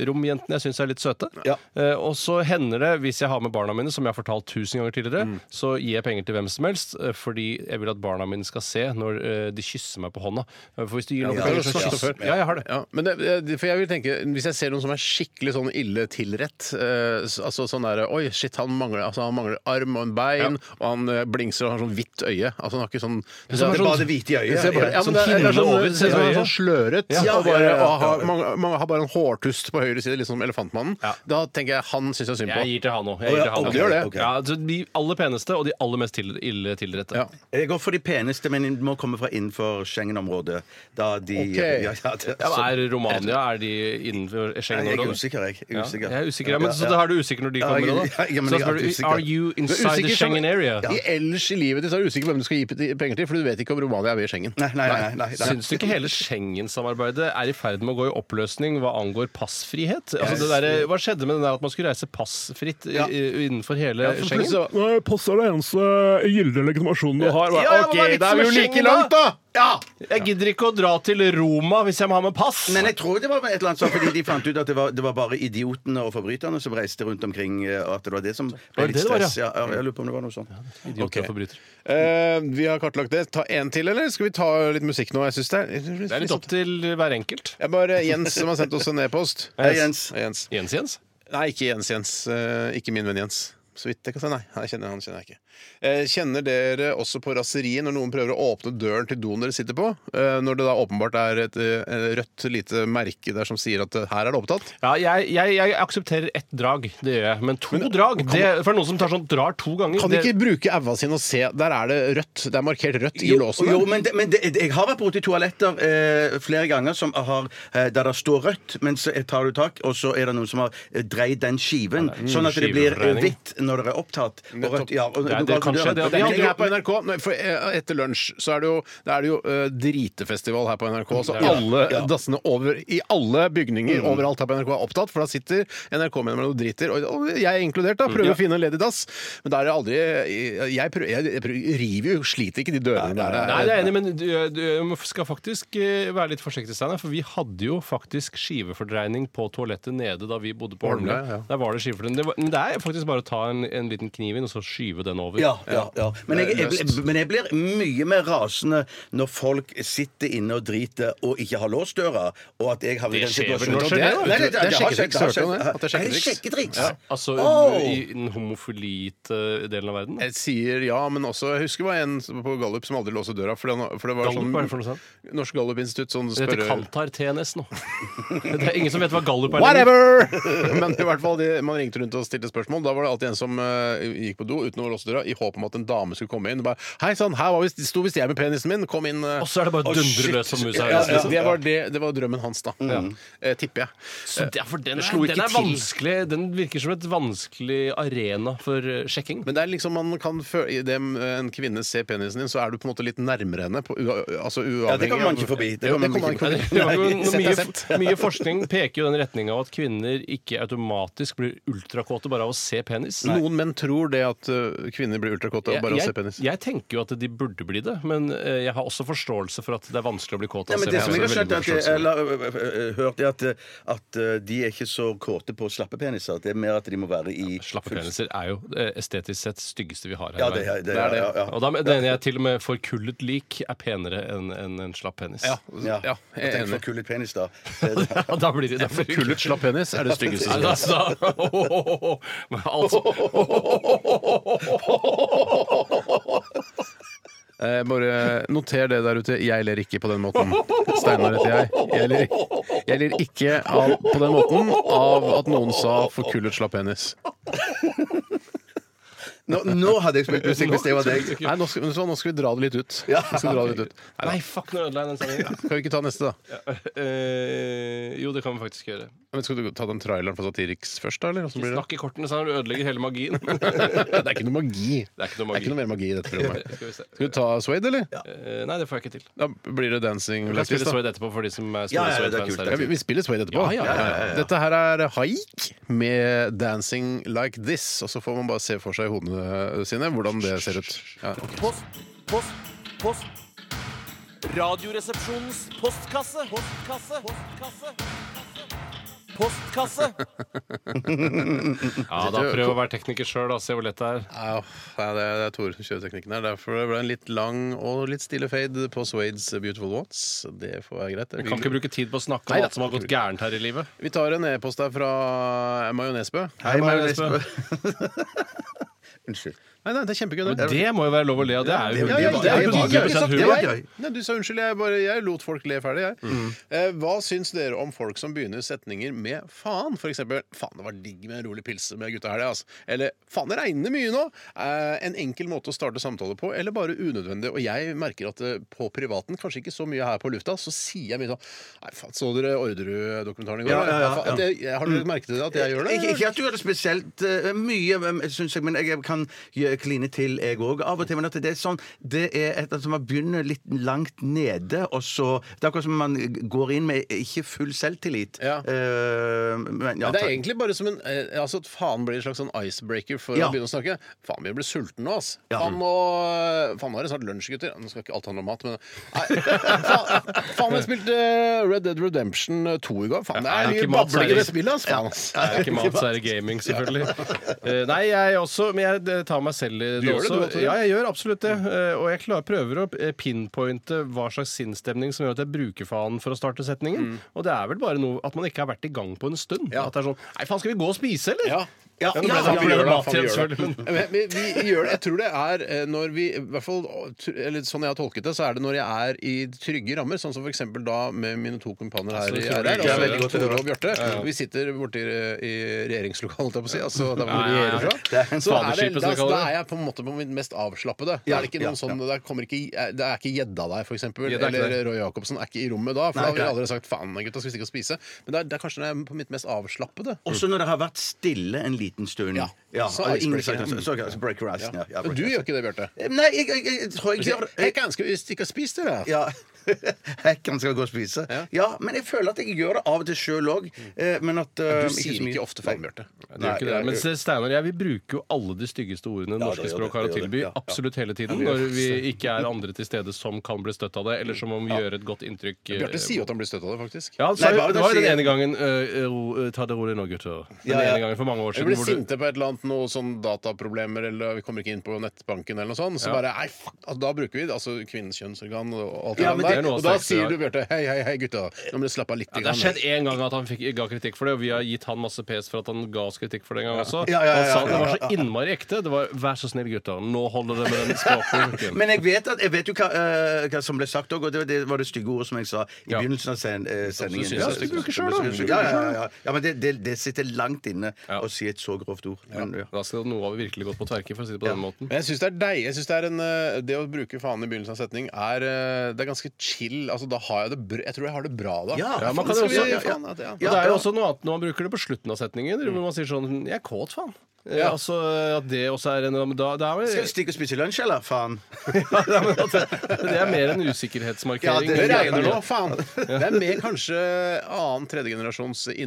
Speaker 3: eh, romjentene jeg syns er litt søte.
Speaker 2: Ja.
Speaker 3: Eh, og så hender det, hvis jeg har med barna mine, som jeg har fortalt tusen ganger tidligere,
Speaker 2: Mm.
Speaker 3: så gir jeg penger til hvem som helst, eh, fordi jeg vil at barna mine skal se når eh, de kysser meg på hånda. Eh, For hvis du gir noen
Speaker 1: Ja,
Speaker 3: penger,
Speaker 1: det har
Speaker 3: så
Speaker 1: vi snakket
Speaker 3: kysser
Speaker 1: om før.
Speaker 3: Ja, jeg har det.
Speaker 1: Ja, men det, det- for jeg vil tenke, Hvis jeg ser noen som er skikkelig sånn ille tilrett eh, s- altså sånn der, Oi, shit, han mangler, altså, han mangler arm og en bein, og han eh, blingser og har sånn hvitt øye. Altså han har ikke sånn
Speaker 2: det er bare det hvite i øyet.
Speaker 1: Jeg ser bare- ja,
Speaker 2: Ja,
Speaker 1: men det er- det er
Speaker 3: øynene
Speaker 1: sånn,
Speaker 3: over
Speaker 1: det ser ut som en
Speaker 3: øyet.
Speaker 1: sånn sløret.
Speaker 3: Ja,
Speaker 1: og bare,
Speaker 3: ja, ja, ja.
Speaker 1: og har, man, man har bare en hårtust på høyre side, litt som Elefantmannen.
Speaker 3: Ja.
Speaker 1: Da tenker jeg han syns jeg synd på.
Speaker 3: Jeg gir til han òg.
Speaker 2: Å, ja, ok,
Speaker 3: Ja,
Speaker 2: ok.
Speaker 3: altså, de aller peneste og de aller mest til, ille tilrette.
Speaker 1: Ja.
Speaker 2: Jeg går for de peneste, men de må komme fra innenfor Schengen-området. Da de
Speaker 1: Ok.
Speaker 2: ja, ja, det,
Speaker 3: Ja,
Speaker 2: så-
Speaker 3: er Romania er de innenfor
Speaker 2: Nei, jeg er
Speaker 3: Schengen-området?
Speaker 2: usikker, jeg. Jeg er usikker.
Speaker 3: Ja, jeg er usikker, ja, men Så
Speaker 2: Ja,
Speaker 3: da
Speaker 2: ja.
Speaker 3: er du usikker når de
Speaker 2: Ja,
Speaker 3: kommer?
Speaker 2: jeg-
Speaker 3: da?
Speaker 2: ja, jeg- men
Speaker 3: så
Speaker 2: jeg er
Speaker 3: spør du
Speaker 2: alltid usikker.
Speaker 3: Are you
Speaker 1: Du er
Speaker 3: inside the
Speaker 1: usikker som-
Speaker 3: Schengen area?
Speaker 1: I ellers i livet ditt så er du usikker på hvem du skal gi p- penger til, for du vet ikke om Romania er med i Schengen.
Speaker 2: Nei, nei, nei, nei, nei.
Speaker 3: Syns du ikke hele Schengen-samarbeidet er i ferd med å gå i oppløsning hva angår passfrihet? Altså det der, hva skjedde med det der at man skulle reise passfritt i- i- innenfor hele Schengen?
Speaker 10: Nei, pass er det eneste gyldige legitimasjonen du har.
Speaker 3: Ja, ja, men hva er
Speaker 1: Ok, da er vi jo
Speaker 3: vitsen med
Speaker 1: like
Speaker 3: Schengen,
Speaker 1: langt, da! Ja!
Speaker 3: Jeg gidder ikke å dra til Roma hvis jeg må ha med pass!
Speaker 2: Men jeg tror det var et eller annet sånt, fordi de fant ut at det var, det var bare idiotene og forbryterne som reiste rundt omkring, eh, og at det var det som ble
Speaker 3: det
Speaker 2: litt
Speaker 3: det var, ja?
Speaker 2: stress. Ja, ja, jeg lurer på om det var noe sånt.
Speaker 3: Idioter og forbrytere.
Speaker 1: Eh, vi har kartlagt det. Ta en til, eller skal vi ta litt musikk nå? Jeg synes det, er,
Speaker 3: Det er litt opp til hver enkelt.
Speaker 1: Jeg bare Jens som har sendt oss en e-post.
Speaker 2: Hei, Jens.
Speaker 1: Jens.
Speaker 3: Jens Jens?
Speaker 1: Nei, ikke Jens Jens. Eh, ikke min venn Jens. Så vidt jeg kan si. Nei, jeg kjenner, han kjenner jeg ikke. Eh, kjenner dere også på raseriet når noen prøver å åpne døren til doen dere sitter på? Eh, når det da åpenbart er et eh, rødt lite merke der som sier at eh, her er det opptatt?
Speaker 3: Ja, jeg, jeg, jeg aksepterer ett drag, det gjør jeg. Men to drag det, For noen som tar sånn drar to ganger
Speaker 1: Kan de
Speaker 3: det-
Speaker 1: ikke bruke aua sin og se Der er det rødt. Det er markert rødt i låsen.
Speaker 2: Jo, men, det, men det, jeg har vært borti toaletter eh, flere ganger som har, eh, der det står rødt, men så eh, tar du tak, og så er det noen som har eh, dreid den skiven, sånn at det blir eh,
Speaker 3: skiveregning.
Speaker 2: hvitt når det er opptatt. Og rødt, ja, og,
Speaker 3: Det er-
Speaker 2: du
Speaker 3: det
Speaker 2: går til
Speaker 3: kanskje-
Speaker 2: døren.
Speaker 3: det er-
Speaker 1: Det
Speaker 3: Ja,
Speaker 1: er ikke
Speaker 3: du-
Speaker 1: her på NRK. Nei, For eh, etter lunsj så er det jo, da er det jo eh, dritefestival her på NRK. Så
Speaker 3: Ja. Mm.
Speaker 1: alle dassene over, i alle bygninger overalt her på NRK er opptatt, for da sitter NRK-medlemmene og driter. Og, og jeg inkludert,
Speaker 3: Mm.
Speaker 1: da. Prøver å finne en ledig dass. Men da er det aldri eh, Jeg, prøver, jeg, jeg prøver, river jo, sliter ikke de dørene der.
Speaker 3: Nei, det er jeg enig, i, men du, du skal faktisk eh, være litt forsiktig, Steinar. For vi hadde jo faktisk skivefordreining på toalettet nede da vi bodde på Holmlia.
Speaker 1: Holmlia, ja.
Speaker 3: Der var det skivefordeling. Det var, men det er faktisk bare å ta en, en liten kniv inn og så skyve den over.
Speaker 2: Ja, ja, ja. Men, jeg, jeg, ble- men jeg blir mye mer rasende når folk sitter inne og driter og ikke har låst døra, og at jeg har
Speaker 3: Det skjer vel når
Speaker 2: Nei,
Speaker 3: skjer det, da?
Speaker 2: nei, nei,
Speaker 1: Det er
Speaker 2: har skjedd,
Speaker 1: sjekketriks,
Speaker 2: har
Speaker 1: hørte du om det?
Speaker 2: skjedd.
Speaker 1: At det er
Speaker 2: Er det sjekketriks?
Speaker 3: Altså
Speaker 2: Åh!
Speaker 3: i den homofilite eh, delen av verden. da.
Speaker 1: Jeg sier ja, men også Jeg husker det var en på Gallup som aldri låste døra. For, han- for det var
Speaker 3: Gallup, hva er det for noe sånn?
Speaker 1: sånn Norsk Gallup-institutt sånn
Speaker 3: Det heter
Speaker 1: spørre-
Speaker 3: Kantar TNS nå. Det er ingen som vet hva gallup er. lenger.
Speaker 1: Whatever! Men i hvert fall, de, man ringte rundt og stilte spørsmål. Da var det alltid en som eh, gikk på do uten å låse døra, i håp om at en dame skulle komme inn. Bare, Hei sann, her var visst- sto visst jeg med penisen min. Kom inn. eh.»
Speaker 3: Og så er det bare å dundre løs som musa.
Speaker 1: Ja, ja, Det, var det, det var drømmen hans, da. Eh, tipper jeg.
Speaker 3: Så derfor, den er,
Speaker 1: slo ikke
Speaker 3: den er
Speaker 1: til.
Speaker 3: vanskelig. Den virker som et vanskelig arena for eh, sjekking.
Speaker 1: Men det er liksom man kan fø- i det eh, en kvinne ser penisen din, så er du på en måte litt nærmere henne. På, u, altså uavhengig
Speaker 2: Ja, det kommer man ikke
Speaker 1: av-
Speaker 2: forbi. Det
Speaker 1: Jo, det
Speaker 2: kommer man
Speaker 1: kommer
Speaker 2: ikke
Speaker 1: man ikke
Speaker 3: Det var
Speaker 1: forbi.
Speaker 3: jo
Speaker 1: Nei,
Speaker 3: noe
Speaker 1: sett er
Speaker 3: mye,
Speaker 1: sett.
Speaker 3: mye forskning peker jo i den retninga at kvinner ikke automatisk blir ultrakåte bare av å se penis.
Speaker 1: Noen menn tror det at eh, kvinner blir ultrakåte av
Speaker 3: Jeg,
Speaker 1: bare å se
Speaker 3: jeg,
Speaker 1: penis.
Speaker 3: jeg tenker jo at de burde bli det, men eh, jeg har også forståelse for at det er vanskelig å bli kåt
Speaker 2: Nei,
Speaker 3: av å
Speaker 2: men
Speaker 3: se
Speaker 2: det som jeg har
Speaker 3: penis. Altså,
Speaker 2: skjønt,
Speaker 3: Veldig
Speaker 2: er
Speaker 3: mye
Speaker 2: at, jeg-
Speaker 3: forståelse.
Speaker 2: eller ø, ø, ø, hørt, er at, ø, at ø, de er ikke så kåte på slappe peniser. Det er mer at de må være i
Speaker 3: Slappe peniser er jo eh, estetisk sett styggeste vi har her.
Speaker 2: Ja,
Speaker 3: i
Speaker 2: det
Speaker 3: verden.
Speaker 2: er det. Er, ja, ja.
Speaker 3: Og da mener jeg til og med forkullet lik er penere enn enn en slapp penis.
Speaker 1: Ja,
Speaker 2: Ja.
Speaker 1: Altså, ja, jeg er
Speaker 2: Tenk for
Speaker 1: enig.
Speaker 2: kullet penis, da.
Speaker 3: Ja, da blir det, da blir det
Speaker 1: Kullet slapp penis er det styggeste som
Speaker 3: Nei,
Speaker 1: finnes.
Speaker 3: altså, Men altså
Speaker 1: Eh, bare noter det der ute. Jeg ler ikke på den måten. Steinar heter jeg. Jeg ler, jeg ler ikke av, på den måten av at noen sa 'forkullet slapp penis'.
Speaker 2: Nå, nå hadde jeg spilt musikk hvis det var deg.
Speaker 1: Nei, nå skal, så, nå skal vi dra det litt ut.
Speaker 2: Ja.
Speaker 1: Nå skal vi dra det litt ut.
Speaker 3: Nei, fuck, nå ødela jeg den sendingen.
Speaker 1: Kan vi ikke ta neste, da?
Speaker 3: Eh, jo, det kan vi faktisk gjøre.
Speaker 1: Men skal du ta den traileren fra Satiriks først, da? Eller? Hvordan Blir det?
Speaker 3: Snakk i kortene, sånn du ødelegger hele magien.
Speaker 1: det er ikke noe magi.
Speaker 3: Det er ikke noe magi.
Speaker 1: mer magi i dette programmet.
Speaker 3: Skal vi se.
Speaker 1: Skal vi ta Swade, eller?
Speaker 3: Eh, nei, det får jeg ikke til.
Speaker 1: Da blir det Dancing
Speaker 3: Vi kan
Speaker 1: Like This,
Speaker 3: spille
Speaker 1: da.
Speaker 3: Swade etterpå for de som er
Speaker 2: Ja,
Speaker 3: store
Speaker 2: ja, det
Speaker 3: Swade-fans
Speaker 2: er kult,
Speaker 3: der
Speaker 1: Ja,
Speaker 3: ute.
Speaker 1: vi, vi spiller Swade etterpå.
Speaker 3: Ja, ja, ja, ja,
Speaker 1: Dette her er Haik med 'Dancing Like This'. Og så får man bare se for seg i hodene sine hvordan det ser ut. Ja.
Speaker 9: Post, post, post. Radioresepsjonens postkasse. Postkasse. Postkasse. Postkasse.
Speaker 3: Ja, da Prøv å være tekniker sjøl, se hvor lett det er.
Speaker 1: Ja, Nei, det er, det er Tore som kjører teknikken her. Derfor ble det en litt lang og litt stille fade på Swades Beautiful Wants. Det får være greit.
Speaker 3: Vi kan ikke bruke tid på å snakke
Speaker 1: Neida.
Speaker 3: om alt som har gått gærent her i livet.
Speaker 1: Vi tar en e-post her fra Majonesbø.
Speaker 2: Hei, Magnus. Unnskyld.
Speaker 1: Nei, nei, det er kjempegøy.
Speaker 3: Men det må jo være lov å le av. Det er jo
Speaker 1: Ja, ja,
Speaker 2: var-
Speaker 1: det er jo
Speaker 2: det var-
Speaker 1: ikke-
Speaker 2: det
Speaker 1: ikke
Speaker 2: var-
Speaker 1: sant,
Speaker 2: det
Speaker 1: jeg-
Speaker 2: var gøy. Mm.
Speaker 1: Nei, Du sa unnskyld, jeg, bare, jeg lot folk le ferdig, jeg. Eh, hva syns dere om folk som begynner setninger med faen? For eksempel faen, det var digg med en rolig pilse med gutta her, det, altså. Eller faen, det regner mye nå. Eh, en enkel måte å starte samtale på, eller bare unødvendig. Og jeg merker at eh, på privaten, kanskje ikke så mye her på lufta, så sier jeg mye sånn Nei, faen, så dere Orderud-dokumentaren i går?
Speaker 2: Ja, ja, ja,
Speaker 1: Faen, at jeg- jeg- Har dere merket det, at jeg gjør det?
Speaker 2: Ikke, ikke at du gjør det spesielt eh, mye, eh, synes jeg, men jeg kan gjøre- kline til, jeg òg, av og til. Men at det er sånn Det er et at man begynner litt langt nede, og så Det er akkurat som man går inn med ikke full selvtillit.
Speaker 1: Ja.
Speaker 2: Eh, men, ja,
Speaker 1: Ja, det er
Speaker 2: takk.
Speaker 1: egentlig bare som en eh, Altså at faen blir en slags sånn icebreaker for
Speaker 2: Ja.
Speaker 1: å begynne å snakke. Faen, vi blir sultne nå, ass.
Speaker 2: Ja.
Speaker 1: Faen, nå, faen, nå er det snart lunsj, gutter. Nå skal ikke alt handle om mat, men Nei, faen, faen, jeg spilte eh, Red Dead Redemption 2 i går. Faen, det
Speaker 3: Ja,
Speaker 1: er
Speaker 3: er det
Speaker 1: mye
Speaker 3: ikke mat,
Speaker 1: babling i det
Speaker 3: seriøst?
Speaker 1: spillet, ass. Faen, ass.
Speaker 3: Er det ikke mat, så er det gaming, selvfølgelig. Eh, Nei, jeg også, men jeg eh, tar meg selv i det
Speaker 1: gjør det,
Speaker 3: også.
Speaker 1: du, Tore?
Speaker 3: Ja, jeg gjør absolutt det. Eh, Og jeg klarer, prøver å eh, pinpointe hva slags sinnsstemning som gjør at jeg bruker faen for å starte setningen. Og det er vel bare noe at man ikke har vært i gang på en stund.
Speaker 1: Ja.
Speaker 3: At det er sånn Nei, faen, skal vi gå og spise, eller?
Speaker 1: Ja.
Speaker 3: Ja, nå ble det-
Speaker 1: ja,
Speaker 3: nå ble det
Speaker 1: sånn vi gjør
Speaker 3: mat
Speaker 1: faen, vi
Speaker 3: igjen,
Speaker 1: gjør det.
Speaker 3: selvfølgelig, men-
Speaker 1: Men vi, vi gjør det. Jeg tror det er eh, når vi i hvert fall, eller Sånn jeg har tolket det, så er det når jeg er i trygge rammer, sånn som f.eks. da med mine to kompaner her i
Speaker 3: det tror jeg
Speaker 1: RR,
Speaker 3: ikke er
Speaker 1: altså
Speaker 3: veldig godt
Speaker 1: Tore og Bjarte. Vi sitter borti i regjeringslokalet, holdt jeg på å si, altså der hvor
Speaker 3: Nei,
Speaker 1: vi
Speaker 3: nei,
Speaker 1: regjerer
Speaker 3: nei.
Speaker 1: fra.
Speaker 3: Det er en
Speaker 1: Så er det,
Speaker 3: spadeskip, som
Speaker 1: da,
Speaker 3: vi kaller
Speaker 1: da
Speaker 3: det.
Speaker 1: er jeg på en måte på mitt mest avslappede. Da er det ikke
Speaker 2: Ja,
Speaker 1: noen sånn, da kommer ikke, det er ikke gjedda der, f.eks.
Speaker 3: Gjedda er ikke
Speaker 1: Eller
Speaker 3: der.
Speaker 1: Roy Jacobsen er ikke i rommet da, for da
Speaker 2: Nei,
Speaker 1: ville jeg
Speaker 2: nei.
Speaker 1: aldri sagt 'faen, gutta, skal vi stikke og spise'? Men det er, det er kanskje når jeg er på mitt mest avslappede.
Speaker 2: Også når det har vært stille en liten stund.
Speaker 1: Ja. Så
Speaker 2: og ingen
Speaker 1: icebreaker,
Speaker 2: sier-
Speaker 1: ja.
Speaker 2: så- så- så breaker isen, ja. ja
Speaker 1: Men du gjør
Speaker 2: breaker
Speaker 1: ikke det, Bjarte.
Speaker 2: isen. Eh, Nei, jeg, jeg, jeg tror
Speaker 1: Du
Speaker 2: jeg
Speaker 1: sier,
Speaker 2: gjør
Speaker 1: Hei, kan skal vi stikke og spise det, da?
Speaker 2: Ja. Hekken skal gå og spise.
Speaker 1: Ja. Mm.
Speaker 2: Ja. men jeg føler at jeg gjør det av og til sjøl òg. Men at
Speaker 3: um,
Speaker 2: eh,
Speaker 1: Du sier
Speaker 2: så mye.
Speaker 1: ikke ofte faen, Bjarte.
Speaker 3: Nei, det gjør ikke det. Men se, Steinar og jeg vi bruker jo alle de styggeste ordene det
Speaker 2: Ja,
Speaker 3: norske
Speaker 2: det gjør
Speaker 3: språk
Speaker 2: det,
Speaker 3: har å
Speaker 2: det gjør det.
Speaker 3: tilby
Speaker 2: Ja, ja.
Speaker 3: absolutt hele tiden når vi ikke er andre til stede som kan bli støtt av det, eller som om vi gjør et godt inntrykk. eh,
Speaker 1: Bjarte sier jo at han blir støtt av det, faktisk.
Speaker 3: Ja, han sa
Speaker 2: Nei,
Speaker 3: jo-
Speaker 2: bare
Speaker 3: det
Speaker 2: det
Speaker 3: var jo den
Speaker 2: sier-
Speaker 3: ene gangen eh, ro, eh, Ta det rolig nå, gutter. Den
Speaker 2: Ja, ja.
Speaker 3: ene gangen for mange år
Speaker 1: Vi
Speaker 3: siden.
Speaker 1: blir
Speaker 3: hvor du-
Speaker 1: sinte på et eller annet, noe sånn dataproblemer, eller vi kommer ikke inn på nettbanken, eller noe sånt. Så
Speaker 3: Ja.
Speaker 1: bare nei, fuck, altså, Da bruker vi det, altså kvinnens kjønnsorgan og alt det
Speaker 3: Ja, men det
Speaker 1: der.
Speaker 3: er noe av
Speaker 1: og da
Speaker 3: sex,
Speaker 1: sier
Speaker 3: ja.
Speaker 1: du, Bjarte, hei, hei, hei, gutta, nå må du slappe av litt.
Speaker 3: Ja, det har skjedd én gang at han fikk, ga kritikk for det, og vi har gitt han masse pes for at han ga oss kritikk for det en gang også.
Speaker 2: Ja, ja, ja, ja,
Speaker 3: han sa det var
Speaker 2: ja, ja,
Speaker 3: så innmari ekte. Det var 'vær så snill, gutter, nå holder det med den språkbruken'.
Speaker 2: Men jeg vet, at, jeg vet jo hva, eh, hva som ble sagt òg, og det, var- det var det stygge ordet som jeg sa i
Speaker 3: Ja.
Speaker 2: begynnelsen av sen, eh, sendingen.
Speaker 3: synes jeg er stygt. Du bruker selv, da.
Speaker 2: Ja, ja, ja, ja. ja, men det, det, det sitter langt inne
Speaker 3: Ja.
Speaker 2: å si et så grovt ord. Men, ja.
Speaker 3: Da skal noe av det virkelig gått på tverke, for å si det på den måten.
Speaker 1: Men jeg synes det er deg. Jeg synes det, er en, eh, det å bruke faen i begynnelsen av setning er, eh, det er ganske chill. Altså, da har jeg det br Jeg tror jeg har det bra da.
Speaker 2: Ja,
Speaker 3: Ja, man kan
Speaker 1: Skal
Speaker 3: jo
Speaker 1: vi-
Speaker 3: også, ja,
Speaker 1: faen, at- ja.
Speaker 3: Og det er jo også noe annet når man bruker det på slutten av setninger,
Speaker 2: Mm.
Speaker 3: hvor man sier sånn 'jeg er kåt, faen'. Ja.
Speaker 1: Ja.
Speaker 3: Altså, at det også er en da, det, er,
Speaker 2: Skal
Speaker 3: vel-
Speaker 2: vi stikke og spise lunsj, eller? Faen.
Speaker 3: Ja, men at det, det er mer en usikkerhetsmarkering.
Speaker 2: Ja,
Speaker 1: Det
Speaker 2: Ja,
Speaker 1: regner nå,
Speaker 3: Ja.
Speaker 1: faen! Det er mer kanskje annen tredjegenerasjons eh,
Speaker 3: Ja,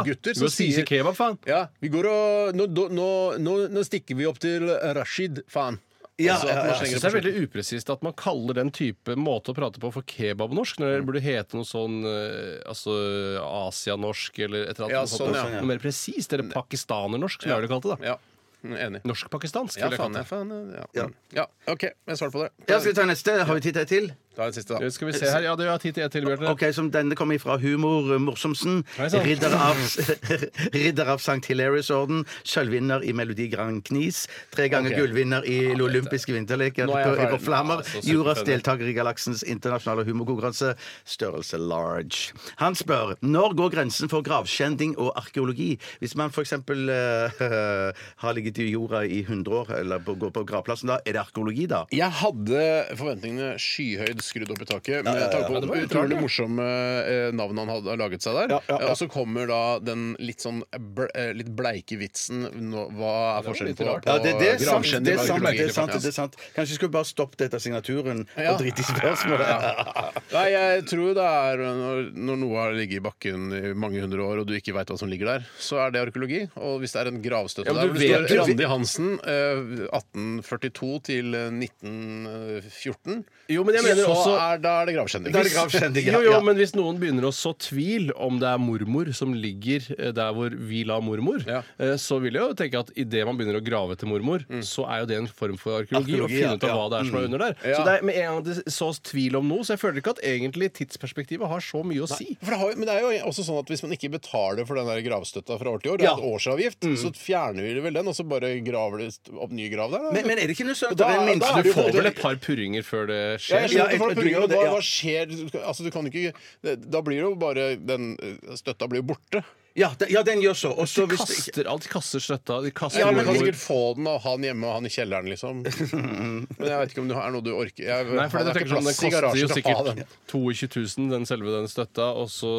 Speaker 1: innvandrergutter
Speaker 3: du spiser kebab, faen.
Speaker 1: ja, vi går og nå, nå, nå, nå stikker vi opp til Rashid, faen.
Speaker 2: Ja,
Speaker 1: Altså, at man
Speaker 2: ja, ja.
Speaker 1: slenger
Speaker 3: Jeg
Speaker 1: det
Speaker 3: synes det
Speaker 1: på
Speaker 3: er veldig upresist at man kaller den type måte å prate på for kebabnorsk, når det burde hete noe sånn eh, altså, asianorsk eller et eller annet.
Speaker 1: Ja,
Speaker 3: noe sånt.
Speaker 1: sånn, ja.
Speaker 3: Noe mer presist. Eller pakistanernorsk, som jeg ville kalt det. da
Speaker 1: slutten. Ja, enig.
Speaker 3: Norsk-pakistansk.
Speaker 1: Ja,
Speaker 3: ville jeg
Speaker 1: faen,
Speaker 3: kalt
Speaker 1: ja,
Speaker 3: det.
Speaker 1: faen, ja. Ja. ja, OK. Jeg svarte på det.
Speaker 2: Ja, skal vi ta neste? Har vi tid til et til?
Speaker 1: Da er det siste,
Speaker 3: Eh,
Speaker 1: da.
Speaker 3: Skal vi se her. Ja, det har jeg tid til, jeg til, Bjarte.
Speaker 2: Ok, som Denne kommer fra Humor eh, Morsomsen.
Speaker 3: Hei sann.
Speaker 2: Ridder av, ridder av St. Hilarious-orden. Sølvvinner i Melodi Grand Knis. Tre ganger
Speaker 1: Ok.
Speaker 2: gullvinner i olympiske vinterleker
Speaker 1: Nå er jeg
Speaker 2: på,
Speaker 1: ferdig.
Speaker 2: på Flammer.
Speaker 3: Ja, så superfeil.
Speaker 2: Jordas deltaker i galaksens internasjonale humorkonkurranse. Størrelse large. Han spør når går grensen for gravskjending og arkeologi? Hvis man f.eks. Uh, har ligget i jorda i 100 år, eller på- går på gravplassen da, er det arkeologi da?
Speaker 1: Jeg hadde forventningene skyhøyd skrudd opp i taket. Med tanke på
Speaker 3: det var
Speaker 1: det
Speaker 3: jo
Speaker 1: utrolig
Speaker 3: klart,
Speaker 1: morsomme eh, navn han hadde har laget seg der.
Speaker 2: Ja, ja, ja.
Speaker 1: Eh, Og så kommer da den litt sånn ble, eh, litt bleike vitsen nå, Hva er forskjellen
Speaker 3: litt
Speaker 1: på,
Speaker 3: rart.
Speaker 1: på
Speaker 2: Ja, det, det, er sant,
Speaker 1: gravskjending
Speaker 2: det, er
Speaker 1: og
Speaker 2: sant,
Speaker 1: arkeologi,
Speaker 2: det, er sant,
Speaker 1: faktisk.
Speaker 2: det er sant. Kanskje vi skulle bare stoppet dette signaturen
Speaker 1: Ja.
Speaker 2: og drite i spørsmålet.
Speaker 1: Nei, jeg tror det er når, når noe har ligget i bakken i mange hundre år, og du ikke veit hva som ligger der, så er det arkeologi. Og hvis det er en gravstøtte
Speaker 3: Ja, men
Speaker 1: der
Speaker 3: du
Speaker 1: hvor det
Speaker 3: vet-
Speaker 1: står
Speaker 3: du-
Speaker 1: Randi Hansen eh, 1842 til eh, 1914
Speaker 3: Jo, men jeg
Speaker 1: Så
Speaker 3: mener også-
Speaker 1: er, da er det gravskjending.
Speaker 2: Da er det gravskjending, ja.
Speaker 3: Jo, jo,
Speaker 2: ja.
Speaker 3: men hvis noen begynner å så tvil om det er mormor som ligger eh, der hvor vi la mormor,
Speaker 1: Ja. Mm.
Speaker 3: eh, så vil jeg jo tenke at idet man begynner å grave etter mormor, så er jo det en form for arkeologi,
Speaker 2: Arkeologi,
Speaker 3: å finne ut av
Speaker 2: ja,
Speaker 3: hva det er som er under der.
Speaker 1: Ja.
Speaker 3: Så det er med en gang det sås tvil om noe, så jeg føler ikke at egentlig tidsperspektivet har så mye å si.
Speaker 1: For det har, jo- men det er jo også sånn at hvis man ikke betaler for den der gravstøtta fra år til år, det
Speaker 3: Ja. Mm.
Speaker 1: er en årsavgift, så fjerner vi vel den, og så bare graver det st- opp ny grav der? da?
Speaker 2: Men, men er det ikke noe sånn at
Speaker 1: Da-
Speaker 2: det er en
Speaker 1: da
Speaker 2: minste
Speaker 1: er det
Speaker 3: Du
Speaker 1: jo
Speaker 3: får
Speaker 1: på-
Speaker 3: vel et par purringer før det
Speaker 1: Ja, jeg
Speaker 3: skjer?
Speaker 1: skjønner
Speaker 2: Ja,
Speaker 1: ikke folk
Speaker 2: jeg- jeg
Speaker 1: bryr
Speaker 2: tror
Speaker 1: seg.
Speaker 2: det,
Speaker 1: hva,
Speaker 2: ja.
Speaker 1: hva skjer? Du skal- Altså, du kan ikke det- Da blir det jo bare den eh, Støtta blir jo borte.
Speaker 2: Ja, den- ja, den gjør så. Og så
Speaker 3: De
Speaker 2: hvis det ikke
Speaker 3: kaster alt, de kaster støtta, de kaster
Speaker 1: Ja, men
Speaker 2: altså-
Speaker 1: kan
Speaker 3: mormor.
Speaker 1: sikkert få den og ha den hjemme og ha den i kjelleren, liksom. Men jeg vet ikke om det er noe du orker. Jeg,
Speaker 3: Nei, for
Speaker 1: det
Speaker 3: det
Speaker 1: er
Speaker 3: tenker
Speaker 1: ikke
Speaker 3: sånn, Den
Speaker 1: plass i
Speaker 3: koster jo
Speaker 1: garasjen til å ha
Speaker 3: sikkert
Speaker 1: den.
Speaker 3: 22 000, den selve den støtta. Og så,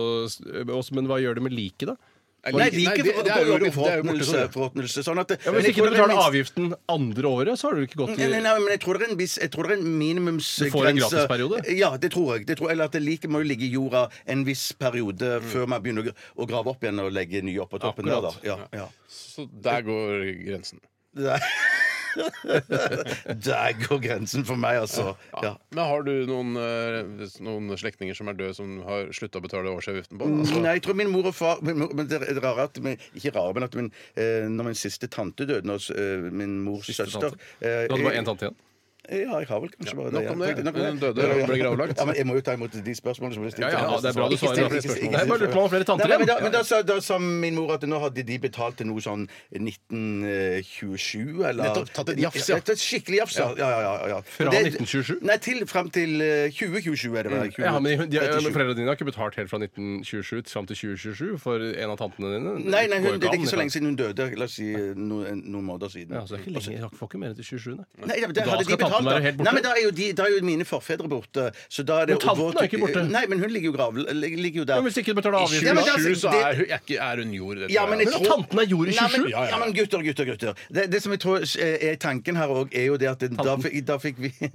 Speaker 3: og så- men hva gjør det med liket, da?
Speaker 2: Nei, de
Speaker 1: Nei,
Speaker 2: ikke
Speaker 1: det- det er jo-
Speaker 2: går jo i
Speaker 1: det er jo borte
Speaker 2: forråtnelse.
Speaker 1: sånn.
Speaker 2: forråtnelse, Sånn at
Speaker 3: Ja, men Hvis
Speaker 2: jeg
Speaker 3: ikke du
Speaker 2: tror det er
Speaker 3: betaler
Speaker 2: minst-
Speaker 3: avgiften andre året, så har du ikke gått
Speaker 2: Nei, nei,
Speaker 3: i
Speaker 2: nei, men jeg tror det er en, viss, jeg tror det er en minimumsgrense.
Speaker 3: Du får en gratisperiode?
Speaker 2: Ja, det tror jeg. Det tror, eller at det like må jo ligge i jorda en viss periode før man begynner å gra- å grave opp igjen og legge nye opp på toppen. Der, da.
Speaker 3: Akkurat.
Speaker 2: Ja, ja.
Speaker 1: Så der går grensen.
Speaker 2: Der går grensen for meg, altså. Ja.
Speaker 1: Men har du noen, eh, noen slektninger som er døde, som har slutta å betale årsavgiften på? Altså,
Speaker 2: Mm, Nei, jeg tror min mor og far min mor, men det er rare at min, Ikke rare, men at min, eh, når min siste tante døde, når s- eh, min mors søster
Speaker 3: tante. Du hadde bare én tante igjen.
Speaker 2: Ja, jeg har vel kanskje bare det.
Speaker 1: nok om
Speaker 2: ja.
Speaker 1: det.
Speaker 2: Nok
Speaker 1: Hun døde og ble gravlagt.
Speaker 2: Ja, men jeg må jo ta imot de spørsmålene som blir
Speaker 3: Ja,
Speaker 2: stilt.
Speaker 3: ja, ja, det er bra du svarer.
Speaker 2: Ikke still- ikke
Speaker 3: Nei,
Speaker 2: still- ikke
Speaker 3: jeg bare
Speaker 2: still-
Speaker 3: lurte på om flere tanter
Speaker 2: Nei, men, da,
Speaker 3: igjen.
Speaker 2: men da, sa, da sa min mor at nå hadde de betalt til noe sånn 1927, eller
Speaker 1: Nettopp, tatt et jafs, ja.
Speaker 2: tatt et Skikkelig jafs, ja. ja, ja, ja, ja.
Speaker 3: Fra
Speaker 2: Og det-
Speaker 3: 1927?
Speaker 2: Nei, til, fram til eh, 2027 er det vel.
Speaker 3: Ja, men de, de,
Speaker 2: 2037.
Speaker 3: Foreldrene dine har ikke betalt helt fra 1927 til- fram til 2027 for en av tantene dine.
Speaker 2: Nei, nei, hun,
Speaker 3: går
Speaker 2: det
Speaker 3: jo
Speaker 2: er
Speaker 3: an,
Speaker 2: ikke så
Speaker 3: kan-
Speaker 2: lenge siden hun døde. La oss si eh, noen, noen måneder siden.
Speaker 3: Ja, så det er ikke lenge, jeg får ikke mer enn til 27. Nei.
Speaker 2: Nei, ja, men da,
Speaker 3: Da
Speaker 2: hadde
Speaker 3: skal
Speaker 2: de betalt,
Speaker 3: tanten være helt borte.
Speaker 2: Nei, men da er jo, de, da er jo mine forfedre borte. Så da er det
Speaker 3: Men tanten er ikke borte.
Speaker 2: Nei, men hun ligger jo, grav,
Speaker 3: Ja,
Speaker 2: ligger jo der.
Speaker 3: men hvis ikke du betaler avgift
Speaker 2: Ja, men
Speaker 3: da.
Speaker 2: det-
Speaker 1: Sju, så
Speaker 2: det-
Speaker 1: er, hun- er, ikke- er hun jord. det
Speaker 2: Ja,
Speaker 1: tror
Speaker 2: men
Speaker 1: jeg.
Speaker 2: jeg
Speaker 3: Men
Speaker 2: tror-
Speaker 3: at tanten er jord i
Speaker 2: Nei,
Speaker 3: 27?
Speaker 2: men, ja, men gutter, gutter, gutter. Det, det som jeg tror eh, er tanken her òg, er jo det at da, fikk- da fikk vi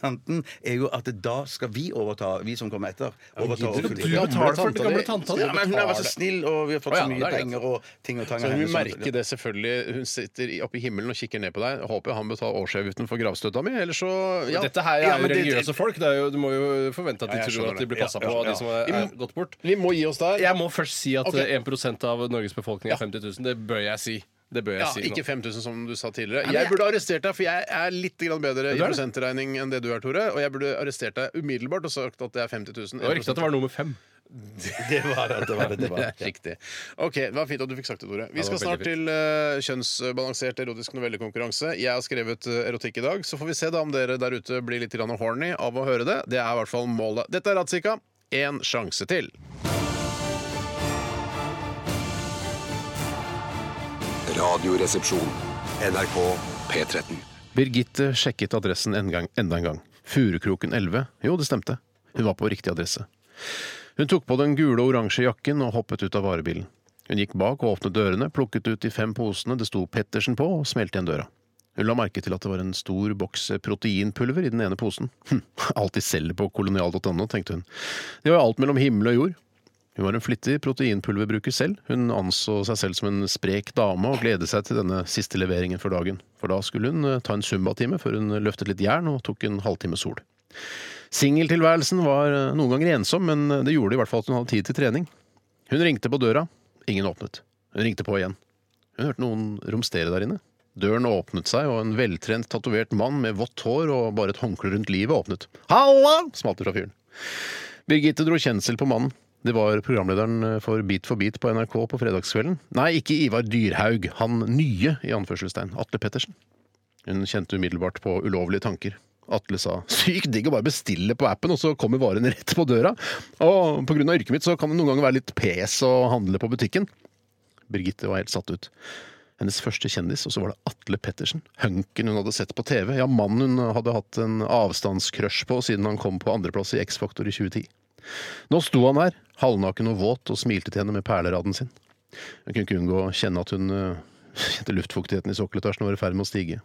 Speaker 2: Tanten er jo at da skal vi overta, vi som kommer etter. Overta
Speaker 3: gidder du?
Speaker 2: offentlig-
Speaker 3: Du
Speaker 2: Ja, men-
Speaker 3: betaler for den gamle tanta di.
Speaker 2: Ja, men hun har vært så snill, og vi har fått
Speaker 1: Å,
Speaker 2: så
Speaker 1: ja, det
Speaker 2: mye
Speaker 1: er greit.
Speaker 2: penger og ting og tang.
Speaker 1: Så
Speaker 2: av
Speaker 1: hun
Speaker 2: henne, sånn at-
Speaker 1: merker det selvfølgelig. Hun sitter oppe i himmelen og kikker ned på deg. Håper han betaler årsavgiften for gravstøtta mi, eller så ja.
Speaker 3: Dette her er
Speaker 2: Ja,
Speaker 3: jo
Speaker 2: men det-
Speaker 3: religiøse folk. Det er jo, du må jo forvente at de
Speaker 1: Ja, jeg
Speaker 3: tror
Speaker 1: skjønner
Speaker 3: at de
Speaker 1: det.
Speaker 3: blir passa
Speaker 1: Ja,
Speaker 3: på
Speaker 1: ja,
Speaker 3: av de
Speaker 1: ja.
Speaker 3: som er, er gått bort.
Speaker 1: Vi må gi oss der.
Speaker 3: Jeg må først si at
Speaker 1: Ok.
Speaker 3: eh, 1 av Norges befolkning er 50 000. Det bør jeg si. Det bør jeg
Speaker 1: Ja,
Speaker 3: si nå.
Speaker 1: ikke 5000 som du sa tidligere. Jeg burde arrestert deg, for jeg er litt grann bedre i
Speaker 3: det?
Speaker 1: prosentregning enn det du er, Tore. Og jeg burde arrestert deg umiddelbart og sagt at det er 50 000.
Speaker 3: Det var riktig at det var nummer fem.
Speaker 2: Det var det, det var det. det var.
Speaker 1: Det er Riktig. OK, det var fint at du fikk sagt det, Tore. Vi
Speaker 3: det
Speaker 1: skal
Speaker 3: var
Speaker 1: snart
Speaker 3: veldig
Speaker 1: til eh, kjønnsbalansert erotisk novellekonkurranse. Jeg har skrevet eh, erotikk i dag, så får vi se da om dere der ute blir litt grann horny av å høre det. Det er i hvert fall målet. Dette er Ratzika. Én sjanse til.
Speaker 4: Radioresepsjon. NRK P13.
Speaker 1: Birgitte sjekket adressen en gang, enda en gang. Furukroken 11. Jo, det stemte. Hun var på riktig adresse. Hun tok på den gule og oransje jakken og hoppet ut av varebilen. Hun gikk bak og åpnet dørene, plukket ut de fem posene det sto Pettersen på, og smelte igjen døra. Hun la merke til at det var en stor boks proteinpulver i den ene posen. Hm, alt de selger på kolonial.no, tenkte hun. Det var jo alt mellom himmel og jord. Hun var en flittig proteinpulverbruker selv. Hun anså seg selv som en sprek dame og gledet seg til denne siste leveringen for dagen. For da skulle hun eh, ta en zumbatime før hun løftet litt jern og tok en halvtime sol. Singeltilværelsen var eh, noen ganger ensom, men det gjorde i hvert fall at hun hadde tid til trening. Hun ringte på døra. Ingen åpnet. Hun ringte på igjen. Hun hørte noen romstere der inne. Døren åpnet seg, og en veltrent, tatovert mann med vått hår og bare et håndkle rundt livet åpnet. Halla! smalt det fra fyren. Birgitte dro kjensel på mannen. Det var programlederen eh, for Beat for beat på NRK på fredagskvelden. Nei, ikke Ivar Dyrhaug. Han nye, i anførselstegn. Atle Pettersen. Hun kjente umiddelbart på ulovlige tanker. Atle sa sykt digg å bare bestille på appen, og så kommer varen rett på døra. Og på grunn av yrket mitt så kan det noen ganger være litt pes å handle på butikken. Birgitte var helt satt ut. Hennes første kjendis, og så var det Atle Pettersen. Hunken hun hadde sett på TV. Ja, mannen hun hadde hatt en avstandscrush på siden han kom på andreplass i X-Faktor i 2010. Nå sto han der, halvnaken og våt, og smilte til henne med perleradden sin. Hun kunne ikke unngå å kjenne at hun eh, kjente luftfuktigheten i sokkeletasjen var i ferd med å stige.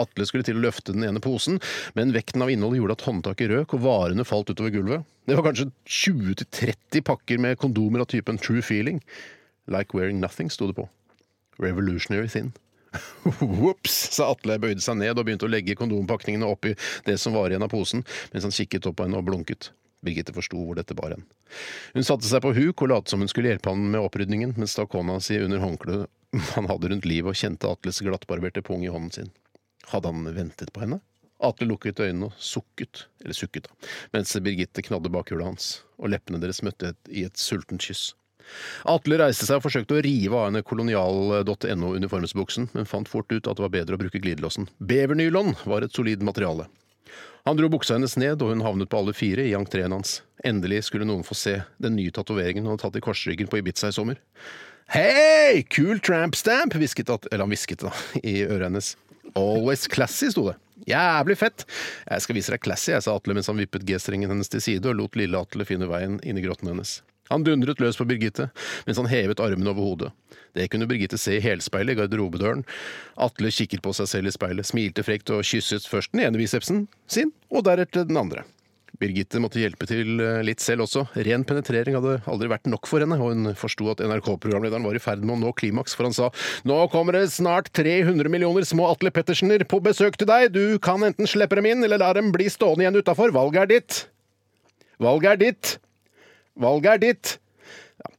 Speaker 1: Atle skulle til å løfte den ene posen, men vekten av innholdet gjorde at håndtaket røk og varene falt utover gulvet. Det var kanskje 20-30 pakker med kondomer av typen True Feeling. Like Wearing Nothing sto det på. Revolutionary Thin. Ops, sa Atle, bøyde seg ned og begynte å legge kondompakningene oppi det som var igjen av posen, mens han kikket opp på henne og blunket. Birgitte forsto hvor dette bar hen. Hun satte seg på huk og lot som hun skulle hjelpe han med opprydningen, men stakk hånda si under håndkleet han hadde rundt livet og kjente Atles glattbarberte pung i hånden sin. Hadde han ventet på henne? Atle lukket øynene og sukket, eller sukket, da, mens Birgitte knadde bakhjulet hans, og leppene deres møtte et, i et sultent kyss. Atle reiste seg og forsøkte å rive av henne kolonial.no-uniformsbuksen, men fant fort ut at det var bedre å bruke glidelåsen. Bevernylon var et solid materiale. Han dro buksa hennes ned, og hun havnet på alle fire i entreen hans. Endelig skulle noen få se den nye tatoveringen hun hadde tatt i korsryggen på Ibiza i sommer. Hei, kul tramp stamp, hvisket at, eller han hvisket da, i øret hennes. Always classy, sto det. Jævlig fett! Jeg skal vise deg classy, jeg, sa Atle mens han vippet G-strengen hennes til side og lot lille Atle finne veien inn i grotten hennes. Han dundret løs på Birgitte mens han hevet armene over hodet. Det kunne Birgitte se i helspeilet i garderobedøren. Atle kikket på seg selv i speilet, smilte frekt og kysset først den ene bicepsen sin, og deretter den andre. Birgitte måtte hjelpe til eh, litt selv også. Ren penetrering hadde aldri vært nok for henne, og hun forsto at NRK-programlederen var i ferd med å nå klimaks, for han sa nå kommer det snart 300 millioner små Atle Pettersener på besøk til deg, du kan enten slippe dem inn eller la dem bli stående igjen utafor, valget er ditt. Valget er ditt. Valget er ditt.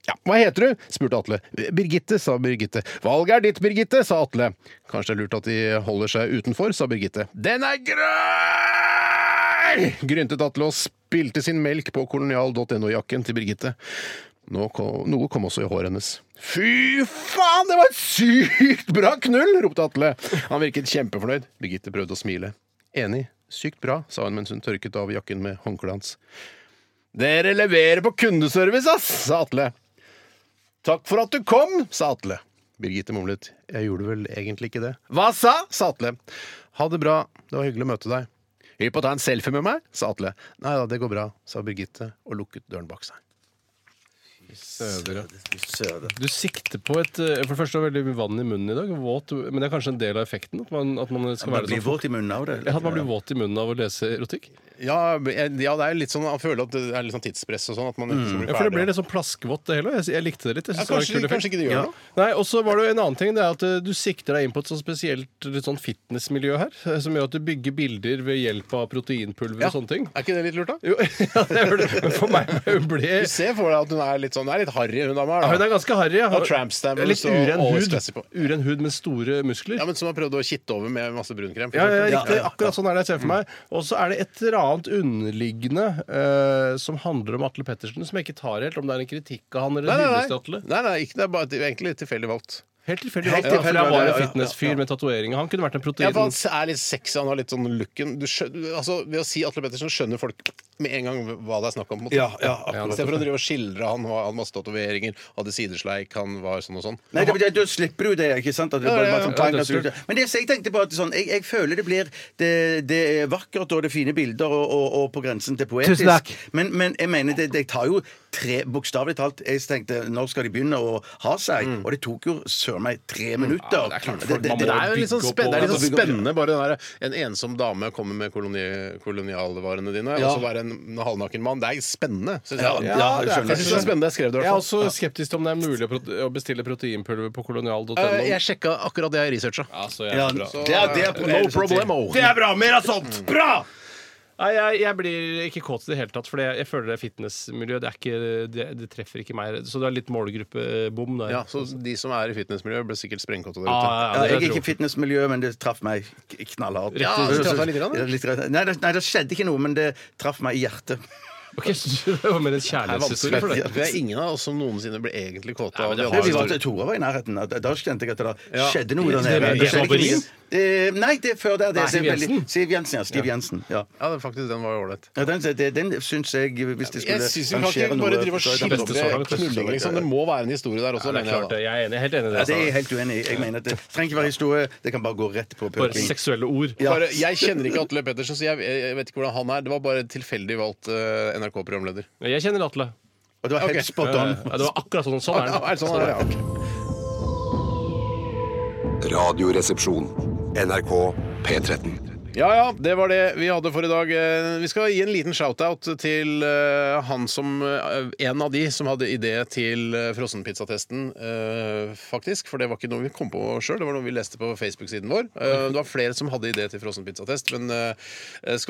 Speaker 1: Ja, hva heter du? spurte Atle. Birgitte, sa Birgitte. Valget er ditt, Birgitte, sa Atle. Kanskje det er lurt at de holder seg utenfor, sa Birgitte. Den er grøy! gryntet Atle og spilte sin melk på kolonial.no-jakken til Birgitte. Nå kom, noe kom også i håret hennes. Fy faen, det var et sykt bra knull! ropte Atle. Han virket kjempefornøyd. Birgitte prøvde å smile. Enig. Sykt bra, sa hun mens hun tørket av jakken med håndkleet hans. Dere leverer på kundeservice, ass, sa Atle. Takk for at du kom, sa Atle. Birgitte mumlet. Jeg gjorde vel egentlig ikke det. Hva sa? sa Atle. Ha det bra, det var hyggelig å møte deg. Hypp på å ta en selfie med meg, sa Atle. Nei da, det går bra, sa Birgitte og lukket døren bak seg.
Speaker 3: Du sikter på et eh, For det første var det veldig vann i munnen i dag. Våt, men det er kanskje en del av effekten? At man, at man skal
Speaker 2: Man
Speaker 3: være
Speaker 2: blir
Speaker 3: sånn
Speaker 2: våt i munnen av det.
Speaker 3: Ja, At man blir våt i munnen av å lese erotikk?
Speaker 1: Ja, jeg- ja, det er litt sånn, han føler at det er litt sånn tidspress og sånn. At man ikke skal bli
Speaker 3: Ja, for det
Speaker 1: ferdig.
Speaker 3: ble litt sånn plaskvått, det hele. Jeg, jeg likte det litt. Jeg
Speaker 1: ja,
Speaker 3: synes det var en
Speaker 1: kanskje,
Speaker 3: kul effekt.
Speaker 1: kanskje ikke det gjør
Speaker 2: Ja.
Speaker 1: noe.
Speaker 3: Nei, og så var det jo en annen ting. Det er at eh, du sikter deg inn på et sånn spesielt litt sånn fitnessmiljø her. eh, Som gjør at du bygger bilder ved hjelp av
Speaker 1: sånn-
Speaker 3: proteinpulver og sånne ting.
Speaker 1: Er ikke det litt lurt, da?
Speaker 3: Jo, ja, det gjør det. Men for meg hun ble
Speaker 1: Du ser for deg at hun er litt sånn, hun er litt harry, hun dama. her,
Speaker 3: ja,
Speaker 1: da.
Speaker 3: Hun er ganske harry. ja.
Speaker 1: Og tramp stammer,
Speaker 3: Litt
Speaker 1: så
Speaker 3: uren
Speaker 1: always
Speaker 3: hud.
Speaker 1: classy på.
Speaker 3: Uren hud med store muskler.
Speaker 1: Ja, men Som har prøvd å kitte over med masse brunkrem. for
Speaker 3: Ja, ja,
Speaker 1: eksempel.
Speaker 3: riktig. Akkurat sånn er det jeg ser for meg. Og så er det et eller annet underliggende eh, som handler om Atle Pettersen, som jeg ikke tar helt, om det er en kritikk av han
Speaker 1: Nei,
Speaker 3: eller en
Speaker 1: nei,
Speaker 3: hyllest til
Speaker 1: nei.
Speaker 3: Atle.
Speaker 1: nei, nei ikke, det er bare det er egentlig tilfeldig valgt.
Speaker 3: Helt tilfeldig.
Speaker 1: Helt
Speaker 3: valgt, da, for
Speaker 1: tilfeldig,
Speaker 3: Han var
Speaker 1: ja,
Speaker 3: en
Speaker 1: ja, ja.
Speaker 3: fitnessfyr med tatoveringer. Han kunne vært en
Speaker 1: Ja,
Speaker 3: protein...
Speaker 1: for Han er litt sexy, han har litt sånn looken du skjønner, altså, Ved å si Atle Pettersen skjønner folk med en gang hva det er snakk om. på en måte.
Speaker 2: Ja, ja,
Speaker 1: I
Speaker 2: akkurat.
Speaker 1: stedet for å drive og skildre han og hadde masse tatoveringer, hadde sidesleik, han var sånn og sånn.
Speaker 2: Nei, det, det, Da slipper du det, ikke sant? At det
Speaker 1: Ja,
Speaker 2: bare,
Speaker 1: ja,
Speaker 2: bare sånn
Speaker 1: ja,
Speaker 2: tang,
Speaker 3: det
Speaker 2: at du, men det, så jeg tenkte på at sånn, jeg, jeg føler det blir det, det er vakkert og det er fine bilder og, og, og på grensen til poetisk.
Speaker 11: Tusen takk.
Speaker 2: Men, men jeg mener, det, det tar jo tre Bokstavelig talt, jeg tenkte når skal de begynne å ha seg? Og det tok jo søren meg tre minutter.
Speaker 3: Mm. det er klart,
Speaker 2: det, det,
Speaker 3: man
Speaker 1: Det
Speaker 2: det,
Speaker 3: må-
Speaker 1: er jo litt sånn
Speaker 3: bygge opp
Speaker 1: spennende, det er litt
Speaker 2: over-
Speaker 1: sånn spennende bare den der, en ensom dame kommer med koloni, kolonialvarene dine,
Speaker 2: Ja.
Speaker 1: og så være en halvnaken mann. Det er spennende. Synes
Speaker 2: Ja,
Speaker 1: jeg.
Speaker 2: ja, jeg
Speaker 1: jeg
Speaker 2: skjønner.
Speaker 1: synes det er spennende. Jeg skrev det i
Speaker 3: Jeg er
Speaker 1: hvert fall.
Speaker 3: også skeptisk til om det er mulig å prote- å bestille proteinpulver på kolonial.no.
Speaker 1: Eh, Jeg sjekka akkurat det jeg researcha.
Speaker 3: Ja, så
Speaker 2: ja,
Speaker 3: jævlig bra. Mm.
Speaker 2: det er, det er
Speaker 1: No problemo.
Speaker 2: Det er bra! Mer av sånt! Bra!
Speaker 3: Nei, jeg, jeg blir ikke kåt i det hele tatt, for jeg, jeg føler det fitnessmiljøet det, er ikke- det, det treffer ikke meg. Så det er litt målgruppebom der.
Speaker 1: Ja, så De som er i fitnessmiljøet, ble sikkert sprengkåte der ute.
Speaker 3: Ja, ja,
Speaker 2: Ja,
Speaker 3: det
Speaker 2: jeg
Speaker 3: tror
Speaker 2: er ikke i fitnessmiljøet, men det traff meg k- knallhardt.
Speaker 3: Ja,
Speaker 1: det traff deg litt grann, da?
Speaker 2: Ja, litt grann. Nei, det, nei, det skjedde ikke noe, men det traff meg i hjertet.
Speaker 3: Ok, så Det var mer en kjærlighetshistorie for deg.
Speaker 1: Det er ingen av oss som noensinne ble egentlig kåte av
Speaker 3: men det
Speaker 1: de
Speaker 2: Nei,
Speaker 3: har
Speaker 2: vi
Speaker 1: andre.
Speaker 2: var til Tora var i nærheten. Da da kjente jeg at det da skjedde noe der
Speaker 3: Det-
Speaker 2: nede.
Speaker 3: det-
Speaker 2: Det skjedde
Speaker 3: det-
Speaker 2: ikke
Speaker 3: Jensen?
Speaker 2: mye. Eh, Nei, det er før der. Det
Speaker 3: Nei,
Speaker 2: er
Speaker 3: Siv
Speaker 2: veldig-
Speaker 3: Jensen?
Speaker 2: Siv Jensen, ja. Siv Jensen. Ja.
Speaker 1: Ja, den- faktisk, den var jo ålreit.
Speaker 2: Ja, den, den, den syns jeg, hvis de skulle
Speaker 1: Jeg syns vi kan ikke
Speaker 2: noe
Speaker 1: bare drive og
Speaker 2: så er det beste
Speaker 3: skildre
Speaker 2: så
Speaker 1: skildre
Speaker 2: langt.
Speaker 1: knulling, liksom. Det må være en historie der også.
Speaker 3: Ja, det er
Speaker 1: mener jeg,
Speaker 3: klart
Speaker 1: da.
Speaker 3: det. Jeg er enig, helt enig i det.
Speaker 2: Ja, det er jeg
Speaker 3: Altså.
Speaker 2: helt uenig i. Jeg mener at Det trenger ikke være historie, det kan bare gå rett på
Speaker 3: Bare
Speaker 2: pulking.
Speaker 3: Altså, seksuelle ord.
Speaker 2: Ja.
Speaker 1: Bare, jeg kjenner ikke Atle Pettersen, så jeg, jeg vet ikke hvordan han er. Det var bare tilfeldig valgt eh, NRK-programleder.
Speaker 3: Jeg kjenner Atle.
Speaker 2: Og det var helt
Speaker 1: Ok.
Speaker 2: spot on.
Speaker 3: Ja, det var akkurat sånn. Sånn er
Speaker 1: Ja, er
Speaker 3: det.
Speaker 1: det sånn? Ja, ok.
Speaker 4: Radioresepsjon. NRK P13.
Speaker 1: Ja ja, det var det vi hadde for i dag. Eh, Vi skal gi en liten shout-out til eh, han som eh, En av de som hadde idé til eh, frossenpizzatesten, eh, faktisk. For det var ikke noe vi kom på sjøl, det var noe vi leste på Facebook-siden vår. Eh, Det var flere som hadde idé til frossenpizzatest, men eh,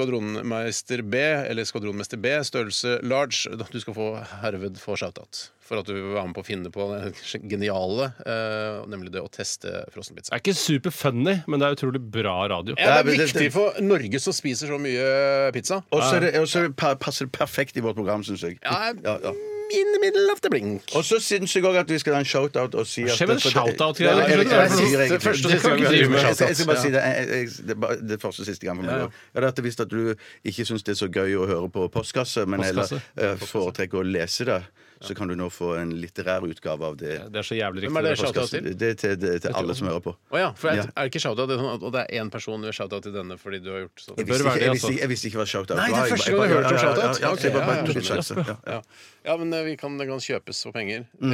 Speaker 1: Skvadronmeister B, eller Skvadronmester B, størrelse large, du skal få herved få shout-out. For at du var med på å finne på det geniale, eh, nemlig det å teste frossenpizza.
Speaker 3: Det er ikke super funny, men det er utrolig bra radio.
Speaker 1: Ja, det
Speaker 2: men
Speaker 1: er
Speaker 2: det-
Speaker 1: viktig for Norge som spiser så mye pizza.
Speaker 2: Og så er det- og så er det pa- passer det perfekt i vårt program, syns jeg.
Speaker 1: Ja,
Speaker 2: Ja, ja.
Speaker 1: In the middle of the blink.
Speaker 2: Og så syns jeg òg at vi skal ha en shout-out og si at
Speaker 3: Skjer med en
Speaker 2: for det-
Speaker 3: shout-out-greie,
Speaker 2: Ja, jeg vet ikke
Speaker 1: Det
Speaker 2: hva jeg
Speaker 1: er
Speaker 2: sier,
Speaker 1: det
Speaker 2: egentlig.
Speaker 1: første og
Speaker 2: Det skal
Speaker 1: siste
Speaker 2: vi
Speaker 1: gang vi
Speaker 2: drive
Speaker 1: driver
Speaker 2: med.
Speaker 1: med
Speaker 2: Jeg- Jeg skal bare
Speaker 1: shout-out.
Speaker 2: si det jeg- jeg- det er bare det første og siste gang for meg. også. Jeg hadde visst at du ikke syns det er så gøy å høre på postkasse, men heller
Speaker 3: Postkasse.
Speaker 2: eh, foretrekker å lese det. Så kan du nå få en litterær utgave av det.
Speaker 3: Det er så jævlig
Speaker 1: Hvem er
Speaker 3: riktig.
Speaker 1: det shout-out
Speaker 2: Postkasse.
Speaker 1: til?
Speaker 2: Det er til, det er til alle som hører på.
Speaker 1: Å ja, for jeg,
Speaker 2: Ja.
Speaker 1: er det ikke shout-out, det er sånn at- og det er én person du har shout-out til denne fordi du har gjort sånn?
Speaker 2: Jeg
Speaker 3: bør
Speaker 2: visste,
Speaker 3: være
Speaker 2: ikke,
Speaker 3: det,
Speaker 2: jeg, visste,
Speaker 3: altså.
Speaker 2: ikke- jeg visste ikke hva shout-out
Speaker 1: Nei, det er
Speaker 2: var. Jeg-
Speaker 1: første
Speaker 2: jeg-
Speaker 1: gang jeg
Speaker 2: ja,
Speaker 1: hørte om
Speaker 2: ja, ja,
Speaker 1: shout-out.
Speaker 2: ja, ja, så jeg bare-
Speaker 1: Ok, ja, ja,
Speaker 2: bare tok en sjanse. Ja, ja.
Speaker 1: Ja. ja, men eh, vi kan, det kan kjøpes for penger. Eh,
Speaker 2: Mm.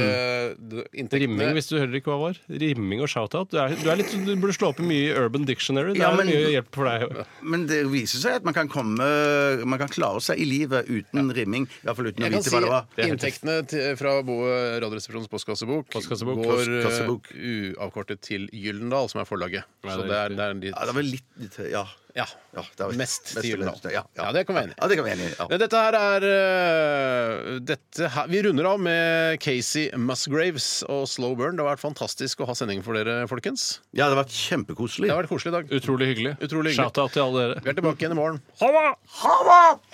Speaker 1: det-
Speaker 3: Rimming,
Speaker 1: inntektene
Speaker 3: hvis du hører ikke hva var. Rimming og shout-out. Du, er, du, er litt, du burde slå opp i mye i Urban Dictionary. Det
Speaker 2: Ja,
Speaker 3: er
Speaker 2: men-
Speaker 3: mye hjelp for deg.
Speaker 2: Men det viser seg at man kan komme Man kan klare seg i livet uten rimming. I hvert fall uten å
Speaker 1: jeg kan
Speaker 2: vite
Speaker 1: si
Speaker 2: hva det var.
Speaker 1: Inntektene til, fra bo- Radioresepsjonens postkassebok,
Speaker 3: Postkassebok.
Speaker 1: går eh,
Speaker 2: Postkassebok.
Speaker 1: uavkortet til Gyllendal, som er forlaget.
Speaker 3: Nei,
Speaker 1: Så
Speaker 3: det
Speaker 1: det
Speaker 3: er
Speaker 1: er, det er litt
Speaker 2: Ja, det var litt, litt Ja.
Speaker 1: Ja.
Speaker 2: ja det var
Speaker 1: Mest til
Speaker 2: til
Speaker 1: Gyllendal.
Speaker 2: Gyllendal. Ja, ja.
Speaker 1: Ja, det kan vi være enig i.
Speaker 2: Ja, det kan vi være enig i.
Speaker 1: Men
Speaker 2: Ja.
Speaker 1: Dette her er øh, dette her, Vi runder av med Casey Musgraves og Slow Burn. Det har vært fantastisk å ha sending for dere, folkens.
Speaker 2: ja, det har vært
Speaker 1: Det
Speaker 2: kjempekoselig.
Speaker 1: har vært koselig i dag.
Speaker 3: Utrolig hyggelig.
Speaker 1: Utrolig hyggelig.
Speaker 3: Shout-out til alle dere.
Speaker 1: Vi er tilbake igjen i morgen.
Speaker 3: Ha det!
Speaker 2: Ha det!